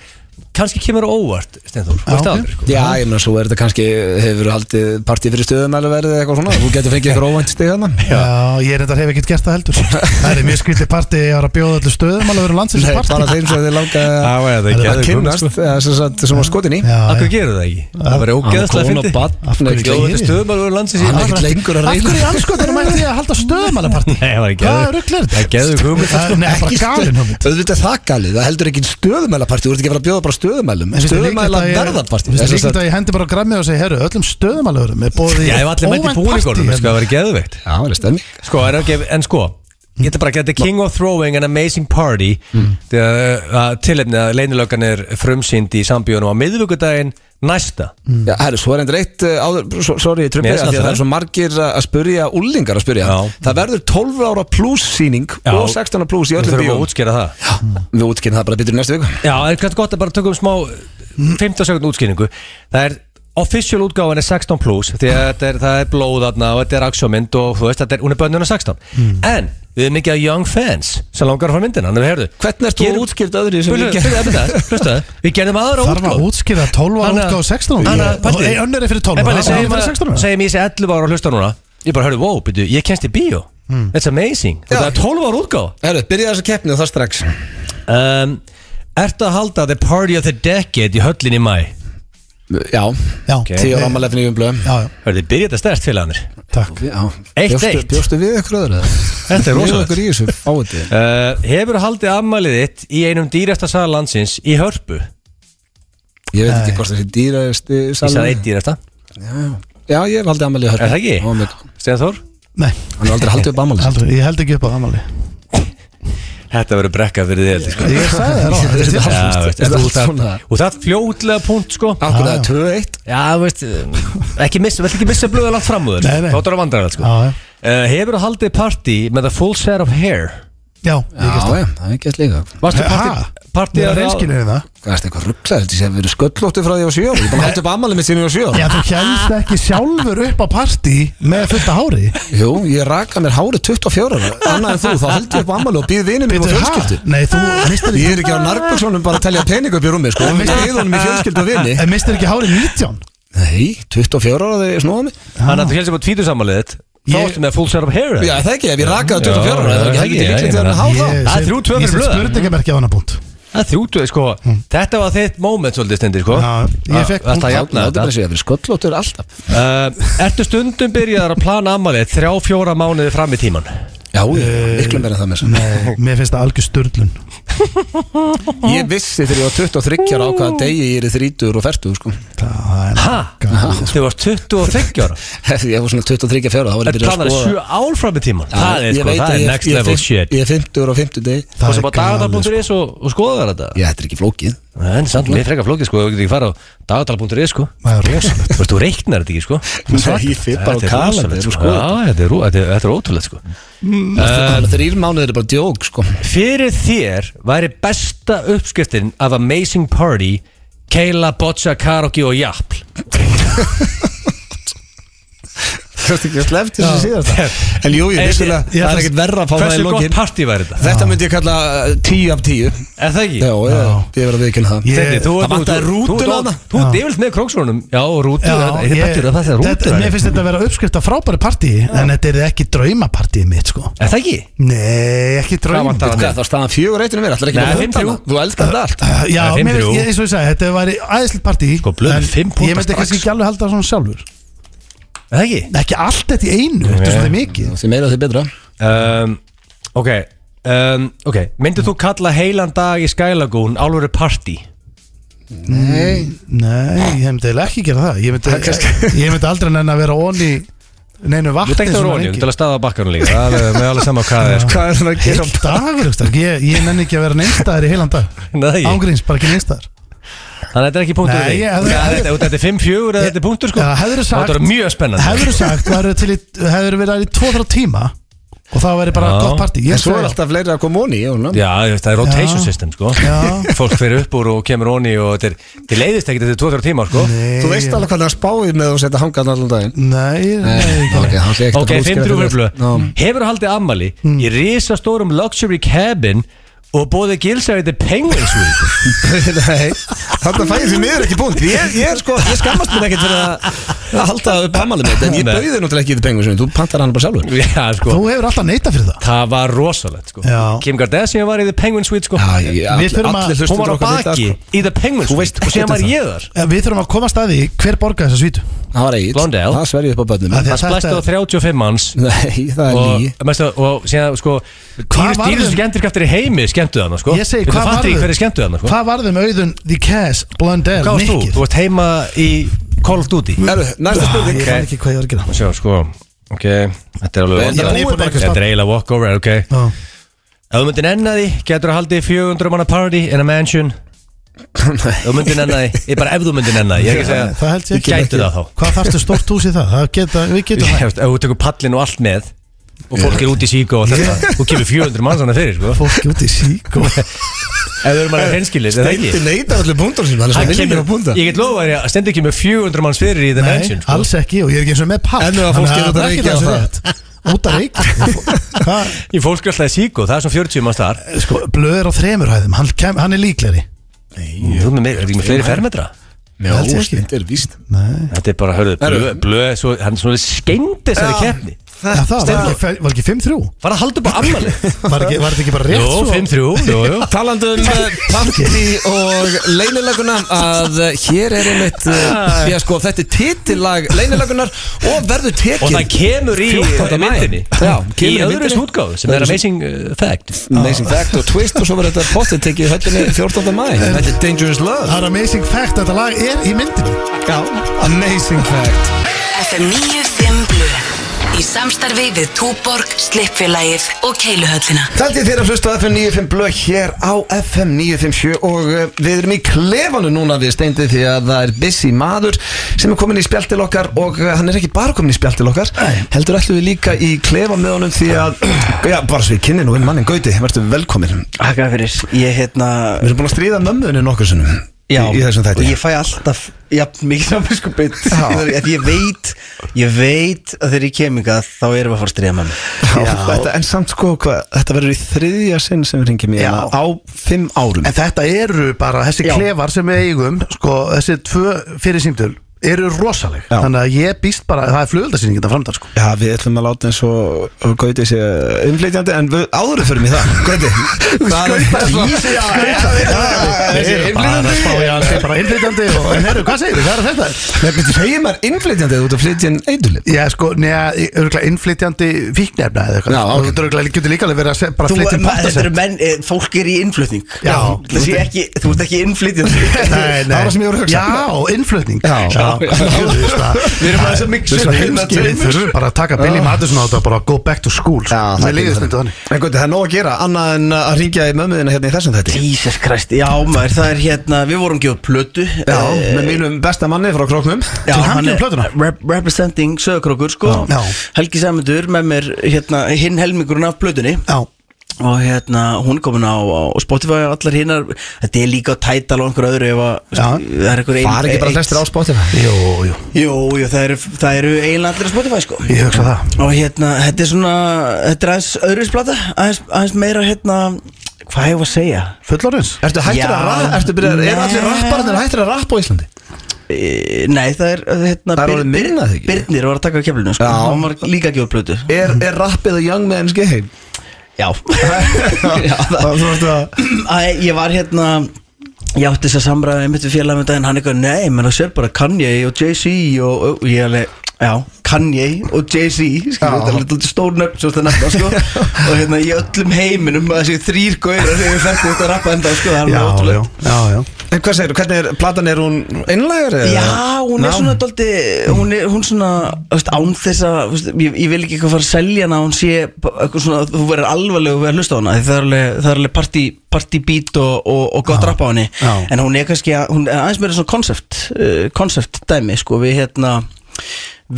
Speaker 2: kannski kemur á óvart, Steindur Þú
Speaker 3: Já,
Speaker 2: veist
Speaker 3: ok.
Speaker 2: aldrei sko.
Speaker 1: Já, ég meina svo er þetta kannski hefur haldið partí fyrir stöðum eða verið eða eitthvað svona, þú getur fengið eitthvað óvænt stig hérna. hann
Speaker 3: Já, ég er reyndar hef ekkert gert það heldur Það er mjög skrítið partí, ég var að bjóða öllu stöðum alveg verið landsins
Speaker 1: Nei, bara
Speaker 3: partí
Speaker 1: þeim sem þið langa
Speaker 2: Það var þetta
Speaker 3: er
Speaker 2: ekki
Speaker 1: að kynnast eða sem sagt, sem var skotin í
Speaker 3: Já,
Speaker 2: Akkur
Speaker 3: já.
Speaker 2: gerur það ekki? Það var ógeðslega
Speaker 1: Kona og
Speaker 2: fyndi
Speaker 1: barn,
Speaker 3: Af hverju
Speaker 1: ekki-
Speaker 2: Þetta stöðum alveg landsins í
Speaker 1: Hann er ekkert lengur að
Speaker 3: Af
Speaker 1: reyna
Speaker 3: hverju í anskotanum mætti ég að halda stöðum alveg partí?
Speaker 2: Nei, það var ekki
Speaker 3: Hvað rugl er þetta?
Speaker 2: Það er geður hugmynd
Speaker 3: Nei, bara
Speaker 1: ekki
Speaker 3: galin
Speaker 1: stöð
Speaker 3: hugmynd
Speaker 1: Auðvitað er það galið, það heldur ekki stöðumælapartí Þú ert ekki að fara að bjóða bara stöðumælum
Speaker 3: En finnst þér líklegt
Speaker 1: Stöðumæla
Speaker 3: að ég-
Speaker 1: verðarparti
Speaker 3: finnst þér líklegt að ég hendi bara á grammi og segi Herru, öllum stöðumælurum er bóðið
Speaker 2: Já, ef allir mætti búningunum,
Speaker 3: hérna.
Speaker 2: sko, það var geðveikt
Speaker 1: Já, það er stemning
Speaker 2: Sko, en, okay, en sko Ég ætla bara að geta King of Throwing an Amazing Party mm. uh, Tilefni að leinilögan er frumsýnd í sambíunum á miðvíkudaginn næsta
Speaker 3: Mm.
Speaker 1: Já, herru, svo er endur eitt uh, áður, so- sorry, ég trumpi
Speaker 2: Mér finnst
Speaker 1: að því að
Speaker 2: það.
Speaker 1: það er svo margir uh, að að spurja, úlingar að spurja
Speaker 2: Já.
Speaker 1: Það verður 12 ára pluss síning
Speaker 2: Já.
Speaker 1: og 16 ára pluss í
Speaker 2: Við
Speaker 1: öllum
Speaker 2: þurfum að
Speaker 1: bíó
Speaker 2: útskýra það
Speaker 1: Við útkynna það bara betur í næstu viku
Speaker 2: Já, það er kannski gott að bara tökum smá eh, 15 sekund útskýringu Það er Official útgáfan er 16 plus því að þetta er, það er blóð þarna og þetta er aksjómynd og þú veist, þetta er, hún er bönnuna 16
Speaker 1: Hmm.
Speaker 2: En við erum mikið að young fans sem langar að fá myndina, þannig að heyrðu
Speaker 1: Hvernig ertu
Speaker 2: gerum-
Speaker 1: útskýrt öðru í sem
Speaker 2: Hlustaðu,
Speaker 1: við
Speaker 2: hlustaðu, hlustaðu, hlustaðu. Við gerðum aðra
Speaker 3: Þarf að
Speaker 2: útgáfu.
Speaker 3: útskýra 12 ára
Speaker 2: Þannig að-
Speaker 3: útgáð 16
Speaker 2: Þannig
Speaker 3: ára
Speaker 2: að-
Speaker 3: Og ein önnur er fyrir 12
Speaker 2: Nei, bara
Speaker 3: ára Það
Speaker 2: segjum
Speaker 3: er fyrir
Speaker 2: að-
Speaker 3: 16 ára
Speaker 2: Segjum ég sé 11 ára að hlusta núna Ég bara hörðu, wow, byrju, ég kennst í bíó That's amazing, þetta er 12 ára útgáð
Speaker 1: Herru, Hmm. byrja þessa keppni og það strax
Speaker 2: um, Ertu að halda The Party of the Decade í höllinni í mæ?
Speaker 1: Já,
Speaker 3: Já,
Speaker 1: 10 ára ámalefni í umblöðum
Speaker 3: Já, já,
Speaker 2: Hörðu, byrja þetta stærst félagarnir
Speaker 3: takk
Speaker 2: Eitt,
Speaker 1: Bjóstu-
Speaker 2: eitt.
Speaker 1: Bjóstu við ykkur öðru
Speaker 2: Þetta er
Speaker 1: Við
Speaker 2: rosalegt.
Speaker 1: ykkur í þessu fáiði
Speaker 2: uh, Hefur haldið afmælið þitt í einum dýrasta sal landsins í hörpu?
Speaker 1: Ég veit ekki hvort þessi dýraðist
Speaker 2: Ég sagði eitt dýrasta,
Speaker 1: Já, ég hef aldrei amalið
Speaker 2: er það ekki? Stegan Þór?
Speaker 3: Nei,
Speaker 1: Hann er aldrei haldið upp amalið
Speaker 3: aldrei, ég held ekki upp á það máli
Speaker 2: Þetta verður brekka fyrir þér sko.
Speaker 3: Ég sagði það ráðan
Speaker 1: Þetta
Speaker 2: Já,
Speaker 1: er
Speaker 2: veist,
Speaker 1: allt
Speaker 2: en þú-
Speaker 1: svona.
Speaker 2: það- Og það fljótlega punkt sko
Speaker 1: Akkur það er 2-1
Speaker 2: Já, þú veist, eh, ekki missa, vel ekki missa blöða langt fram úr
Speaker 3: Nei, nei.
Speaker 2: Þá er það vandræðal sko
Speaker 3: Já, já.
Speaker 2: Uh, hefur þú haldið partí með a full set of hair?
Speaker 3: Já,
Speaker 1: Já,
Speaker 3: ég gæst
Speaker 1: já, það er gett líka
Speaker 2: Varstu
Speaker 3: Ha?
Speaker 2: partí, partí
Speaker 3: Ég er hérna.
Speaker 2: að
Speaker 3: reynskilin við það
Speaker 1: Hvað er þetta eitthvað rugglaður? Þetta sé að vera sköllóttu frá því á sjö ára. Ég er búin að halda upp amalið mitt sinni á sjö ára.
Speaker 3: Já, þú helst ekki sjálfur upp á partí með fullta hári
Speaker 1: Jú, ég raka mér hárið 24 ára Annað en þú, þá held ég upp amalið og býð vinið mér
Speaker 3: Bíddu,
Speaker 1: og
Speaker 3: ha?
Speaker 1: fjölskyldu
Speaker 3: Nei, þú mistir
Speaker 1: Ég er ekki á narböksunum bara að telja pening upp í rúmi sko. Ég býð honum í fjölskyldu og vini
Speaker 3: En mistir ekki hári 19
Speaker 1: Nei, 24 ára þegar ég snúða mig
Speaker 2: Þannig að þú helst upp á tvítusamaliðið Þá
Speaker 3: Ég-
Speaker 2: ertu með full set of hair eða?
Speaker 1: Já, það ekki, ef ég rakaði 24 ára
Speaker 2: Já,
Speaker 1: Það er
Speaker 2: það
Speaker 1: ekki heldur
Speaker 2: ekki,
Speaker 1: líklegt
Speaker 2: ég
Speaker 1: þegar
Speaker 2: meina,
Speaker 1: hann há
Speaker 3: Ég
Speaker 1: þá
Speaker 2: Það er
Speaker 3: set-
Speaker 2: þrjú tvö
Speaker 3: Ég
Speaker 2: fyrir
Speaker 3: set
Speaker 2: blöðan.
Speaker 3: spurningamerki á hana punkt
Speaker 2: Það er þrjútu, sko Þetta var þitt moment svolítið stendir, sko
Speaker 3: Hmm. Já, ég fekk
Speaker 2: Þetta
Speaker 1: Það er
Speaker 2: jafna
Speaker 1: bara að
Speaker 2: þetta
Speaker 1: segja að vera sköllóttur alltaf
Speaker 2: uh, Ertu stundum byrjaðar að plana ammálið þrjá, fjóra mánuði fram í tíman?
Speaker 1: Já, ég-
Speaker 3: Eh,
Speaker 1: miklu meira en það með þess
Speaker 3: Nei, mér finnst það algjör sturlun
Speaker 1: Ég vissi þegar ég var 23 ára á hvaða degi ég er í 30 og 40 sko.
Speaker 3: Það er
Speaker 2: Ha?
Speaker 3: Gæði.
Speaker 2: Þú varst 25 ára
Speaker 1: Ef Ég var svona 23 ára, þá var ég
Speaker 2: Ertu
Speaker 1: byrjað að
Speaker 2: planar
Speaker 1: skoða
Speaker 2: sjö ár fram í tíman? Það
Speaker 1: ég
Speaker 2: er, sko,
Speaker 1: veit
Speaker 2: það
Speaker 1: að
Speaker 2: er
Speaker 1: ég-
Speaker 2: next
Speaker 1: ég er
Speaker 2: level
Speaker 1: fimm-
Speaker 2: shit
Speaker 1: Ég er 50 og 50 deg
Speaker 3: Það
Speaker 2: Og svo
Speaker 3: er
Speaker 2: bara
Speaker 3: galið, sko.
Speaker 2: dagatal.is og, og skoða þetta
Speaker 1: Já, þetta er ekki flókið
Speaker 2: En samt, mér frekar flókið sko, við getum ekki fara á dagatal.is sko
Speaker 3: Það er rosalegt
Speaker 2: Þú veist, þú reiknar þetta ekki sko
Speaker 1: Nei, ég fer bara á
Speaker 2: Þetta er
Speaker 1: kalendar,
Speaker 2: rosalegt,
Speaker 1: sko.
Speaker 2: sko. Já, þetta er, rú- þetta er, þetta er ótrúlega sko Äh.
Speaker 1: Það er þrýr mánuðir er bara djók sko
Speaker 2: Um, Fyrir þér væri besta uppskriftin af Amazing Party Keila, Boccia, Karogi og Japl
Speaker 1: Það er ekki sleft þess að síðast það En jú,
Speaker 2: Ég-
Speaker 1: ég vissulega
Speaker 2: ég-
Speaker 1: Það er ekkert verra að fá það í
Speaker 2: Hversu gott
Speaker 1: lokin
Speaker 2: party væri þetta?
Speaker 1: Þetta myndi ég kalla uh, 10 af 10 Já,
Speaker 2: Er það ekki?
Speaker 1: já, ég verið að viðkynna það
Speaker 3: Ég-
Speaker 2: Steini, þú-
Speaker 1: það
Speaker 2: þú-
Speaker 1: vantaði
Speaker 2: þú-
Speaker 1: rútuna
Speaker 2: þú-
Speaker 1: þarna.
Speaker 2: Þú ert yfirlt með króksvörunum Já, rútu, þetta
Speaker 3: ég-
Speaker 2: er betur að það er rútu
Speaker 3: þetta- Mér finnst þetta að vera uppskrift af frábæri partí En þetta er ekki draumapartíð mitt sko
Speaker 2: Er það ekki?
Speaker 3: Nei, ekki drauma
Speaker 2: vantar
Speaker 1: Hvað, þá staðan fjögur eittinu mér Það er ekki
Speaker 2: Nei,
Speaker 1: bara
Speaker 2: fimm,
Speaker 1: 15
Speaker 2: þrjú.
Speaker 1: Þú elskar þetta allt
Speaker 3: Eh, Uh, Já,
Speaker 2: Það er fimm
Speaker 3: mér
Speaker 2: þrjú.
Speaker 3: finnst, ég- eins og ég sagði, þetta væri æðislegt partí
Speaker 2: Sko, blöð,
Speaker 3: en
Speaker 2: fimm punktar
Speaker 3: Ég myndi
Speaker 2: strax.
Speaker 3: kannski ekki alveg halda það svona sjálfur
Speaker 2: Er það ekki?
Speaker 3: Ekki allt þetta í einu, þetta er
Speaker 2: Nei.
Speaker 3: svolítið mikið
Speaker 1: Því meira því betra
Speaker 2: Um, ok um, Ok, myndir þú kalla heilan dag í Skylagoon Álveru party?
Speaker 1: Nei
Speaker 3: Nei, ég myndi eiginlega ekki gera það Ég myndi, ég myndi aldrei nenni að vera onni Neinu
Speaker 2: Þú
Speaker 3: vatni
Speaker 2: tekst það
Speaker 3: svona
Speaker 2: róni,
Speaker 3: lengi.
Speaker 2: þú til að staða bakkarnu líka Það er með alveg sama hvað það er sko.
Speaker 1: Hvað er það að
Speaker 3: Heill dagur, þú veist, ég, ég nenni ekki að vera neinstæðar í heilan dag
Speaker 2: Nei, það ekki.
Speaker 3: Ángríns, bara ekki neinstæðar
Speaker 2: Þannig að þetta er ekki punktur
Speaker 3: Nei,
Speaker 2: fyrir þig.
Speaker 3: ég hefði-
Speaker 2: Já, þetta- Þetta er 5-4 eða þetta er punktur sko
Speaker 3: Já, hefðirðu sagt-
Speaker 2: Þetta er mjög spennandi
Speaker 3: Hefur þú sagt, þú hefur til í, hefur verið þar í 2-3 tíma Og það væri bara
Speaker 2: Já.
Speaker 3: gott partí Ég
Speaker 1: En svo
Speaker 3: segi-
Speaker 1: er alltaf fleiri að koma onni Já,
Speaker 2: Já, ég veist, það er rotation
Speaker 3: Já.
Speaker 2: system sko
Speaker 3: Já.
Speaker 2: Fólk fer upp úr og kemur onni og þetta er, þetta leiðist ekkert þetta er 2-3 tíma sko
Speaker 3: Nei,
Speaker 1: Þú veist alveg hvað það spáir með að þú setja hangan allan daginn
Speaker 3: Nei, nei, nei
Speaker 1: ok, hann sé ekkert
Speaker 2: Ok,
Speaker 1: að
Speaker 2: 5-3
Speaker 1: útskýra fyrir
Speaker 2: verflu
Speaker 1: þér. Já. Mm.
Speaker 2: Hefur haldið ammali í risastórum luxury cabin og bóðið gilsæði penguin suite
Speaker 1: Nei, þarna fæði því miður ekki búnt ég, ég, er sko, ég skammast mér ekkert fyrir að að halda upp amalum mitt En ég
Speaker 2: Nei.
Speaker 1: bauði náttúrulega ekki í því pengu sem þú pantar hann bara sjálfur
Speaker 2: Já, sko
Speaker 3: Þú hefur alltaf neitað fyrir það
Speaker 2: Það var rosalegt sko
Speaker 3: Já.
Speaker 2: Kim Kardashian var í The Penguin Suite sko
Speaker 1: Já, ég,
Speaker 3: Við
Speaker 1: all,
Speaker 3: þurfum að-
Speaker 1: allir
Speaker 2: Hún
Speaker 1: hlustum
Speaker 2: var á baki í The Penguin
Speaker 1: sko. Þú veist
Speaker 2: Suite og
Speaker 1: ekkert
Speaker 2: síðan var
Speaker 1: um það.
Speaker 2: ég þar
Speaker 3: Eh, Við þurfum að koma að staði Hver borgar þessa svítu?
Speaker 1: Það var eitt
Speaker 2: Blondell.
Speaker 1: Það sverjum upp á börnum
Speaker 3: Að því-
Speaker 2: Það
Speaker 3: Þetta-
Speaker 2: splæst á 35 manns
Speaker 1: Nei, það er
Speaker 2: og,
Speaker 1: lí
Speaker 2: mestu, og síðan sko
Speaker 3: Hvað
Speaker 2: dýrust
Speaker 3: varð
Speaker 2: dýrust
Speaker 3: um-
Speaker 2: skemmtirkraftir í heimi skemmtu þarna sko
Speaker 3: Ég segi,
Speaker 2: Þetta
Speaker 3: hvað
Speaker 2: fatt ekki
Speaker 3: varð- um-
Speaker 2: hverju skemmtu þarna sko
Speaker 3: Hvað varðum auðun The Bless, Blondell,
Speaker 2: Hvað varst þú?
Speaker 3: Nikki
Speaker 2: Þú varst heima í Call of Duty
Speaker 1: Herru, næsta
Speaker 3: Ah,
Speaker 1: spurning
Speaker 3: Ég fann ekki hvað ég var að gera
Speaker 2: Sjá, sko Ok, þetta er alveg
Speaker 1: Ég er
Speaker 3: búið bara eitthvað
Speaker 2: Þetta er eiginlega walkover, ok Ef
Speaker 3: Já.
Speaker 2: þú myndir enna því, getur þú haldið 400 manna party in a mansion Ef þú myndir enna því Ég er bara ef þú myndir enna því, ég er ekki að segja
Speaker 3: Það held ég ekki
Speaker 2: Þú gætir það þá
Speaker 3: Hvað þarfstu stórt hús í það? það geta, við getum
Speaker 2: Ég
Speaker 3: það
Speaker 2: veist, Ef þú tekur pallin og allt með Og fólk er út í síku og þetta Þú kemur 400 manns hana fyrir, sko
Speaker 3: Fólki út í sík og
Speaker 2: Ef þú eru bara hreinskilis, er það
Speaker 1: Steindi
Speaker 2: ekki
Speaker 1: neytar allir punktar sín Hann er
Speaker 2: Hann
Speaker 1: svona vinningin
Speaker 2: kemur,
Speaker 1: á punktar
Speaker 2: ég get lofa þér að stendi ekki með 400 manns fyrir í the
Speaker 3: Nei,
Speaker 2: mansion sko.
Speaker 3: alls ekki og ég er ekki eins og með pall
Speaker 1: En ef að fólk
Speaker 3: Þannig
Speaker 1: er út að
Speaker 3: ekki
Speaker 1: reykja
Speaker 3: það
Speaker 1: á
Speaker 3: sem
Speaker 1: það.
Speaker 3: rétt. Út að reykja Hvað?
Speaker 2: Í fólk er alltaf í síku, það er svona 40 manns þar
Speaker 3: Sko, blöð er á þremur hæðum Hann, kem, hann er líkleri
Speaker 2: Þú með meira, er ekki með fleiri fermetra
Speaker 1: Já,
Speaker 3: held ég ekki.
Speaker 1: þetta er víst
Speaker 3: Nei
Speaker 2: Þetta er bara, hörðu, blöð, blöð svo, hann er svona skeindi þessari keppni
Speaker 3: Það, það var, ekki, fe- var ekki 5-3
Speaker 2: Var að halda upp á ammali
Speaker 3: Var ekki- var þetta ekki bara rétt
Speaker 2: Jó,
Speaker 3: svo?
Speaker 2: 5-3, jú, jú
Speaker 1: Talandi um eh, partí og leynileguna að eh, hér er einmitt
Speaker 2: Ah.
Speaker 1: eh, því að sko þetta er titillag leynilegunar og verður tekið
Speaker 2: Og það kemur í eh,
Speaker 1: 14. maí.
Speaker 2: myndinni
Speaker 1: Já,
Speaker 2: Í
Speaker 1: kemur í
Speaker 2: öðru
Speaker 1: myndinni.
Speaker 2: snútgáðu sem er Amazing uh, Fact
Speaker 1: Amazing Fact og Twist og svo verður þetta postið tekið í höllinni 14. mæ Þetta er Dangerous Love
Speaker 3: Það er amazing fact að þetta lag er í myndinu
Speaker 1: Já, Amazing Fact
Speaker 9: FM 95 Blu Í samstarfi við Túborg, Slippfélagið og Keiluhöllina
Speaker 1: Þætti þér að hlusta á FM 95 blöð hér á FM 957 og uh, við erum í klefanu núna við steindi því að það er busy maður sem er komin í spjall til okkar og uh, hann er ekki bara komin í spjall til okkar heldur ætlum við líka í klefa með honum því að, já bara svo við kynnin og inn mannin Gauti, verður velkomin
Speaker 10: Takk fyrir, ég hérna
Speaker 1: Við erum búin að stríða mömmuðinu nokkur sinnum
Speaker 10: Já,
Speaker 1: í, í þessum
Speaker 10: og
Speaker 1: þætti
Speaker 10: ég fæ alltaf jafn mikið samvinskupið Því ég veit, ég veit að þegar ég kem ykkar þá erum við að fara að stríða með mig
Speaker 1: já. Þetta, En samt sko, hva, þetta verður í þriðja sinn sem við ringjum í
Speaker 10: Já.
Speaker 1: hana á fimm árum
Speaker 3: En þetta eru bara, þessi
Speaker 10: Já.
Speaker 3: klefar sem við eigum Sko, þessi tvö Eh, fyrir símtöl Eru rosaleg
Speaker 1: Já.
Speaker 3: Þannig að ég býst bara, það er flugöldasýning Þetta framdar sko
Speaker 1: Já, við ætlum að láta eins og og Gauti sé umflytjandi en við áðurum fyrir mig það Gauti Skauta
Speaker 3: Bara spá ég að segja bara innflytjandi og, En herru, hvað segir þið, hvað er þetta?
Speaker 1: Nefnir, segir maður innflytjandi eða þú ert að flytja inn eitulip
Speaker 3: Já, sko, neða, örgulega innflytjandi fíknefna eða eitthvað
Speaker 1: Já,
Speaker 3: sko.
Speaker 1: ok.
Speaker 3: Þú örgulega getur líka alveg verið að se- bara
Speaker 10: Þú,
Speaker 3: flytja
Speaker 10: ma- þetta eru
Speaker 3: pátasett
Speaker 10: menn, eh, fólk er í innflutning
Speaker 3: Já.
Speaker 10: Það sé ekki, þú ert ekki innflytjandi
Speaker 3: Nei, nei.
Speaker 1: Það var sem ég voru að hugsa.
Speaker 3: Já, innflutning
Speaker 1: Já.
Speaker 3: Við erum aðeins að miksa Við þurfum bara að taka Billy Madison á þetta og bara go back to school sko.
Speaker 10: Já, það
Speaker 3: Mér
Speaker 10: er
Speaker 3: líður
Speaker 10: þannig.
Speaker 3: stundu þannig
Speaker 1: En Gauti, það er nóg að gera annað en að ringja í mömmuðina hérna í þessum þætti
Speaker 10: Jesus Christ, já maður, það er hérna, við vorum gjóð plötu eh,
Speaker 1: Já, með mínum besta manni frá króknum
Speaker 10: Já,
Speaker 3: Til
Speaker 10: hann
Speaker 3: hamingju
Speaker 10: er
Speaker 3: með plötuna.
Speaker 10: rep representing sögurkrókur sko
Speaker 3: Já.
Speaker 10: Helgi Sæmundur með mér hérna hinn helmingurinn af plötunni
Speaker 3: Já,
Speaker 10: og hérna hún er komin á, á Spotify og allar hinnar þetta er líka á Tidal og einhver öðru ef að
Speaker 3: Já.
Speaker 10: það er einhver
Speaker 1: Far ekki bara flestir á Spotify
Speaker 3: jú, jú,
Speaker 10: Jú, jú, það eru, það eru eiginlega allir á Spotify sko
Speaker 3: ég hugsa það
Speaker 10: og hérna, þetta er svona þetta er aðeins öðruðsplata aðeins, aðeins meira hérna hvað hefur að segja?
Speaker 3: Fullorins
Speaker 1: Ertu hættur að
Speaker 10: Já.
Speaker 1: rappa? Ertu byrjar, eru allir
Speaker 10: Nei.
Speaker 1: rapparnir hættur að rappa á Íslandi?
Speaker 10: E, nei, það er hérna
Speaker 1: Það er
Speaker 10: Bir-
Speaker 1: orðið minna, það ekki?
Speaker 10: Birnir var að taka kemlinu sko
Speaker 1: Já.
Speaker 10: hann var líka að gefa plötu
Speaker 1: Er, er rappið að young men's game? E-
Speaker 10: Já, Já það,
Speaker 1: Það er svona
Speaker 10: Æ, ég var hérna Ég átti þess að samræða einmitt við félagum daginn Hann eitthvað, nei, menn það sér bara Kanye og Jay-Z og, og ég alveg Já, Kanye og Jay-Z skilur, Þetta er litið stór nöfn svo þetta nefna sko. Og hérna í öllum heiminum Þessi þrýr gauðar sem við þekktum þetta rappa enda sko, Það er
Speaker 3: Já,
Speaker 10: alveg
Speaker 3: já,
Speaker 10: ótrúlega
Speaker 3: já, já
Speaker 1: En hvað segir þú, hvernig er, platan er hún einlægur?
Speaker 10: Já, hún er svona daldi, hún er hún svona þú veist, án þess að, þú veist, ég, ég vil ekki eitthvað fara að selja hana hún sé bara eitthvað svona, þú verður alvarleg við að hlusta á hana, því það er alveg, það er alveg party, party beat og, og, og gott rapp á henni
Speaker 3: já.
Speaker 10: en hún er kannski, að, hún er aðeins meira svona concept, uh, concept dæmi sko, við hérna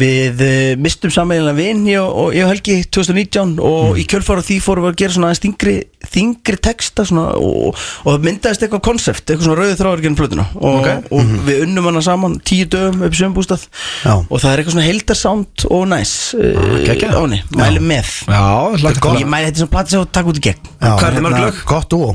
Speaker 10: Við uh, mistum sammeðinlega vinn ég og, og ég og Helgi 2019
Speaker 3: Mm.
Speaker 10: og í kjölfara því fórum við að gera svona aðeins þingri, þingri texta svona, og, og það myndaðist eitthvað konsept, eitthvað svona rauði þráður genið plötuna og, og við unnum hana saman tíu dögum upp í sömbústað
Speaker 3: Mhm. Já. Ah,
Speaker 10: og það er eitthvað svona heldarsánd og næs uh, áni, mæli með
Speaker 1: Já, hlaka til
Speaker 10: Ég
Speaker 1: að
Speaker 10: mæli þetta sem platið sem takk út í gegn
Speaker 3: Já,
Speaker 1: Hvað er þið mörg
Speaker 3: hérna,
Speaker 1: lög?
Speaker 3: Gott dúo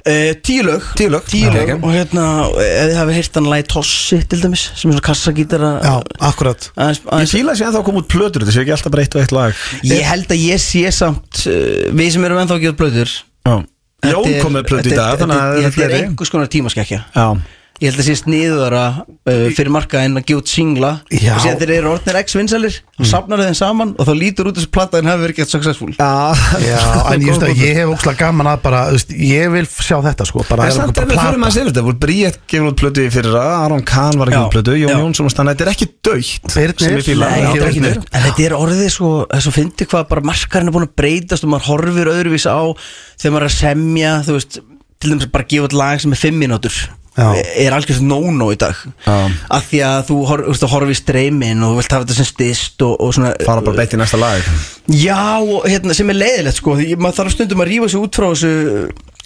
Speaker 10: Uh, tíu lög
Speaker 1: Tíu lög.
Speaker 10: Tíu
Speaker 1: Já.
Speaker 10: lög.
Speaker 1: Ok.
Speaker 10: og hérna, eða þið hafi heyrt hann lagi Tossi til dæmis, sem er svona kassagítara
Speaker 3: Já, akkurat
Speaker 10: aðeins,
Speaker 1: Ég
Speaker 10: aðeins
Speaker 1: fíla sér að það kom út plötur, þetta séu ekki alltaf bara eitt og eitt lag
Speaker 10: Ég held að ég sé samt uh, Við sem erum ennþá að gefa blöður
Speaker 1: Jón kom með plötu í dag, þannig
Speaker 10: Þetta er,
Speaker 1: að það er
Speaker 10: þetta er
Speaker 1: fleiri
Speaker 10: einhvers konar tímaskekkja
Speaker 1: Já,
Speaker 10: ég held að sé sniðara uh, fyrir markaðin að gefa út singla
Speaker 1: Já.
Speaker 10: og síðan þeir eru orðnir X-vinsalir mm. safnar þeim saman og þá lítur út þessu platta en hafi verið gett successful
Speaker 1: Já,
Speaker 3: Já, en ég, veist að ég hef ókslega gaman að bara, þú veist, ég vil sjá þetta sko bara,
Speaker 1: En samt ef við fyrir maður að segja þetta, voru Bríett gefur út plötu í fyrra, Aron Kahn var að gefa
Speaker 10: Já,
Speaker 1: út plötu,
Speaker 10: já.
Speaker 1: Jón Jónsson, þannig að þetta er ekki dögt
Speaker 3: Birnir,
Speaker 1: sem ég fíla.
Speaker 10: Nei,
Speaker 1: Já,
Speaker 10: þetta er ekki
Speaker 1: Birnir.
Speaker 10: neitt. En þetta er orðið svo, þess að fyndi hvað bara markarinn er búin að breytast og maður horfir öðruvís á þegar maður er að semja, þú veist, til dæmis að bara gefa út lag sem er fimm mínútur
Speaker 3: Já.
Speaker 10: er algjörst no-no í dag af því að þú hor, þú veist, þú horfir í streymin og þú vilt hafa þetta sem stist og, og svona
Speaker 1: Fara bara beitt í næsta lag
Speaker 10: Já, og hérna, sem er leiðilegt sko því maður þarf stundum að rífa sig út frá þessu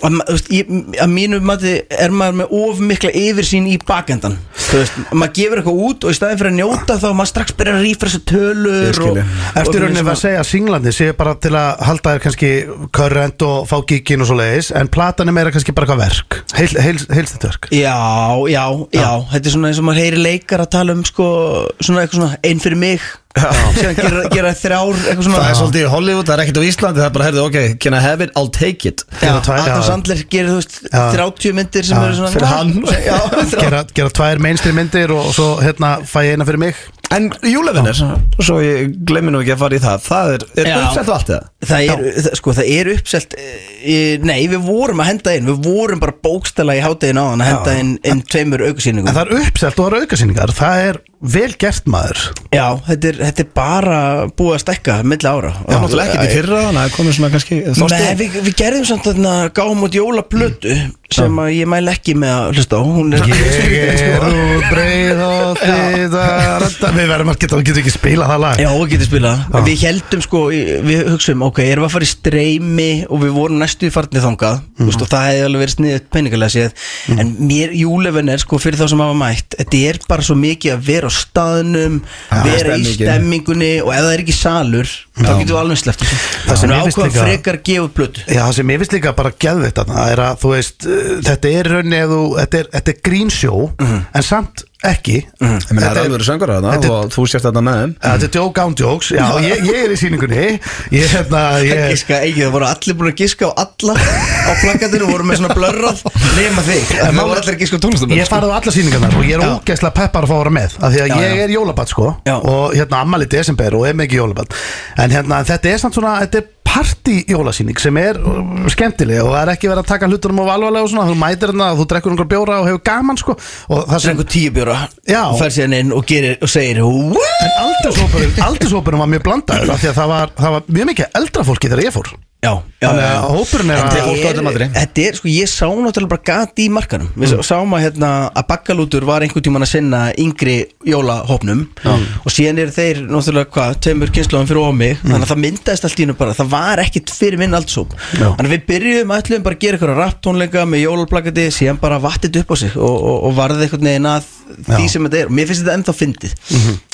Speaker 10: að, ma- þú veist, ég, að mínu mati er maður með of mikla yfirsýn í bakendan þú veist, maður gefur eitthvað út og í staðin fyrir að njóta þá maður strax byrjar að rífa þessu tölur
Speaker 1: Ég skil
Speaker 10: og,
Speaker 1: ég.
Speaker 3: Eftir
Speaker 10: og-
Speaker 3: rauninni var að segja að singlandi séu bara til að halda þér kannski körrent og fá gíkin og svo leiðis en platan er meira kannski bara eitthvað verk heil, heil, heilst þetta verk
Speaker 10: Já, já, já, þetta er svona eins og maður heyri leikar að tala um sko, svona eitthvað svona einn fyrir mig síðan gera, gera þrjár eitthvað svona
Speaker 1: Það er svolítið í Hollywood, það er ekkert á Íslandi, það er bara, herðu, ok, can I have it, I'll take it
Speaker 10: Já,
Speaker 3: gera tvær,
Speaker 10: Adam
Speaker 3: já.
Speaker 10: Sandler gerir þú veist
Speaker 3: Já.
Speaker 10: 30 myndir sem
Speaker 3: Já,
Speaker 10: eru svona
Speaker 1: fyrir hann.
Speaker 10: já, 30
Speaker 3: gera, gera tvær mainstream myndir og svo hérna fæ ég eina fyrir mig
Speaker 1: En júlefinir, svo ég glemir nú ekki að fara í það, það er, er
Speaker 10: Já.
Speaker 1: uppsett og allt það
Speaker 10: Það er, það, sko, það er uppselt eh, Nei, við vorum að henda inn Við vorum bara bókstala í hátæðin á hann Að henda inn, inn tveimur
Speaker 3: En
Speaker 10: aukusýningum
Speaker 3: það er uppselt og það eru aukasýningar það er vel gert maður
Speaker 10: Já, þetta er, þetta er bara búið að stekka Milla ára
Speaker 1: Það er náttúrulega ekkert í fyrra, þannig að það komið svona kannski þá
Speaker 10: Nei,
Speaker 1: stig.
Speaker 10: við, við gerðum samt þarna gáum út jólaplötu sem að ég mæl ekki með að hlusta á Hún er
Speaker 3: Ég er úr breið og þið Við verðum að geta, getum ekki spila það lag
Speaker 10: Já, við getum spilað það. Við heldum sko, í- við hugsaum, ok, erum við að fara í streymi og við vorum næstu í farni þangað mm.
Speaker 3: Mhm.
Speaker 10: veist, og það hefði alveg verið sniðið peningalega séð en mér, júlefin er sko fyrir þá sem hafa mætt þetta er bara svo mikið að vera á staðnum vera í
Speaker 1: stemmingin.
Speaker 10: stemmingunni og ef það er ekki salur, þá getum við alveg sleppt þessu.
Speaker 3: Það sem
Speaker 10: Þannig
Speaker 3: mér
Speaker 10: að
Speaker 3: finnst
Speaker 10: ákvað
Speaker 3: líka-
Speaker 10: frekar gefa upp blötu
Speaker 3: Já, það sem ég finnst líka bara geðveitt að það er að þú veist, uh, þetta er raunni ef þú, þetta er, þetta er grínsjó
Speaker 10: Mhm.
Speaker 3: en samt ekki
Speaker 1: Mhm. Ég meina, það er alveg söngur að
Speaker 3: þetta
Speaker 1: það
Speaker 3: er-
Speaker 1: og þú sért þetta með þeim
Speaker 3: Þetta er joke án jokes, já, ég, ég er í síningunni Ég, hérna,
Speaker 10: Ég
Speaker 3: ég
Speaker 10: giska, ekki, það voru allir búin að giska á alla á plakatinu, voru með svona blörrað nema þig, það voru allir að giska á tónlistum
Speaker 3: Ég farið á alla síningarnar og ég er
Speaker 10: Já.
Speaker 3: ógeðslega peppar að fá að vera með af því að
Speaker 10: Já,
Speaker 3: ég
Speaker 10: já.
Speaker 3: er jólabat sko
Speaker 10: Já.
Speaker 3: og hérna ammali desember og er mikið jólabat en hérna þetta er samt svona, þetta er party jólasýning sem er uh, skemmtileg og það er ekki verið að taka hlutunum of alvarlega og svona, þú mætir hérna, þú drekkur einhver bjóra og hefur gaman sko og það sem
Speaker 10: Drengur tíu bjóra,
Speaker 3: Já.
Speaker 10: fer síðan inn og, gerir, og segir Woo!
Speaker 3: En aldurshópurinn, aldurshópurinn var mjög blandaður af því að það var, það var mjög mikið eldra fólki þegar ég fór
Speaker 10: Já, já,
Speaker 3: Þannig
Speaker 10: já, já.
Speaker 3: að hópurinn er
Speaker 10: En
Speaker 3: að-
Speaker 10: þetta
Speaker 1: fólk á öllum aldri.
Speaker 10: Þetta er, sko, ég sá náttúrulega bara gati í markanum Við mm. sáum að, hérna, að bakkalútur var einhvern tímann að sinna yngri jólahopnum Og síðan eru þeir náttúrulega, hvað, tveimur kynnslóðum fyrir ómi mm. Þannig að það myndaðist allt í hennu bara, það var ekkit fyrir minn aldshóp
Speaker 3: Já.
Speaker 10: Þannig að við byrjuðum ætluðum bara að gera eitthvað rapptónleika með jólaplakati Síðan bara vattið upp á sig og, og, og varðið einhvern veginn að því
Speaker 3: Já.
Speaker 10: sem þetta er og Mér finnst þetta ennþá fyndið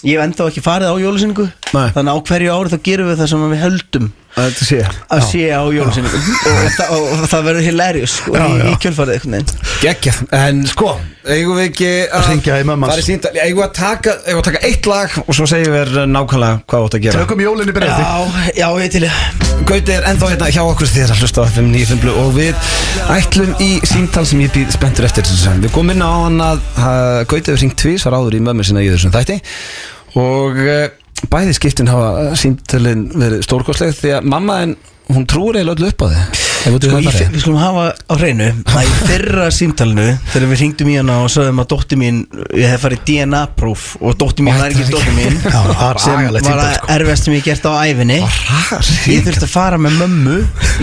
Speaker 10: Ég hef ennþá ekki farið á jólasýningu
Speaker 1: Nei.
Speaker 10: Þannig að á hverju ári þá gerum við það sem við höldum
Speaker 1: Þetta sé
Speaker 10: að sé á jólasinningu og, það- og, og það verður hilarious sko,
Speaker 3: Já,
Speaker 10: í,
Speaker 3: já.
Speaker 10: í kjölfarið einhvern veginn
Speaker 1: Gekkja, en sko, eigum við eh, ekki að
Speaker 3: Hringja í mömmu hans.
Speaker 1: Það er sínt, eigum við að taka, eigum við að taka eitt lag og svo segjum við þér nákvæmlega hvað þú átt að gera
Speaker 3: Tökum jólinni byrjaði
Speaker 10: Já, já, ég til ég
Speaker 1: Gauti er ennþá hérna hjá okkur þér að hlusta á FM 95 og við ætlum í síntal sem ég býð spenntur eftir við komum inn á hann að uh, Gauti hefur hringt tvísar áður í mömmu sinna í þessum þætti og uh, bæði skiptin hafa síntalin verið stórkostleg því að mamma en hún trúir eiginlega öllu upp á þig Ef
Speaker 10: Sko,
Speaker 1: þú veit
Speaker 10: í
Speaker 1: hvað
Speaker 10: fyr-
Speaker 1: það er.
Speaker 10: við skulum hafa á hreinu að í fyrra símtalinu þegar við hringdum í hana og sagðum að dótti mín ég hef farið DNA próf og dótti mín var ekki dótti mín
Speaker 3: Já, það var
Speaker 10: sem
Speaker 3: agalegt
Speaker 10: var
Speaker 3: símtal,
Speaker 10: að
Speaker 3: sko.
Speaker 10: erfast sem ég hef gert á æfinni
Speaker 1: Rar.
Speaker 10: ég þurfti að fara með mömmu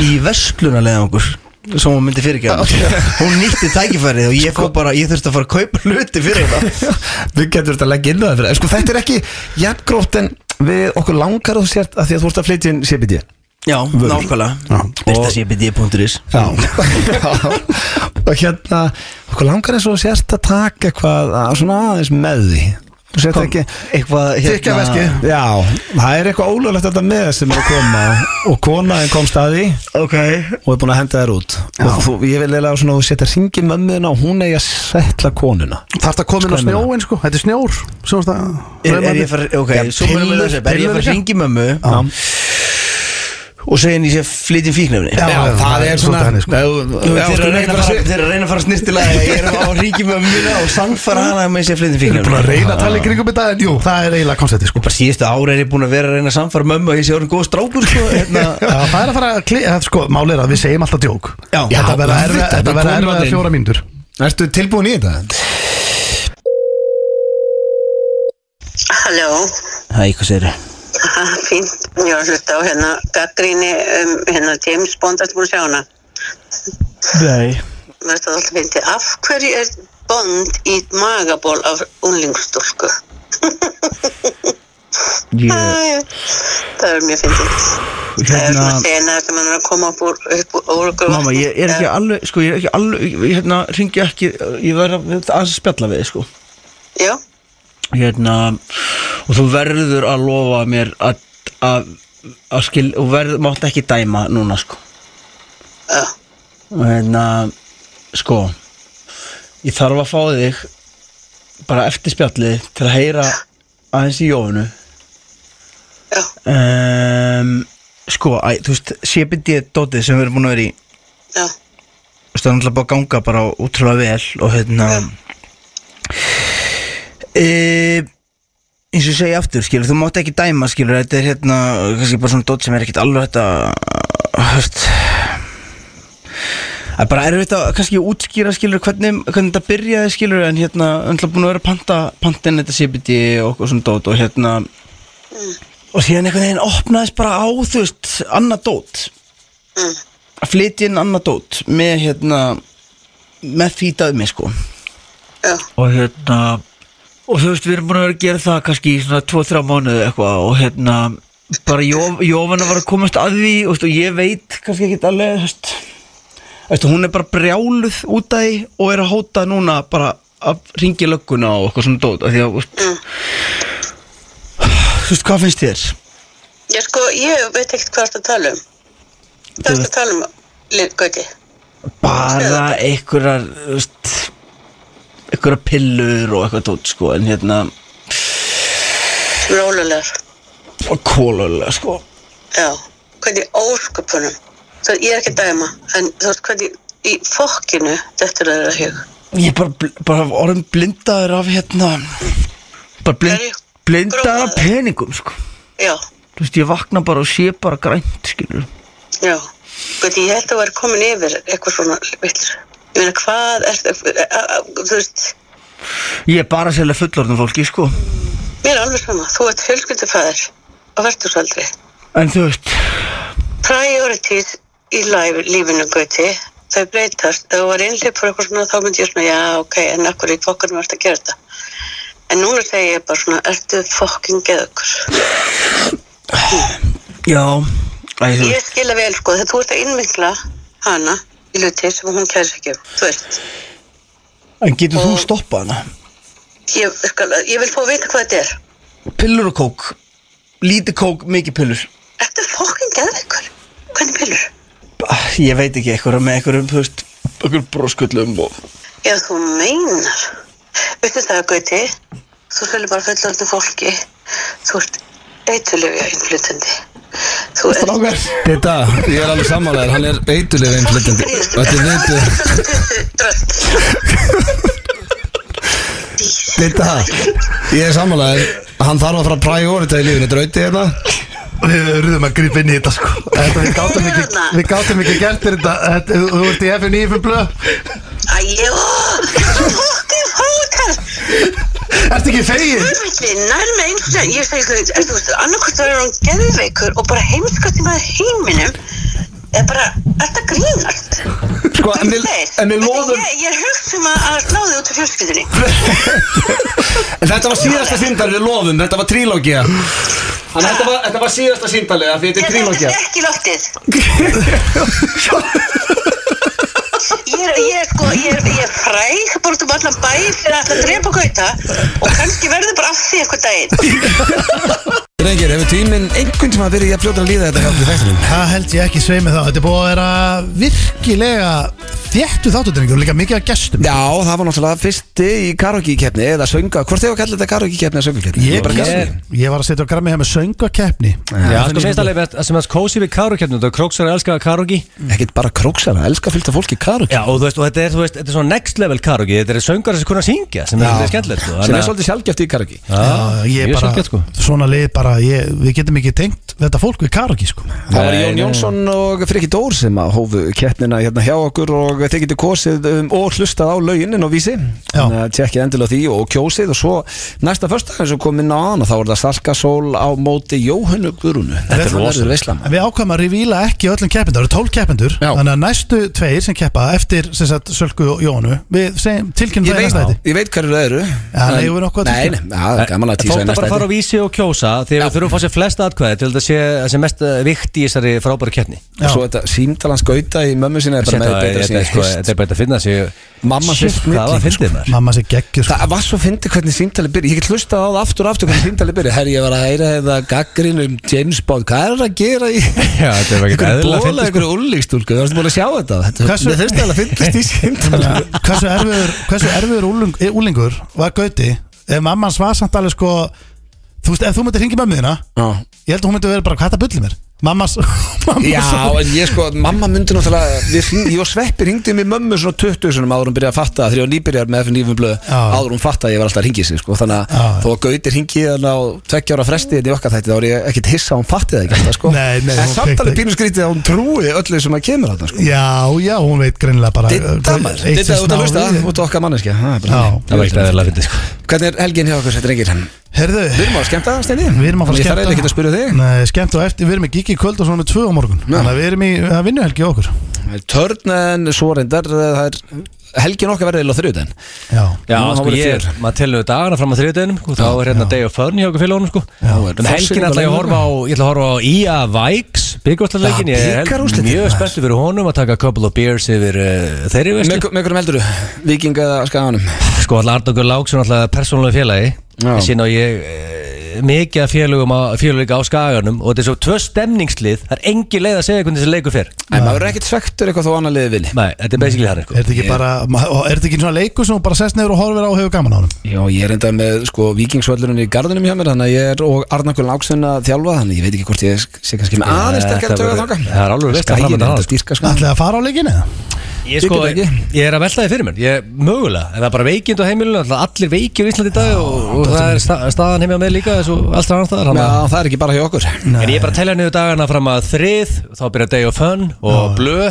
Speaker 10: í vestlunarleðangur sem hún myndi fyrirgefa okay. hún nýtti tækifærið og ég, sko, bara, ég þurfti að fara að kaupa hluti fyrir það
Speaker 1: Við getur þetta að leggja inn á það fyrir sko, Þetta er ekki jafngrótt en við okkur langar og sért að því að þú ert að flytja inn CBD
Speaker 10: Já, nákvæmlega Byrtasébidi.is
Speaker 1: Já Og hérna, okkur langar eins og sérst að taka eitthvað að- svona aðeins með því Þú sért ekki
Speaker 10: Eitthvað
Speaker 2: hérna-
Speaker 3: Þykja veskið.
Speaker 1: Hérna- Já, það er eitthvað ólöflegt þetta með sem er að koma og konaðin kom staði
Speaker 10: Ok
Speaker 1: og er búin að henda þér út og þú, ég vil eiginlega svona að þú setja hringi mömmuðina og hún eigi að setla konuna
Speaker 3: Þarf það að koma inn á
Speaker 1: Skoðum
Speaker 3: snjóin sko, þetta er snjór Svo er
Speaker 10: Er, er ég far, ok,
Speaker 1: Já,
Speaker 10: svo mörgum við
Speaker 1: pillur-
Speaker 10: þessu Er ég
Speaker 1: pillur
Speaker 10: far
Speaker 1: líka?
Speaker 10: hringi mömmu
Speaker 1: Já.
Speaker 10: og segja henni að ég sé flytjum fíknefni
Speaker 3: Já, já,
Speaker 1: það er svona
Speaker 3: svolítið þannig, sko.
Speaker 10: Jú, Þeir eru að reyna að fara-
Speaker 1: Þeir
Speaker 10: þeir eru að reyna að fara snirtilega Ég er á ríkjum með mjög og sangfara hana um með sér flytjum
Speaker 3: Ég er búin
Speaker 10: fíknefni
Speaker 3: að reyna að tala í kringum þetta En jú, það er eiginlega konceptið sko
Speaker 10: Bara síðustu ára er ég búin að vera að reyna að samfara mömmu og ég sé orðin góð strákur sko hérna,
Speaker 3: Já, það er að fara að kliða, sko, málið er að við segjum alltaf djók
Speaker 10: Já.
Speaker 3: Þetta
Speaker 1: Já,
Speaker 3: verða erfið-
Speaker 1: auðvitað,
Speaker 3: þetta
Speaker 1: við
Speaker 3: verða
Speaker 1: komum
Speaker 3: erfið
Speaker 1: þarna
Speaker 3: að
Speaker 1: inn.
Speaker 3: fjóra mínútur
Speaker 1: Ertu tilbúin í þetta?
Speaker 11: Halló,
Speaker 10: Hæ, hvað segir þau?
Speaker 11: Ha, fínt, ég var að hluta á hérna gaggríni um hérna James Bond, ertu búin að sjá hana?
Speaker 10: Nei
Speaker 11: Mér finnst það alltaf fyndi, af hverju er Bond í magaból af unlingstúlku?
Speaker 10: Ég,
Speaker 11: Æ, Það er mjög fyndið. Það er svona
Speaker 10: hérna
Speaker 11: sena sem hann er að koma upp úr, upp úr, úr okkur.
Speaker 10: Mamma, ég er ekki alveg, sko, ég er ekki alveg, ég- hérna, ringi ekki, ég verð að að spjalla við, þig, sko.
Speaker 11: Já,
Speaker 10: hérna og þú verður að lofa mér að, að, að skil og verður, mátt ekki dæma núna sko
Speaker 11: já,
Speaker 10: og hérna sko ég þarf að fá þig bara eftir spjallið til að heyra aðeins í jófunu
Speaker 11: já,
Speaker 10: um, sko, æ, þú veist CBD dótið sem við erum búin að vera í
Speaker 11: já,
Speaker 10: þú veist, það er náttúrulega bara að ganga bara útrúlega vel og hérna e, eins og ég segi aftur, skilur, þú mátt ekki dæma skilur, þetta er hérna, kannski bara svona dót sem er ekkert alveg þetta höst Það er bara erfitt að kannski útskýra skilur hvernig, hvernig þetta byrjaði skilur en hérna, öndla búin að vera að panta pantin þetta CBD og, og svona dót og hérna og síðan einhvern veginn opnaðist bara á þú veist, annað dót að flytja inn annað dót með hérna með því dæmi sko
Speaker 11: já,
Speaker 10: og hérna og þú veist við erum búin að vera að gera það kannski í svona 2-3 mánuði eitthvað og hérna bara Jóf, Jófana var að komast að því og, veist, og ég veit kannski ekkert alveg þú veist, Þú veist, hún er bara brjáluð út af því og er að hóta núna bara að ringi lögguna og eitthvað svona dót af því að,
Speaker 11: Mm.
Speaker 10: þú veist, þú veist hvað finnst þér?
Speaker 11: ég sko, ég veit ekkert hvað það tala um. Það er að tala um, Liv Gauti.
Speaker 10: bara einhverjar þú veist, einhverjar pillur og eitthvað tótt sko en hérna
Speaker 11: Rólulegar,
Speaker 10: og kólulega sko
Speaker 11: já, hvernig ósköpunum. Það ég er ekki að dæma, en þú veist hvernig í fokkinu þetta er það að huga.
Speaker 10: ég er bara, bl- bara orðin blindaður af hérna bara
Speaker 11: Hverju?
Speaker 10: blind, blindaður af
Speaker 11: Grófaður?
Speaker 10: peningum sko
Speaker 11: Já,
Speaker 10: þú veist ég vakna bara og sé bara grænt skilur
Speaker 11: já. Hvernig ég held að vera komin yfir eitthvað svona vitlis. Ég meina, hvað er þetta, þú veist,
Speaker 10: ég er bara sérlega fullorðin fólki sko
Speaker 11: mér er alveg sama. Þú ert fjölskyldufæðir á verðursaldri.
Speaker 10: en þú veist
Speaker 11: Priorities í life, lífinu gauti, þau breytast. Ef þú var einhleipur eitthvað svona, þá myndi ég svona, já, ok, en akkur í fokkanum ert að gera þetta. En núna segi ég bara svona, ertu fokkin geðugur.
Speaker 10: já Æ, þú
Speaker 11: Ég
Speaker 10: veist,
Speaker 11: skila vel sko þegar þú ert að innmyndla hana í hluti sem hún kærir sig ekki um. Þú veist,
Speaker 10: en getur þú
Speaker 11: Og-
Speaker 10: stoppað hana?
Speaker 11: ég, skal, ég vil fá að vita hvað þetta er.
Speaker 10: Pillur og kók Lítið kók, mikið pillur
Speaker 11: Ertu fokkin geðveikur? Hvernig pillur?
Speaker 10: Ah, Ég veit ekki, eitthvað með eitthvað um, þú veist Okkur broskullum og
Speaker 11: Já, þú meinar. Veistu það, Gauti? Þú fylgir bara fullorðinu fólki. Þú ert eitulefja innflutandi. Þú ert...
Speaker 1: Þetta, ég er alveg sammálaður, hann er eituleg einflutandi Þetta er viðbjörn
Speaker 11: Dröld.
Speaker 1: Þetta, ég er sammálaður Hann þarf að fara að priorita í lífinu Drauti hérna
Speaker 3: Við erum að grípa inn í þetta sko þetta, Við gátum ekki, við gátum ekki gert þér þetta þetta, Þú þú ert í FNI fyrir blöð
Speaker 11: Æjó, fokkin hótar.
Speaker 3: Ertu ekki fegin?
Speaker 11: Nær með eins og sem ég segi þú veist, þú veist, annarkvæmt verður hann geðveikur og bara heimskast í maður heiminum er bara, þetta grínast
Speaker 1: Sko, en við, en við
Speaker 11: Veistu,
Speaker 1: loðum
Speaker 11: ég, ég er hugsum að að slá þig út af fjölskyldinni
Speaker 1: En þetta var síðasta síndal við loðum, þetta var trílógia Þannig að þetta var, þetta var síðasta síndalið af Því þetta
Speaker 11: ég
Speaker 1: er
Speaker 11: þetta
Speaker 1: trílógia
Speaker 11: er ekki loftið Ég er, ég er sko, ég er, ég er fræg bara út um allan bæ fyrir að ætla að drepa gauta og kannski verður bara af því eitthvað daginn
Speaker 1: Drengir, hefur tíminn einhvern tíma verið ég að fljóta að líða þetta hjá því þættinum
Speaker 3: Það held ég ekki sveimi þá Þetta er búið að vera virkilega þéttu þáttutrengur, líka mikið að gestum
Speaker 1: Já, það var náttúrulega fyrsti í karaoke-keppni eða sönga, hvort þau að kalla þetta karaoke-keppni eða söngakeppni?
Speaker 3: Ég, ég, ég var að setja á grammi hér með söngakeppni
Speaker 2: Já, sko finnst alveg að- sem að kósi við karokjörnum og króksara elska karokji
Speaker 1: Mm. Ekkert bara króksara, elska fylgta fólki karokji
Speaker 2: Já, og þú veist, og þetta er, þú veist, þetta er svona next level karokji Þetta er söngar sem kunna syngja, sem er
Speaker 1: Já.
Speaker 2: svolítið skemmtilegt sko.
Speaker 1: Sem er
Speaker 2: Þannig að-
Speaker 1: svolítið sjálfgeft í karaoke
Speaker 2: Já,
Speaker 3: Ég
Speaker 2: mjög
Speaker 3: bara,
Speaker 2: sjaldgæft, sko.
Speaker 3: svona lið bara ég, Við getum ekki tengt þetta fólk við karaki sko.
Speaker 1: Það var Jón Jónsson og Freki Dór sem að hófu keppnina hérna hjá okkur og þið getið kosið um, og hlustað á lauginin og vísi þannig að tjekkið endilega því og kjósið og svo næsta första eins og kom inn á hana þá er það Salkasól á móti Jóhannu Guðrúnu Þetta er verður veislam
Speaker 3: En Við ákvæmum að revíla ekki öllum keppindur, það eru 12 keppindur Þannig að næstu tveir sem keppa eftir sem sagt, Sölku og Jónu Við segjum tilkynum
Speaker 1: Ég
Speaker 3: það
Speaker 1: veit,
Speaker 3: einast þetta
Speaker 1: ég veit hverju það eru
Speaker 3: Já, nei, við erum okkur að
Speaker 1: Nei,
Speaker 3: tilkynna.
Speaker 1: nei, já, það er gaman að tísa
Speaker 2: Fólk
Speaker 1: í
Speaker 2: það bara
Speaker 1: næsta
Speaker 2: að fara á
Speaker 1: þætti.
Speaker 2: vísi og kjósa því að við þurfum að fá sér flest atkvæði til þetta sé, sé mest eh, vikt í þessari frábæru keppni
Speaker 1: Og Svo þetta símtalans gauta í mömmu sinna er bara með betra
Speaker 2: Þetta
Speaker 1: sína
Speaker 2: er sko- þetta er bara að finna sig
Speaker 1: Mamma
Speaker 2: Shit,
Speaker 1: fyrst
Speaker 2: hvað var
Speaker 1: milli,
Speaker 2: fyndið maður
Speaker 3: sko. Mamma sé sko. geggjur
Speaker 1: Það var svo fyndið hvernig símtalið byrja Ég get hlustað á það aftur og aftur hvernig símtalið byrja Herri, ég var að heyra þetta gaggrin um James Bond Hvað er það að gera í
Speaker 2: Já, þetta er bara ekki eðlilega
Speaker 1: Einhver bóla,
Speaker 2: fyndið sko.
Speaker 1: einhver úrlíkstúlku Það varstu búin að sjá þetta
Speaker 3: Hversu-
Speaker 1: Það fyrst að það fyndist í símtalið
Speaker 3: Hversu erfiður, hversu erfiður úling, úlingur var Gauti Ef mamma hans var samt alveg sko Þú veist, ef þú myndir hringi mömmu þína Ég held að hún myndi vera bara, hvað það bullir mér Mammas, mammas
Speaker 1: Já, en ég sko, mamma myndi náttúrulega við hring- Ég og Sveppi ringdi mig mömmu svona 20 sunum áður hún byrjaði að fatta þegar ég var nýbyrjar með FN9 blöð
Speaker 3: Já.
Speaker 1: áður hún fatta að ég var alltaf að ringi sig sko. þannig að
Speaker 3: Já.
Speaker 1: þó að Gauti ringi þannig á 20 ára fresti þetta í okkar þætti þá er ég ekkit hissa að hún fatti það ekki alltaf, sko.
Speaker 3: Nei, nei,
Speaker 1: en
Speaker 3: hún
Speaker 1: samt
Speaker 3: fekk
Speaker 1: alveg
Speaker 3: það.
Speaker 1: pínu skrítið að hún trúi öllu sem að kemur að það sko.
Speaker 3: Já, já, hún veit greinilega bara uh,
Speaker 1: Ditta maður,
Speaker 3: eitt
Speaker 1: ditta
Speaker 3: sem
Speaker 1: út
Speaker 3: sná
Speaker 1: að hlusta
Speaker 3: í þig.
Speaker 1: út okkar manneskja Það er bara
Speaker 3: Já.
Speaker 1: þannig.
Speaker 2: Það var ekki eðlilega fyndið sko.
Speaker 1: Hvernig er helgin hjá okkur, þetta rengir? Við
Speaker 3: Herðu,
Speaker 1: erum á að skemmta, Steini
Speaker 3: við erum að fara
Speaker 1: Ég þarf eiginlega ekki að spyrja þig
Speaker 3: Nei, skemmt og eftir, við erum í gigi í kvöld og svona með tvö á morgun Þannig að við erum í að vinnuhelgi hjá okkur
Speaker 1: Það er Törn en svo reyndar eh, það er helgin okkar verðið á þriðutæn
Speaker 3: Já,
Speaker 2: Já,
Speaker 1: Nú, þá
Speaker 2: sko,
Speaker 1: voru
Speaker 2: ég,
Speaker 1: fjör.
Speaker 2: maður telur dagana fram að þriðudeginum sko, þá er hérna day of fun hjá okkur félagunum sko. En helgin ætla ég að horfa á ég ætla að horfa á Ia Vikes byggjúrstallleikin, ég er held-
Speaker 1: bikarúrslitin,
Speaker 2: mjög
Speaker 1: maður.
Speaker 2: spenntið fyrir honum að taka a couple of beers yfir uh, þeirri
Speaker 1: Með
Speaker 2: veist
Speaker 1: hver- með hverjum heldur þú? Viking eða skaganum?
Speaker 2: Sko alltaf Arnókur Láksson alltaf persónulega félagi
Speaker 1: Já.
Speaker 2: En síðan á ég e, mikið af félögum á, félögum á skaganum Og þetta er svo tvö stemningslið Það er engin leið að segja hvernig þessi leikur fer
Speaker 1: Nei, maður er ekkert svektur eitthvað þó annar liðið vilji
Speaker 2: Nei, þetta er basically það
Speaker 3: er
Speaker 2: sko.
Speaker 3: þetta ekki bara, ma- og er þetta ekki svona leikur sem hún bara sest nefur og horfir á og hefur gaman á honum
Speaker 1: Já, ég er enda með sko vikingsvöllurinn í gardunum hjá mér Þannig að ég er og Arnakul Láksson að þjálfa Þannig ég veit ekki hvort ég sé kannski með aðeins sterkar
Speaker 2: Þetta
Speaker 1: töga
Speaker 2: verður-
Speaker 1: þanga
Speaker 2: það er alveg veist að
Speaker 1: Skæin
Speaker 2: framundan á,
Speaker 1: er þetta
Speaker 2: sko.
Speaker 1: styrka sko
Speaker 3: Ætlaði að fara á leikinu eða?
Speaker 2: Ég, sko,
Speaker 1: Ég
Speaker 2: ég,
Speaker 1: get ekki.
Speaker 2: er að velta því fyrir mér ég, Mögulega, en það er bara veikind á heimilinu náttúrulega Allir veikir í Íslandi í dag Og, og það er sta, staðan heimja með líka Þessu allt annar staðar
Speaker 1: Já,
Speaker 2: þannig að-
Speaker 1: það er ekki bara hjá okkur
Speaker 2: En ég er bara að telja niður dagana fram að þrið Þá byrja day of fun og blö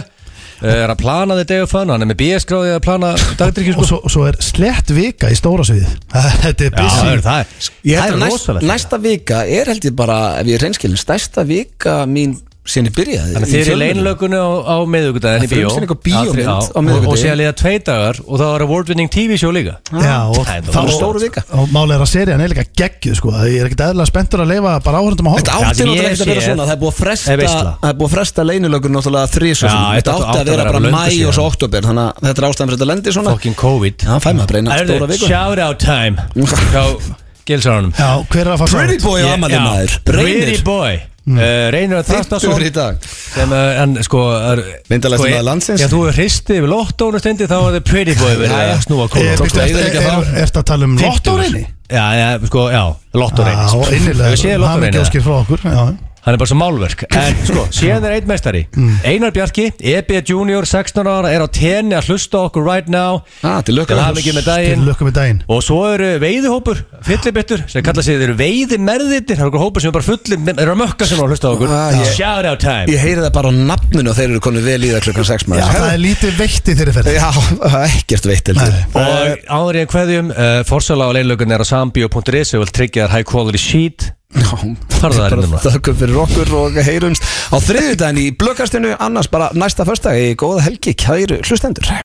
Speaker 2: Er að plana þið day of fun Hann er með BS gráði að plana dagdrykki
Speaker 3: Og svo, og svo er slett vika í stóra sviðið Þetta er
Speaker 2: sko.
Speaker 3: busy
Speaker 2: Já, það er það
Speaker 1: Ég
Speaker 2: Það er
Speaker 1: held að næst,
Speaker 2: rosalegt
Speaker 1: næsta vika er held ég bara, ef ég er reynskilin, stærsta vika mín sinni byrjaði
Speaker 2: Þannig að þið eru í leinlökunni á, á miðugudaginn í
Speaker 1: Það
Speaker 2: bíó
Speaker 1: frumsýning á bíómynd
Speaker 2: Já,
Speaker 1: á
Speaker 2: og-
Speaker 1: miðvikudaginn.
Speaker 2: Og séða liða tvei dagar og það var award-winning TV-sjó líka
Speaker 3: Já, og
Speaker 2: Það er
Speaker 3: þá-
Speaker 2: það
Speaker 1: voru stóru vika.
Speaker 3: Og málega er að serían er líka geggjuð sko Ég er ekkert eðlilega spenntur að leifa bara áhörndum að
Speaker 1: Þetta
Speaker 3: horfa
Speaker 2: Já,
Speaker 1: átti
Speaker 2: sem ég
Speaker 1: náttúrulega ekki að vera
Speaker 2: sé
Speaker 1: svona, það er búið að fresta
Speaker 2: er veisla.
Speaker 1: Það er búið að fresta leinilögur náttúrulega þrísum
Speaker 2: Já,
Speaker 1: Þetta átti að vera bara
Speaker 2: löngu
Speaker 1: mæ og svo
Speaker 2: síðan.
Speaker 1: oktober Þannig að þetta er ástæðan fyrir þetta lendi svona
Speaker 2: Fucking COVID
Speaker 1: Já, fæ maður bara eina stóra
Speaker 2: Erðu,
Speaker 1: viku
Speaker 2: shout-out time Hjá Gilsarunum
Speaker 3: Já, hver er að fara
Speaker 1: Pretty boy á amalinn maður
Speaker 2: Reynir Boy
Speaker 3: Hmm.
Speaker 2: Eh, Reynir Þrastason
Speaker 1: Þittur í dag
Speaker 2: sem eh, en sko er-
Speaker 1: Vindalegasti
Speaker 2: sko,
Speaker 1: maður
Speaker 2: eh,
Speaker 1: landsins.
Speaker 2: Já, þú hristi yfir lottónu stundi þá var það Pretty Boy verið
Speaker 1: Já, já.
Speaker 2: að snúa
Speaker 3: Ég
Speaker 2: kóla
Speaker 1: Tókstu
Speaker 3: byrstu
Speaker 1: að eyðileggja
Speaker 3: Eh, eftir
Speaker 1: þá?
Speaker 3: eftir að tala um Lottórinni
Speaker 2: Já, já, sko, já, lottóreini
Speaker 3: Já,
Speaker 2: Hefur séð
Speaker 3: innilega, hann er
Speaker 2: lottóreini
Speaker 3: gjóskir frá okkur já.
Speaker 2: Hann er bara svo málverk En sko, síðan er einn meistari
Speaker 3: Hmm.
Speaker 2: Einar Bjarki, EB Junior, 16 ára Er á tenni að hlusta á okkur right now
Speaker 1: Ah, til lukku.
Speaker 2: Til hamingi með
Speaker 3: Til
Speaker 2: daginn
Speaker 3: lukkum í daginn
Speaker 2: Og svo eru veiðihópur, fyllibittur sem kalla sig, þeir eru veiðimerðitir það eru okkur hópur sem er bara fullir, þeir eru að mökka sem á að hlusta á okkur
Speaker 1: Ah, ég-
Speaker 2: Shout out time
Speaker 1: Ég heyri það bara á nafninu og þeir eru konu vel í það klukkan 6
Speaker 3: Já,
Speaker 1: maður
Speaker 3: það er lítið veitt í þeirri ferð
Speaker 1: Já, það er ekkert veitt heldur
Speaker 3: Nei.
Speaker 2: Og áður ég hverjum, uh, forsala á leinlögun er á sambio.is og vil tryggja þær high quality sheet
Speaker 1: Já,
Speaker 2: Farðu þar inn núna.
Speaker 1: Þakkum fyrir okkur og heyrumst Á þriðudaginn í blökastinu Annars bara næsta föstdag í góða helgi Kæru hlustendur